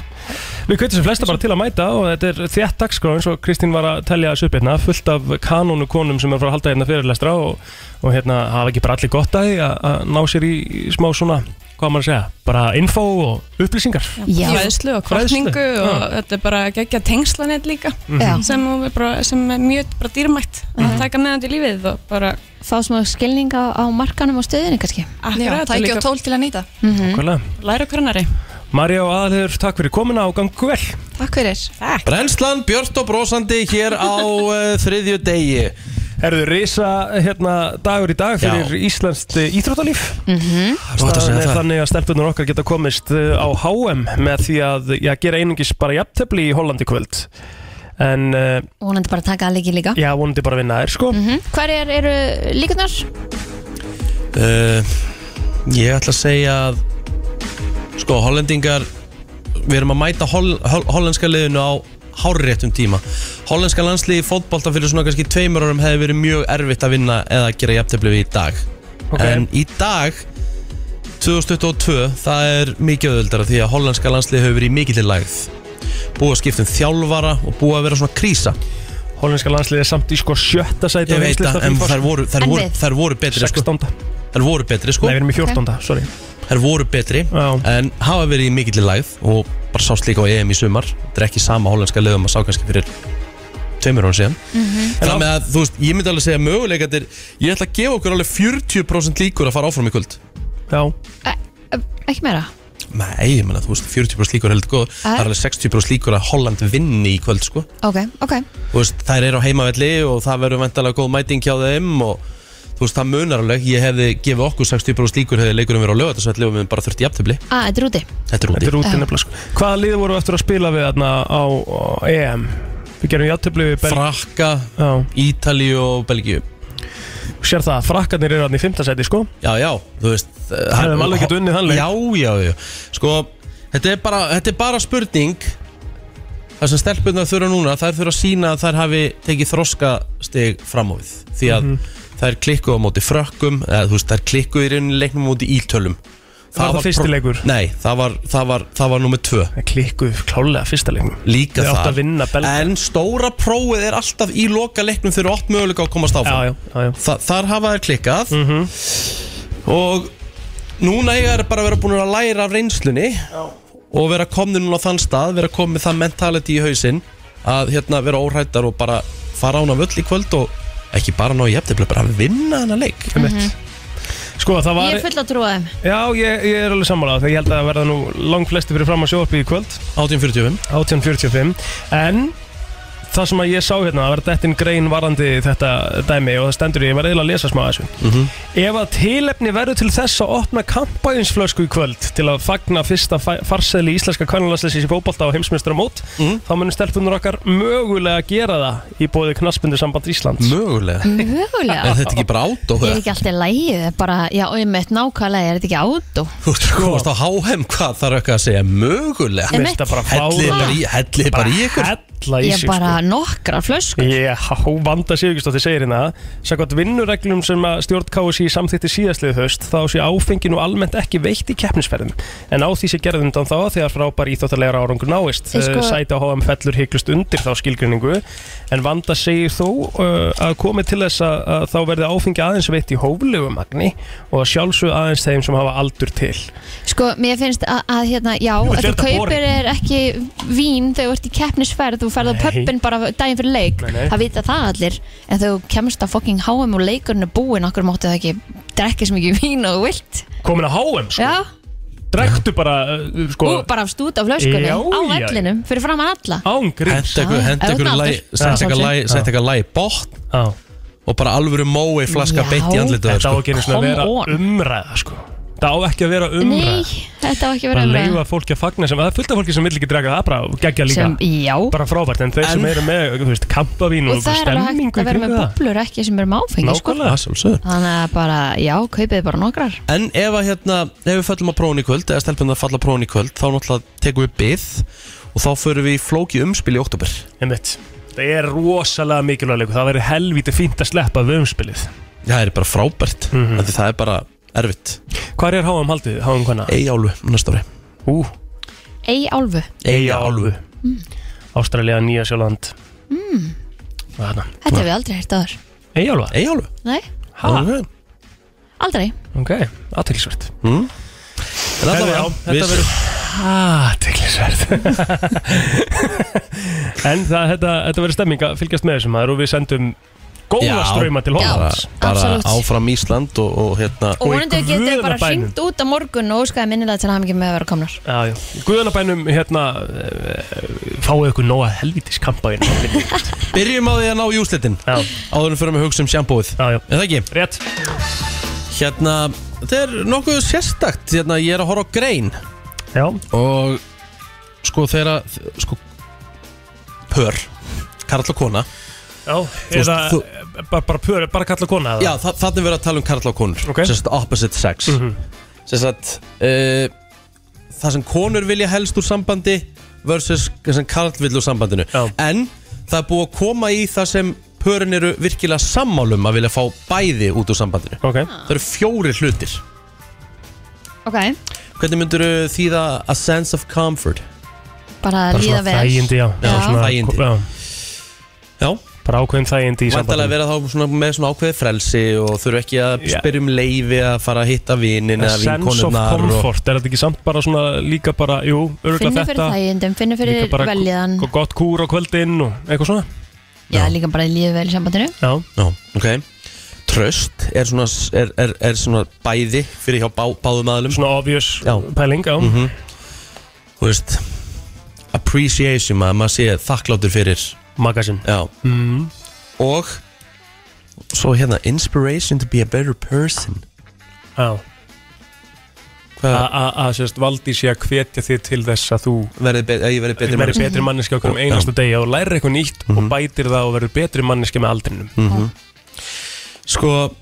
E: Við kveitum sem flesta bara til að mæta og þetta er þétt dagskrá eins og Kristín var að telja þessu upp hérna fullt af kanónu konum sem er að fara að halda hérna fyrirlestra og, og hérna hafa ekki bara allir gott að því að- að ná sér í í smá svona hvað á maður að segja, bara info og upplýsingar
N: fræðslu og kvartningu
E: Fræðslu,
N: og
E: já.
N: þetta er bara geggja tengslanett líka
E: Mhm.
N: sem, er bara, sem er mjög bara dýrmætt að taka með hann til lífið og bara
D: Mhm. Fá smá skilning á, á markanum og stöðinu kannski?
N: Akkurat,
M: tæki og tól til að nýta
E: mm-hmm. Nákvæmlega.
N: Læra hverjari
E: Marja og Aðalhegur, takk fyrir komuna og gangu vel
M: Takk fyrir
N: Takk
C: Brennslan Björnt og Brósandi hér á uh, þriðju degi
E: Erðu risa hérna dagur í dag fyrir Íslands íþróttalíf
D: Mhm.
C: Gott að segja
E: Staðan er
C: það.
E: þannig að stelpunar okkar geta komist uh, á HM með því að já, gera einungis bara jafntefli í Hollandi kvöld en uh,
D: Og hún bara að taka að leiki líka.
E: já, vonandi bara að vinna þær sko
D: Mhm. Hverjar eru líkunar?
C: uh, Ég ætla að segja að sko, hollendingar við erum að mæta hol, hol, hollenska liðinu á hárréttum tíma Hollenska landsliði í fótbolta fyrir svona kannski tveimur árum hefði verið mjög erfitt að vinna eða að gera jafntefli við í dag
E: Ok.
C: En í dag 2022, það er mikið öðuldara því að hollenska landsliði hefur verið í mikillir lægð búið að skipta um þjálfara og búið að vera svona krísa
E: Hollenska landsliði er samt í sko sjötta sæti
C: Ég
E: á
C: veit
E: heimslista
C: það, en
E: FIFA, sko.
C: þær voru, þær
E: En
C: voru,
E: við?
C: þær voru betri sko.
E: 16.
C: Þær voru betri sko
E: Nei, við erum í 14., sorry
C: Þær voru betri En hafa verið í mikill lægð Og bara sást líka á EM í sumar Þetta er ekki sama hollenska liðum að sá kannski fyrir Tveimur hún síðan
A: Mhm.
C: Þannig að þú veist, ég myndi alveg segja möguleikatir Ég ætla að gefa okkur alveg 40% líkur að fara áfram í kvöld
E: Já
D: E, Ekki meira?
C: Nei, ég menna, þú veist, 40% líkur er heldur góð Það er alveg 60% líkur að Holland vinni í kvöld sko
D: Ok, ok.
C: þú veist, þær eru á heimavelli og það verður vantalega góð mæting hjá þeim og þú veist, það munar alveg, ég hefði gefið okkur 60% líkur hefði leikurinn verið á lögatarsvelli og við höfum bara þurfti jafntöfli,
D: Ah, þetta er úti.
C: þetta er úti
E: Þetta er úti nefnilega sko Hvaða lið voru eftir að spila við þarna á, á EM? Við gerum játtöflu við Bel...
C: Frakka, Ítali og Belgíu
E: Sér það, frakkarnir eru hann í fymtasæti sko
C: Já, já, þú veist
E: hefðum alveg getað unnið þann leik.
C: Já, já, já, sko þetta er bara, þetta er bara spurning það sem stelpunar þurfa núna þær þurfa að sína að þær hafi tekið þroska stig fram á við því að
E: Mhm.
C: þær klikku á móti frökkum eða þú veist, þær klikku í rauninni í leiknum á móti ítölum
E: Var það fyrsti
C: pro-
E: leikur?
C: Nei, það var, það var, það var nummer tvö
E: Klikkuð klálega fyrsta leiknum
C: Líka
E: Þau áttu að
C: það
E: vinna Belgíu.
C: En stóra prófið er alltaf í loka leiknum Þeir eru oft möguleika að komast áfram
E: já, Mhm. já, já.
C: Þa, Þar hafa þær klikkað Og núna eiga þær bara að vera búin að læra af reynslunni já. Og vera komnir núna á þann stað Vera komin með það mentality í hausinn Að hérna vera óhrættar og bara fara án af öll í kvöld Og ekki bara ná í jefntefli Bara að vinna hennar leik
E: Mhm. Sko, það var
D: Ég er full að trúa þeim.
E: Já, ég, ég er alveg sammálað Þegar ég held að það verða nú lang flesti fyrir fram að sjóarpi í kvöld
C: 18.45
E: 18.45 En það sem að ég sá hérna, það var dettin grein varandi þetta dæmi og það stendur í- ég var eiginlega að lesa smá að þessu Ef að tilefni verður til þess að opna kampæðinsflösku í kvöld til að fagna fyrsta farsæli íslenska kannalagsleisins í fótbolta á heimsmyndstur á mót þá munum stelpunar okkar mögulega gera það í bóði knaspundu samband Íslands
C: Mögulega?
D: Mögulega
E: <laughs>
C: Er þetta ekki bara átó?
D: Er ekki alltaf lægið, bara, já, einmitt nákvæmlega, er þetta ekki átó?
C: Þú ert að komast á HM, hvað þarf ekki að segja mögulega?
D: Mér finnst það bara
C: Hellið
D: fáránlegt.
C: bara í, hellið bara í ykkur
E: Hella í
D: Ég
E: sig sko.
D: bara nokkra flösku
E: Já, Vanda Sigurðsdóttir segir hérna Sækvæmt vinnureglum sem að stjórn KSI samþýtti síðastlið höst þá sé áfengi nú almennt ekki veitt í keppnisferðum en á því sé gerðundan þá þegar frábær íþjóttalegar árangur náist
L: Ég sko-
E: sko... Sæti á HM fellur hygglust undir þá skilgrinningu en Vanda segir þó uh, að komi til þess að, að þá verði áfengi aðeins veitt í hóflegu magni og að sjálfsög aðeins þeim sem hafa aldur til
D: Sko, mér finnst að, að hérna, já, að þú
E: Jú, þetta er þetta
D: kaupir
E: boring.
D: er ekki vín þegar þú ert í keppnisferð, þú ferð á
E: Nei.
D: pöppin bara daginn fyrir leik,
E: Nei, nei.
D: það vita það allir en þegar þú kemst að fokking háum og leikurinn er búinn, okkur máttu það ekki drekka sem ekki vín og þú vilt
E: Komin að HM sko,
D: Já,
E: drektu bara uh, sko,
D: og bara af stút af flöskunni
E: Já,
D: á
E: já, já.
D: vellinum, fyrir fram að alla
E: ángriðs
C: Henda ykkur, henda
D: Já,
C: ykkur
D: ef þú
C: læ,
D: náður.
C: sett
D: Já.
C: eitthvað læ,
D: Ah, Já.
C: sett eitthvað læ í bótt og bara alvöru mói flaska
D: Já.
C: beitt í andlitu
E: Þetta á ekki einu sinni að vera umræða sko. Það á ekki að vera umræða
D: Nei, þetta var ekki
E: bara
D: verið
E: leifa fólki að fagna sem, það er fullt af fólki sem vil ekki draga það bara og gegja líka
D: Sem- já.
E: bara frábært, en þeir sem
D: En-
E: eru með, þú veist, kampavín og,
D: og það er alveg hægt að vera með bublur ekki sem eru með áfengi, sko
C: Nákvæmlega, sjálfsögðu.
D: þannig að bara, já, kaupið bara nokkrar
C: En ef að hérna, ef við fellum á prófun í kvöld eða stelpunum að falla á prófun í kvöld þá náttúrulega tekum við byð og þá förum við í flóki umspil í oktober
E: Einmitt. það er rosalega mikilvæg leikur það verður helvítið fínt að sleppa við umspilið
C: Já, það er bara frábært mm
D: Mhm.
C: -hmm. Það er bara erfitt
E: Hvar er háum haldið, háum hvaðna?
C: Eigjálfu, næsta ári
E: Ú,
D: Ei álfu
E: Eigjálfu Ástralja, Nýja Sjóland
D: mm,
E: Þarna.
D: Þetta hef ég aldrei hægt aður
E: Eigjálfa? Eigjálfu
D: Nei, aldrei
E: Ok, aðteglisvert
C: mm. En
E: allavega,
C: allavega,
E: þetta
C: við-
E: verður Aðteglisvert <laughs> En það, þetta, þetta verður stemming að fylgjast með þessum maður og við sendum góða
C: Já,
E: ströyma til Hollands
C: bara áfram Ísland og, og hérna
D: Og vonandi
E: í
D: getið þið bara
E: guðanna bænum.
D: hringt út á morgun og óskaði minnilega til að hafa mikið með að vera komnar
E: Já, já. Guðanabænum, hérna, eh, fáið ykkur nóga helvítis
C: <laughs>
E: kampaðin.
C: Byrjum á því að ná í úslitin Áður en fyrir með hugsa um sjambóið
E: Já, já
C: Er það ekki?
E: Rétt
C: Hérna, þetta er nokkuð sérstakt Hérna, ég er að horfa á grein
E: Já
C: Og sko þeirra Sko Pör Karl og kona
E: Já, eða bara, bara pör, bara kalla kona eða?
C: Já, þa þannig verður að tala um karl og konur okay. Sérst opposite sex mm
E: Mhm.
C: Sérst uh, Það sem konur vilja helst úr sambandi Versus það sem karl vil úr sambandinu Já. En það er búið að koma í það sem Pörin eru virkilega sammálum Að vilja fá bæði út úr sambandinu
E: okay.
D: Ah,
C: Það eru fjórir hlutir
D: Ok,
C: Hvernig myndur þýða a sense of comfort?
D: bara
E: Bara
D: líða
E: svona
D: vel
E: þægindi, já.
C: Já,
E: Bara
C: svona
E: svona-
C: þægindi
E: Já.
C: Já
E: Bara ákveðin þægindi í
C: Vandalega
E: sambandinu.
C: vera þá svona, með svona ákveðið frelsi og þurfa ekki að
E: Já.
C: spyrja um leifi að fara að hitta vinin
E: A
C: eða
E: sense of
C: vinkonunnar og...
E: comfort, er þetta ekki samt bara svona líka bara, jú, örgulega
D: Finnur fyrir
E: þetta
D: þægindum, finnur
E: líka
D: fyrir
E: bara
D: veljan
E: go- gott kúr á kvöldin og eitthvað svona
D: Já, líka bara líða vel í sambandinu
E: Já,
C: Já, ok Tröst er svona, er, er, er svona bæði fyrir hjá bá, báðum aðlum
E: Svona obvious
C: já.
E: pæling, já Mhm.
C: Þú veist Appreciation, maður, maður sé þakklátur fyrir Mhm.
E: Magasin
C: Já
E: mm.
C: Og Svo hérna, inspiration to be a better person
E: Já A- a- Að sérst valdi sé að hvetja þig til þess að þú
C: verði be að ég verði betri
E: verði
C: manneskja.
E: betri manneski á hverjum
C: Og- já.
E: einasta degi og lærir eitthvað nýtt og bætir það og verður betri manneski með aldrinum
C: mm Sko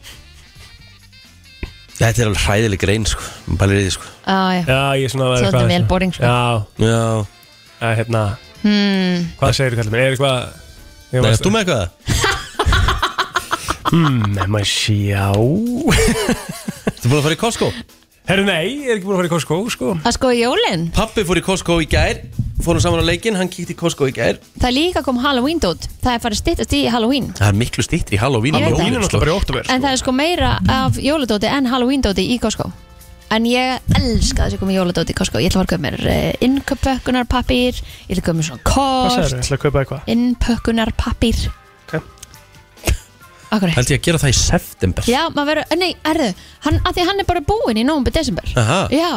C: Þetta er alveg hræðileg grein sko Maður pælir í því sko
D: Já, já
E: Já, ég er svona
D: Svolítið
E: eitthvað-
D: vel boring, sko.
E: Já,
C: já.
E: Að, hérna,
D: hmm.
E: Hvað segir kallum, er eitthvað
C: Nei, ert þú með eitthvað?
E: Hmm, ef maður sjá <laughs>
C: Þú búin að fara í Costco?
E: Herru, nei, ég er ekki búin að fara í Costco sko
D: Það sko jólin,
C: Pappi fór í Costco í gær Fórum saman á leikinn, hann kíkti í Costco í gær
D: það líka kom Halloween dót Það er farið styttast í Halloween
C: Það er miklu stýttri í Halloween
D: Ég veit það.
E: Halloween er náttúrulega bara í oktober
D: En það er sko meira af jóladóti en Halloween dóti í Costco En ég elska þess að koma jóladóti í Costco Ég ætla að fara að köpa mér innköpökkunarpapír Ég ætla að köpa mér svona
E: Hvað segir
D: kort
E: ætla að kaupa eitthvað?
D: Innpökkunarpapír
E: Ok.
D: Akkur
C: Held ég að gera það í september
D: eh, Já, maður verður, nei, erðu hann, að Því hann er bara búinn í nómbi desember
C: Aha.
D: Já,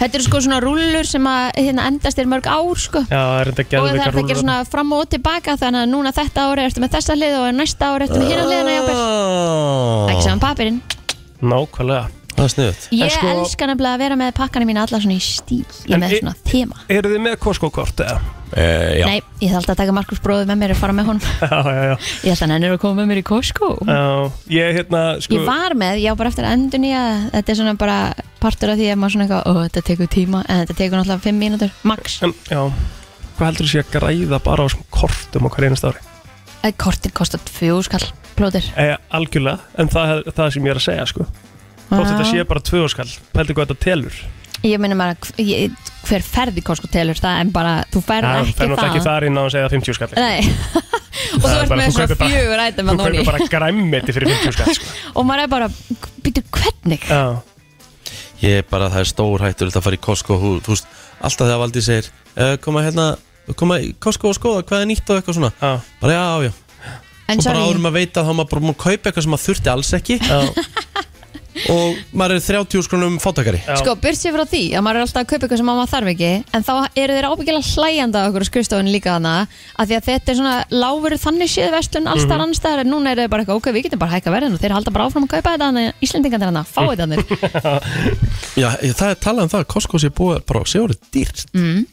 D: Þetta eru sko svona rúllur sem að hérna, endast er mörg ár sko
E: Já, það er enda
D: og það
E: geðvika
D: er ekki svona fram og tilbaka þannig að núna þetta ári ertu með þessa hlið og næsta ári ertu með hérna hliðina jáfnvel ekki saman papirinn
E: Nákvæmlega
C: Það er sniðut
D: Ég elska nefnilega að vera með pakkana mína alla svona í stíl sko- ég er með svona þema
E: Eru þið með Costco-kort eða?
C: Uh,
D: Nei, ég ætla alltaf að taka Markus bróði með mér og fara með <laughs> honum
E: Já, já, já
D: Ég ætla hann ennur að koma með mér í Costco
E: Já, ég hérna sko,
D: Mm. Ég var með, ég á bara eftir að endur nýja þetta er svona bara partur af því að maður svona eitthvað ó, þetta tekur tíma, en þetta tekur náttúrulega 5 mínútur, max
E: en, Já, hvað heldur þú sé að græða bara á svona kortum á hverju einast ári?
D: Að Kortin kostar 2 skall plóðir
E: Eða E, algjörlega, en það er það sem ég er að segja sko Þótt
D: Já.
E: þetta sé bara tvö skall, pældu hvað þetta telur
D: Ah. Ég meina maður að ég- hver ferði Costco telur það en bara þú ferð
E: Já,
D: ekki
E: Það er náttúrulega ekki
D: það
E: þar inn á að segja 50 skall
D: Nei,
E: Og
D: þú ert með svona fjögur item
E: Þú
D: að
E: kaupir bara græmmeti fyrir 50 skall
D: <laughs>
E: sko.
D: og maður er bara, býtu hvernig
E: Já
C: Ég er bara, það er stór hættur að fara í Costco hú, þú veist, alltaf þegar Valdi segir uh, koma hérna, koma í Costco og skoða hvað er nýtt og eitthvað svona
E: já.
C: bara já, já,
D: En
C: svo bara
D: sorry.
C: árum að veita að þá maður bara múið kaupa eitthvað sem maður þurfti alls ekki
E: já.
C: <laughs> og maður er 30 skrunum fátakari
D: Sko, byrst sér frá því að maður er alltaf að kaupa eitthvað sem maður þarf ekki en þá eru þeir ábyggilega hlæjandi að okkur á skrifstofunni líka þarna af því að þetta er svona lágur þannig séð vestlun alls þar
J: Mhm.
D: annars staðar en núna er þeir bara eitthvað, ok, við getum bara hækka verðin og þeir halda bara áfram að kaupa þetta þannig að Íslendingan þarna, fá þetta þannig
E: Mhm.
C: Já, ég, það er talað um það að Costco sé búið bara sé orðið dýrt
D: mm.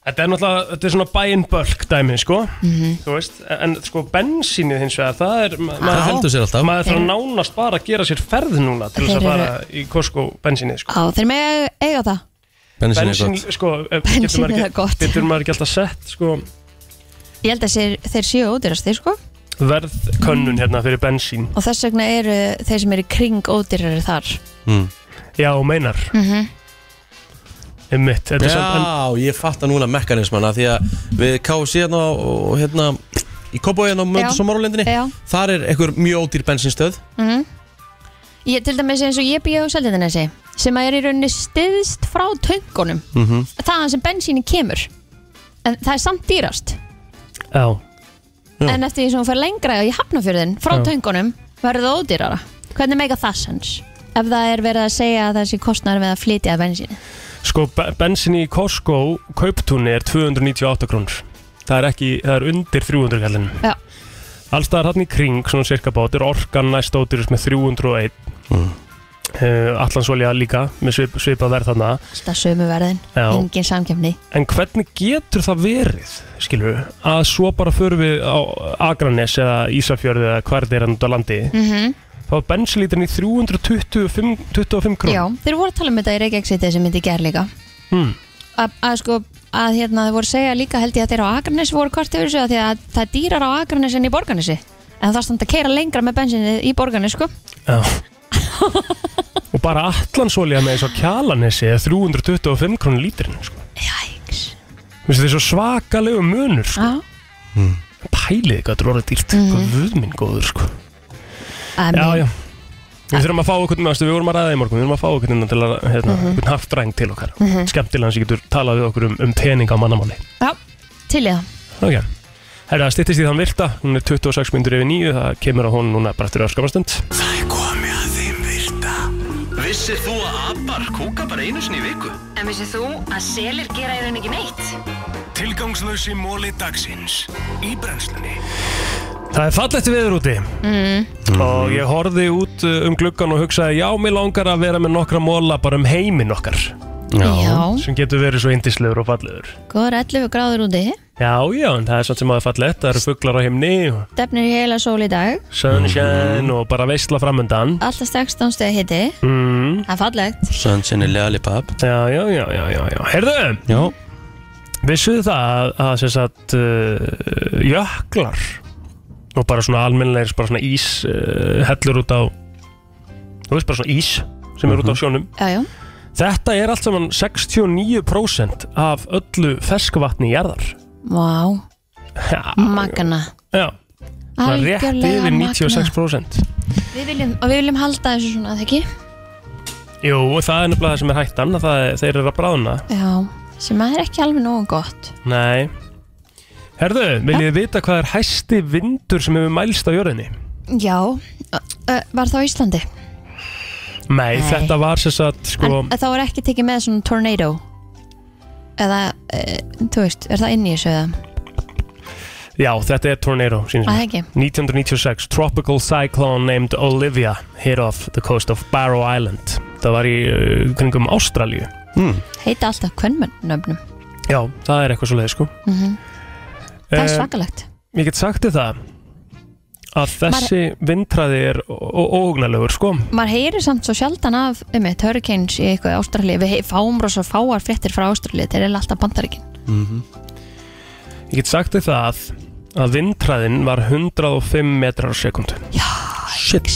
E: Þetta er náttúrulega, þetta er svona buy in bulk dæmi, sko
C: Mhm.
E: Þú veist, en sko bensínið hins vegar, það er ma-
C: Það heldur sér alltaf.
E: Maður þarf
D: Þeir-
E: nánast bara að gera sér ferð núna til þess
D: Þeir eru-
E: að fara í Costco bensínið, sko
D: Á, þeir með eiga það
C: Bensín
E: er Bensín,
C: gott.
E: sko, ef-
D: Bensín
E: <laughs> getur maður
D: er
E: ekki-
D: gott.
E: Getur maður ekki alltaf sett, sko,
D: Ég held að þeir, þeir séu ódýrastir, sko
E: verðkönnun hérna fyrir bensín
D: og þess vegna eru þeir sem eru í kring ódýrari þar
E: <laughs>
C: mm.
E: Já, og meinar,
D: mm
E: einmitt þetta er samt- en-
C: Já, ég fatta núna mekanismana því að við KFC hérna og hérna í Kópóiðan á
D: Já.
C: Möndus og Morulindinni
D: Já.
C: þar er einhver mjög ódýr bensinstöð
D: Ég til dæmis eins og ég býja á Seldindinesi sem að er í rauninni stiðst frá töngunum
C: mm
E: Mhm.
C: -hmm.
D: þaðan sem bensíni kemur en það er samt dýrast
E: Já
D: en eftir því sem hún fer lengra í hafnafjörðin frá
E: Já.
D: töngunum verður það ódýrara hvernig meika það sens ef það er verið að segja að það sé kostnar með að flytja bensíni
E: Sko, be- bensin í Costco kauptúni er 298 krónur Það er ekki, það er undir 300 kallin
D: Já.
E: Allstaðar hann í kring, svona cirka bát er orkan næst ódýrust með 301 mm. uh, Allansólja líka með svip, svipað verð þarna
D: alltaf sömu verðin,
E: Já.
D: engin samkjöfni
E: En hvernig getur það verið, skilur við, að svo bara förum við á Akranes eða Ísafjörðu eða hvað er þetta út á landi
D: mm -hmm.
E: Þá er bensinlítin í 325 25 krónur
D: Já, þeir voru að tala um þetta í Reykjavík City sem myndi ger líka
E: hmm.
D: að, að sko að hérna þeir voru að segja líka held ég að þeir á Akranes voru kvart yfir þessu af því að það er dýrar á Akranes en í Borgarnesi en það standa að keira lengra með bensinni í Borgarnes sko
E: Já Og bara allansólja með eins og kjalanesi er 325 krónur lítrin sko. Jæks Þetta er svo svakalegu munur sko.
D: Já.
E: mm. Pælið hvað þetta er orðið dýrt mm -hmm. Guðminn góður sko.
D: Amen.
E: Já, já Við þurfum að fá okkur með, við vorum að ræða í morgun Við þurfum að fá okkur með til að hérna, mm
D: Mhm.
E: -hmm. haft dræng til okkar mm
D: Mhm.
E: Skemmtilega sem getur talað við okkur um, um pening á mannamáli
D: Já, til í það
E: Ok Herra, það styttist í þann virta, hún er 26 myndur yfir 9, það kemur á hún núna bara eftir öskamastund.
A: Það er komið að þeim virta Vissir þú að abar kúka bara einu sinni í viku?
I: En vissið þú að selir gera í raun ekki neitt?
A: Tilgangslösi móli dagsins Í brennslunni
E: Það er fallegt veður úti
A: mm.
E: og ég horfði út uh, um gluggan og hugsaði já, mér langar að vera með nokkra móla bara um heiminn okkar
D: Já.
E: sem getur verið svo indislegur og fallegur
D: Góður 11 gráður úti
E: Já, já, en það er samt sem að það er fallegt það eru fugglar á himni og
D: Defnir í heila sól í dag
E: sunshine og bara veistla framöndan
D: Alltaf 16 steg hitti
E: mm.
D: Það er fallegt
C: Sunshine Lollipop
E: Já, já, já, já, já, já. Herðu
C: Já
E: Vissuðu það að, að sem sagt uh, jöklar og bara svona almennilegir bara svona ís uh, hellur út á þú veist bara svona ís sem er út á sjónum
D: Já, já
E: Þetta er allt saman 69% af öllu ferskvatni jarðar.
D: Vá,
E: Já,
D: magna
E: já. Það er rétt
D: Algjörlega
E: yfir
D: magnað.
E: 96%.
D: Við viljum, og við viljum halda þessu svona, þegar ekki?
E: Jú, og það er nefnilega það sem er hættan, að það, þeir eru að bráðna.
D: Já, sem að er ekki alveg nógu gott
E: Nei. Herðu, viljið þið vita hvað er hæsti vindur sem hefur mælst á jörðinni?
D: Já, ö, ö, var það á Íslandi?
E: Nei, þetta var sem sagt sko,
D: En þá er ekki tekið með svona tornado Eða, e, þú veist, er það inn í þessu eða?
E: Já, þetta er Tornado sýnist
D: Að
E: mér.
D: það ekki?
E: 1996 Tropical Cyclone named Olivia hit off the coast of Barrow Island Það var í uh, kringum Ástralíu mm.
D: Heita alltaf kvennmönnöfnum
E: Já, það er eitthvað svo leið sko
D: mm Það er
E: Eh,
D: svakalegt
E: Ég get sagt þér það að þessi vindræði er óhugnalegur sko
D: Maður heyrir samt svo sjaldan af um eitt hurricanes í eitthvað ástralíu Við hei- fáum rosa fáar fréttir frá ástralíu Þeir eru alltaf bandaríkin
E: Ég get sagt þér það að vindræðin var 105 metrar á sekundu
D: Já,
E: Shit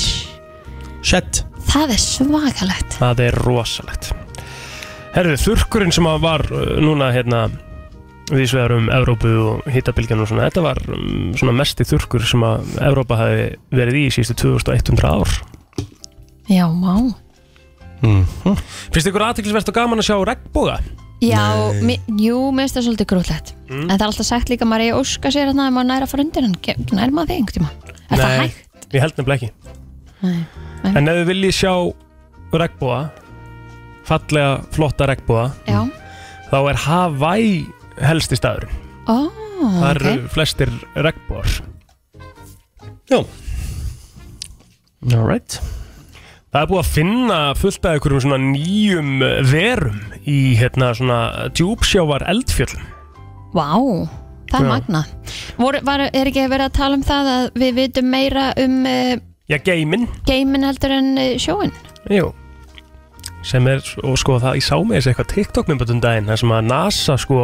E: Shit
D: Það er svakalegt
E: Það er rosalegt Herðu, þurrkurinn sem að var uh, núna hérna við svegar um Evrópu og hittabilgjörn og svona, þetta var um, svona mesti þurrkur sem að Evrópa hafi verið í síðustu 2100 ár
D: Já, má
C: mm.
E: Finnst ykkur aðteklisvert og gaman að sjá regnbóga?
D: Já,
E: Nei. Mm.
D: mi, jú, mér finnst það svolítið grútlegt En það er alltaf sagt líka að maður eigi að óska sér hérna ef maður næra að fara undir hann Ge- Nær maður því einhvern tíma Er það hægt?
E: Ég held nefnilega ekki
D: Nei.
E: En ef þið viljið sjá regnbóga fallega, flotta regnbóga
D: Já,
E: þá er Hawaii helsti staðurinn
D: ó,
E: Það
D: ok
E: eru flestir regnbóar Já Alright Það er búið að finna fullt af einhverjum svona nýjum eh, verum í hérna svona djúpsjávar eldfjöllum
D: Vá, það er
E: Já.
D: magna Vor, var, Er ekki verið að tala um það að við vitum meira um uh,
E: Já, geiminn
D: geimin heldur en uh, sjóin
E: Jú sem er, og sko það, ég sá með þessi eitthvað TikTok-myndbönd um daginn, þar sem að NASA sko,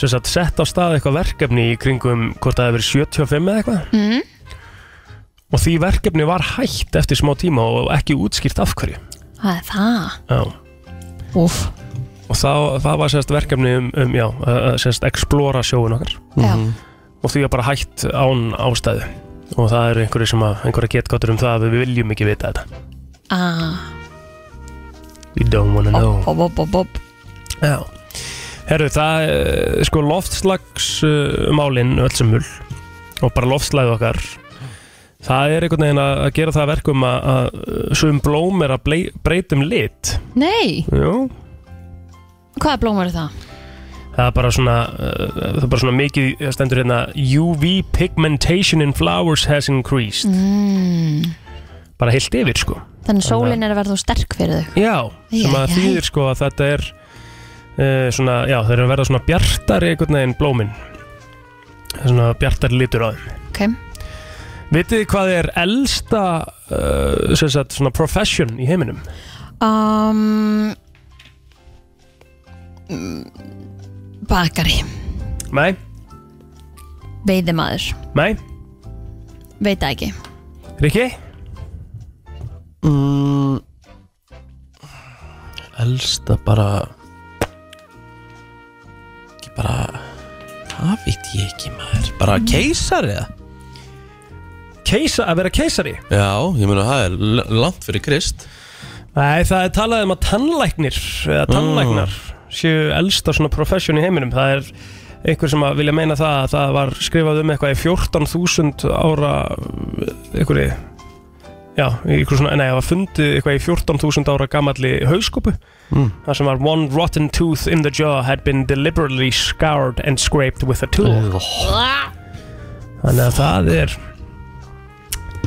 E: sem sagt, sett á stað eitthvað verkefni í kringum hvort það hefur verið 75 eða eitthvað
D: mm.
E: og því verkefni var hægt eftir smá tíma og ekki útskýrt af hverju
D: Það er það
E: Já.
D: Úf.
E: Og þá, það var sérst verkefni um, um já, að að sérst explora sjóun okkar. Mhm.
D: Já.
E: Og því að bara hægt án ástæðu. Og það eru einhverju sem að, einhverja getgáttur um það að við viljum ekki vita þetta.
D: ah,
E: We don't wanna know.
D: Bob, bob, bob, bob
E: Já. Herru, það, eh, sko, loftslagsmálinn öll sem mul og bara loftslagið okkar það er einhvern veginn að að gera það að verkum að, að sögum blóm er að blei- breyta um lit.
D: Nei,
E: Jú.
D: hvaða blómur er það?
E: það er bara svona uh, það er bara svona mikið það stendur hérna UV pigmentation in flowers has increased
D: Mm.
E: bara heilt yfir sko
D: Þannig sólin er að verða of sterk fyrir þau
E: já, sem að
D: Jæja.
E: þýðir sko að þetta er uh, svona, já þeir eru að verða svona bjartari einhvern veginn blómin Það er svona bjartari litur á þeim
D: Ok,
E: vitið þið hvað er elsta uh, sem sagt svona profession í heiminum
D: um, mm, Bakari
E: nei,
D: Veiðimaður
E: nei,
D: Veit það ekki
E: Rikki
C: mm, Elsta bara Ekki bara Það veit ég ekki maður Bara keisari eða?
E: keisa, að vera keisari
C: Já, ég meina það er l- langt fyrir Krist
E: Nei, það er talað um að tannlæknir eða tannlæknar séu elsta svona profession í heiminum það er einhver sem að vilja meina það að það var skrifað um eitthvað í 14.000 ára einhverju já, einhver svona, nei, það var fundið eitthvað í 14.000 ára gamalli hauskúpu
C: Mm.
E: það sem var one rotten tooth in the jaw had been deliberately scoured and scraped with a tool þannig að það er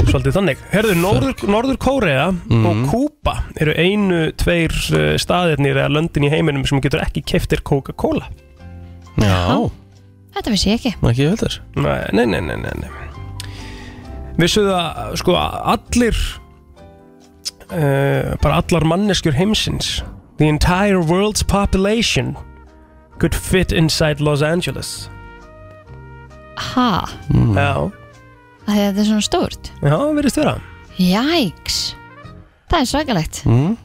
E: svolítið þannig Herðu, Norður, Norður Kórea og
C: Mhm.
E: Kúpa eru einu, tveir eh, staðirnir eða löndin í heiminum sem getur ekki keftir Coca-Cola
C: Já,
D: Þetta vissi ég ekki
C: ekki heldur
E: Nei, nei, nei, nei, nei, nei. Vissu það, sko, allir uh, bara allar manneskjur heimsins the entire world's population could fit inside Los Angeles
D: Ha,
E: mm. Já,
D: að þetta er svona stórt
E: já, verðist vera
D: Jæks Það er svakalegt
C: mm.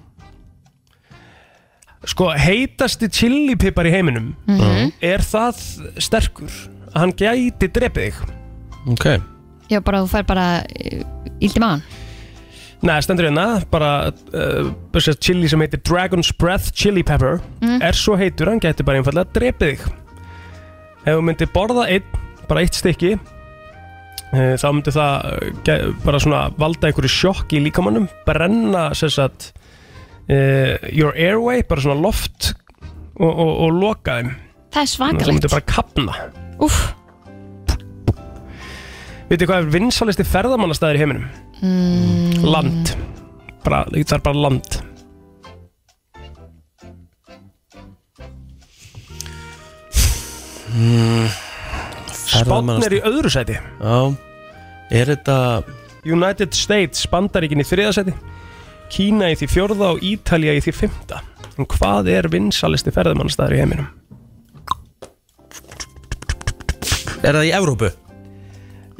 E: Sko, heitasti chilipipar í heiminum
D: Mhm.
E: Er það sterkur að hann gæti drepið þig?
C: Ok
D: Já, bara þú fær bara eh, íldi maðan
E: Nei, stendur hérna, bara uh, þessi chili sem heitir Dragon's Breath Chili Pepper
D: Mm.
E: Er svo heitur, hann gæti bara einfallega drepið þig Ef þú myndir borða einn, bara eitt stykki eh, þá myndi það eh, ge- bara svona valda einhverju sjokki í líkamannum brenna sem sagt uh, your airway, bara svona loft og, og, og loka þeim
D: Það er
E: það
D: svakalegt
E: myndi bara kapna
D: Úff
E: Vitið hvað er vinsalisti ferðamannastæðir í heiminum?
D: mm,
E: Land bara, Það er bara land Spánn er í öðru sæti
C: Já Er þetta
E: United States, Bandaríkin í þriða sæti Kína í því fjórða og Ítalja í því fymta En hvað er vinsalisti ferðamannastæðir í heiminum?
C: Er það í Evrópu?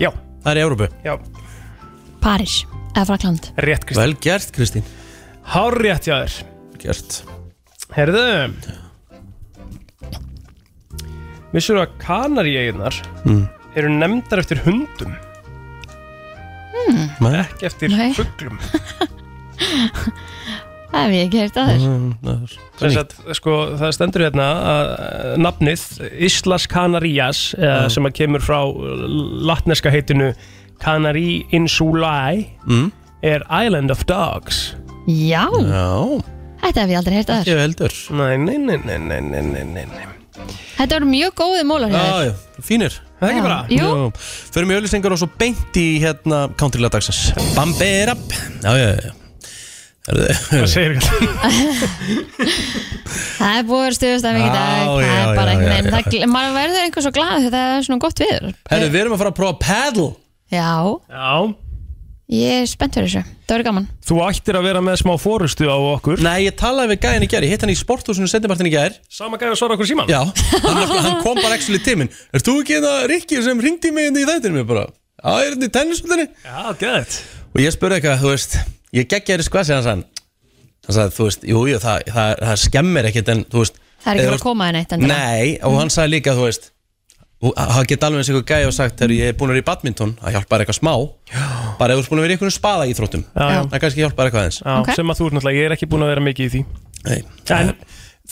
E: Já
C: Það er í Evrópu?
E: Já
D: París eða Frakland
E: Rétt Kristín
C: Vel gert Kristín
E: Hár rétt hjá þér
C: Gert
E: Herðu Vissur að kanaríeginnar
C: Mm.
E: eru nefndar eftir hundum
C: Nei.
E: ekki eftir
D: Hmm. Nei. <laughs>
E: fugglum
D: Það hef ég ekki heyrt að
C: Mhm.
D: þér
E: Sem sagt, sko, það stendur hérna að eh, nafnið Islas Canarias eða,
C: Já.
E: sem að kemur frá latneska heitinu Canary Insulae
C: mm.
E: er Island of Dogs
D: Já,
C: Já
D: þetta hef ég aldrei heyrt að þér
C: heldur
E: Nei, nei, nei, nei, nei, nei, nei, nei, nei.
D: Þetta voru mjög góði mólar hjá
C: Já,
D: þér
C: já, fínir
E: Það er ekki Já. bara?
D: Jú.
C: Förum í auðlýsingar og svo beint í hérna Countrylað dagsins Bambir up Já, já, já <laughs> Hvað
E: segir ekki?
D: Það er búið stuðustæmi í
C: Já,
D: dag Það
C: já,
D: er bara
C: já,
D: einhvern
C: já,
D: veginn
C: já.
D: það gl- Maður verður einhver svo glad þegar það er svona gott viður
C: Herru, við erum að fara að prófa paddle
D: Já,
E: <laughs> Já
D: ég er spennt fyrir þessu Það verður gaman
E: Þú ættir að vera með smá fórustu á okkur
C: Nei, ég talaði við gæðin í gær Ég hitt hann í sporthúsinu setnibartin í gær
E: Sama gæði að svara okkur síman
C: Já, hann, nefnilega- hann kom bara ekki til tíminn Er þú ekki hérna Rikki sem ringdi mig hérna í þættinu mér bara Já, ég er hérna í tennisvöldinni
E: Já, gæðið
C: Og ég spurði eitthvað, þú veist Ég geggja þér skvað sem hann sagði Hann sagði, þú veist, jú, jú, það, það, það skemmir ekkert En, þú veist
D: Það er ekki
C: eða
D: bara að
C: þú
D: koma henni eitt
C: veist- Nei, og hann sagði líka, þú veist og Það geta alveg eins og eitthvað gæði og sagt Þegar ég er búin að vera í badminton, það hjálpar eitthvað smá Já. Bara ef þú ert búin að vera í einhvern spaða í þróttum
E: já.
C: Það kannski hjálpar eitthvað eins
E: Já, sem að þú ert náttúrulega, ég er ekki búin að vera mikið í því
C: Nei.
E: En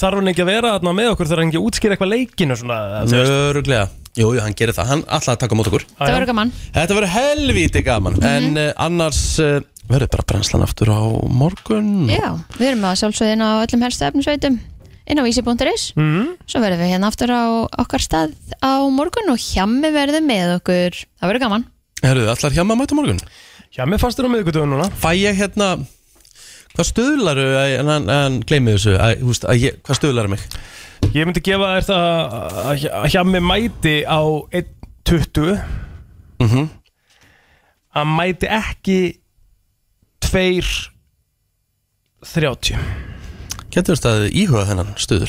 E: þarf hann ekki að vera þarna með okkur, þarf hann ekki að útskýra eitthvað leikinu svona þú veist?
C: Öruglega, jú, jú, hann gerir það Hann alltaf að taka mót okkur
D: Það verður gaman
C: Þetta verður helvíti gaman En uh, annars uh, verður bara brennslan aftur á morgun
D: Já, við erum að sjálfsögðin á öllum helstu efnisveitum inn á vísi.is
C: mm.
D: Svo verðum við hérna aftur á okkar stað á morgun og hjammi verðum með okkur Það verður gaman
C: Herruðu, allar hjá maður að mæta á morgun?
E: Já, mér fannst þér á miðgutöðu núna
C: Fæ ég hérna, hvað stöðlaru en, en, en gleymið þessu, að, þú veist, að ég, hvað stöðlaru mig?
E: Ég myndi gefa þér það að hjá- að hjá mig mæti á 1.20
C: Mm
E: Mhm.
C: -hmm.
E: að mæti ekki 2.30
C: Getur þú staðið íhuga þennan stöðl?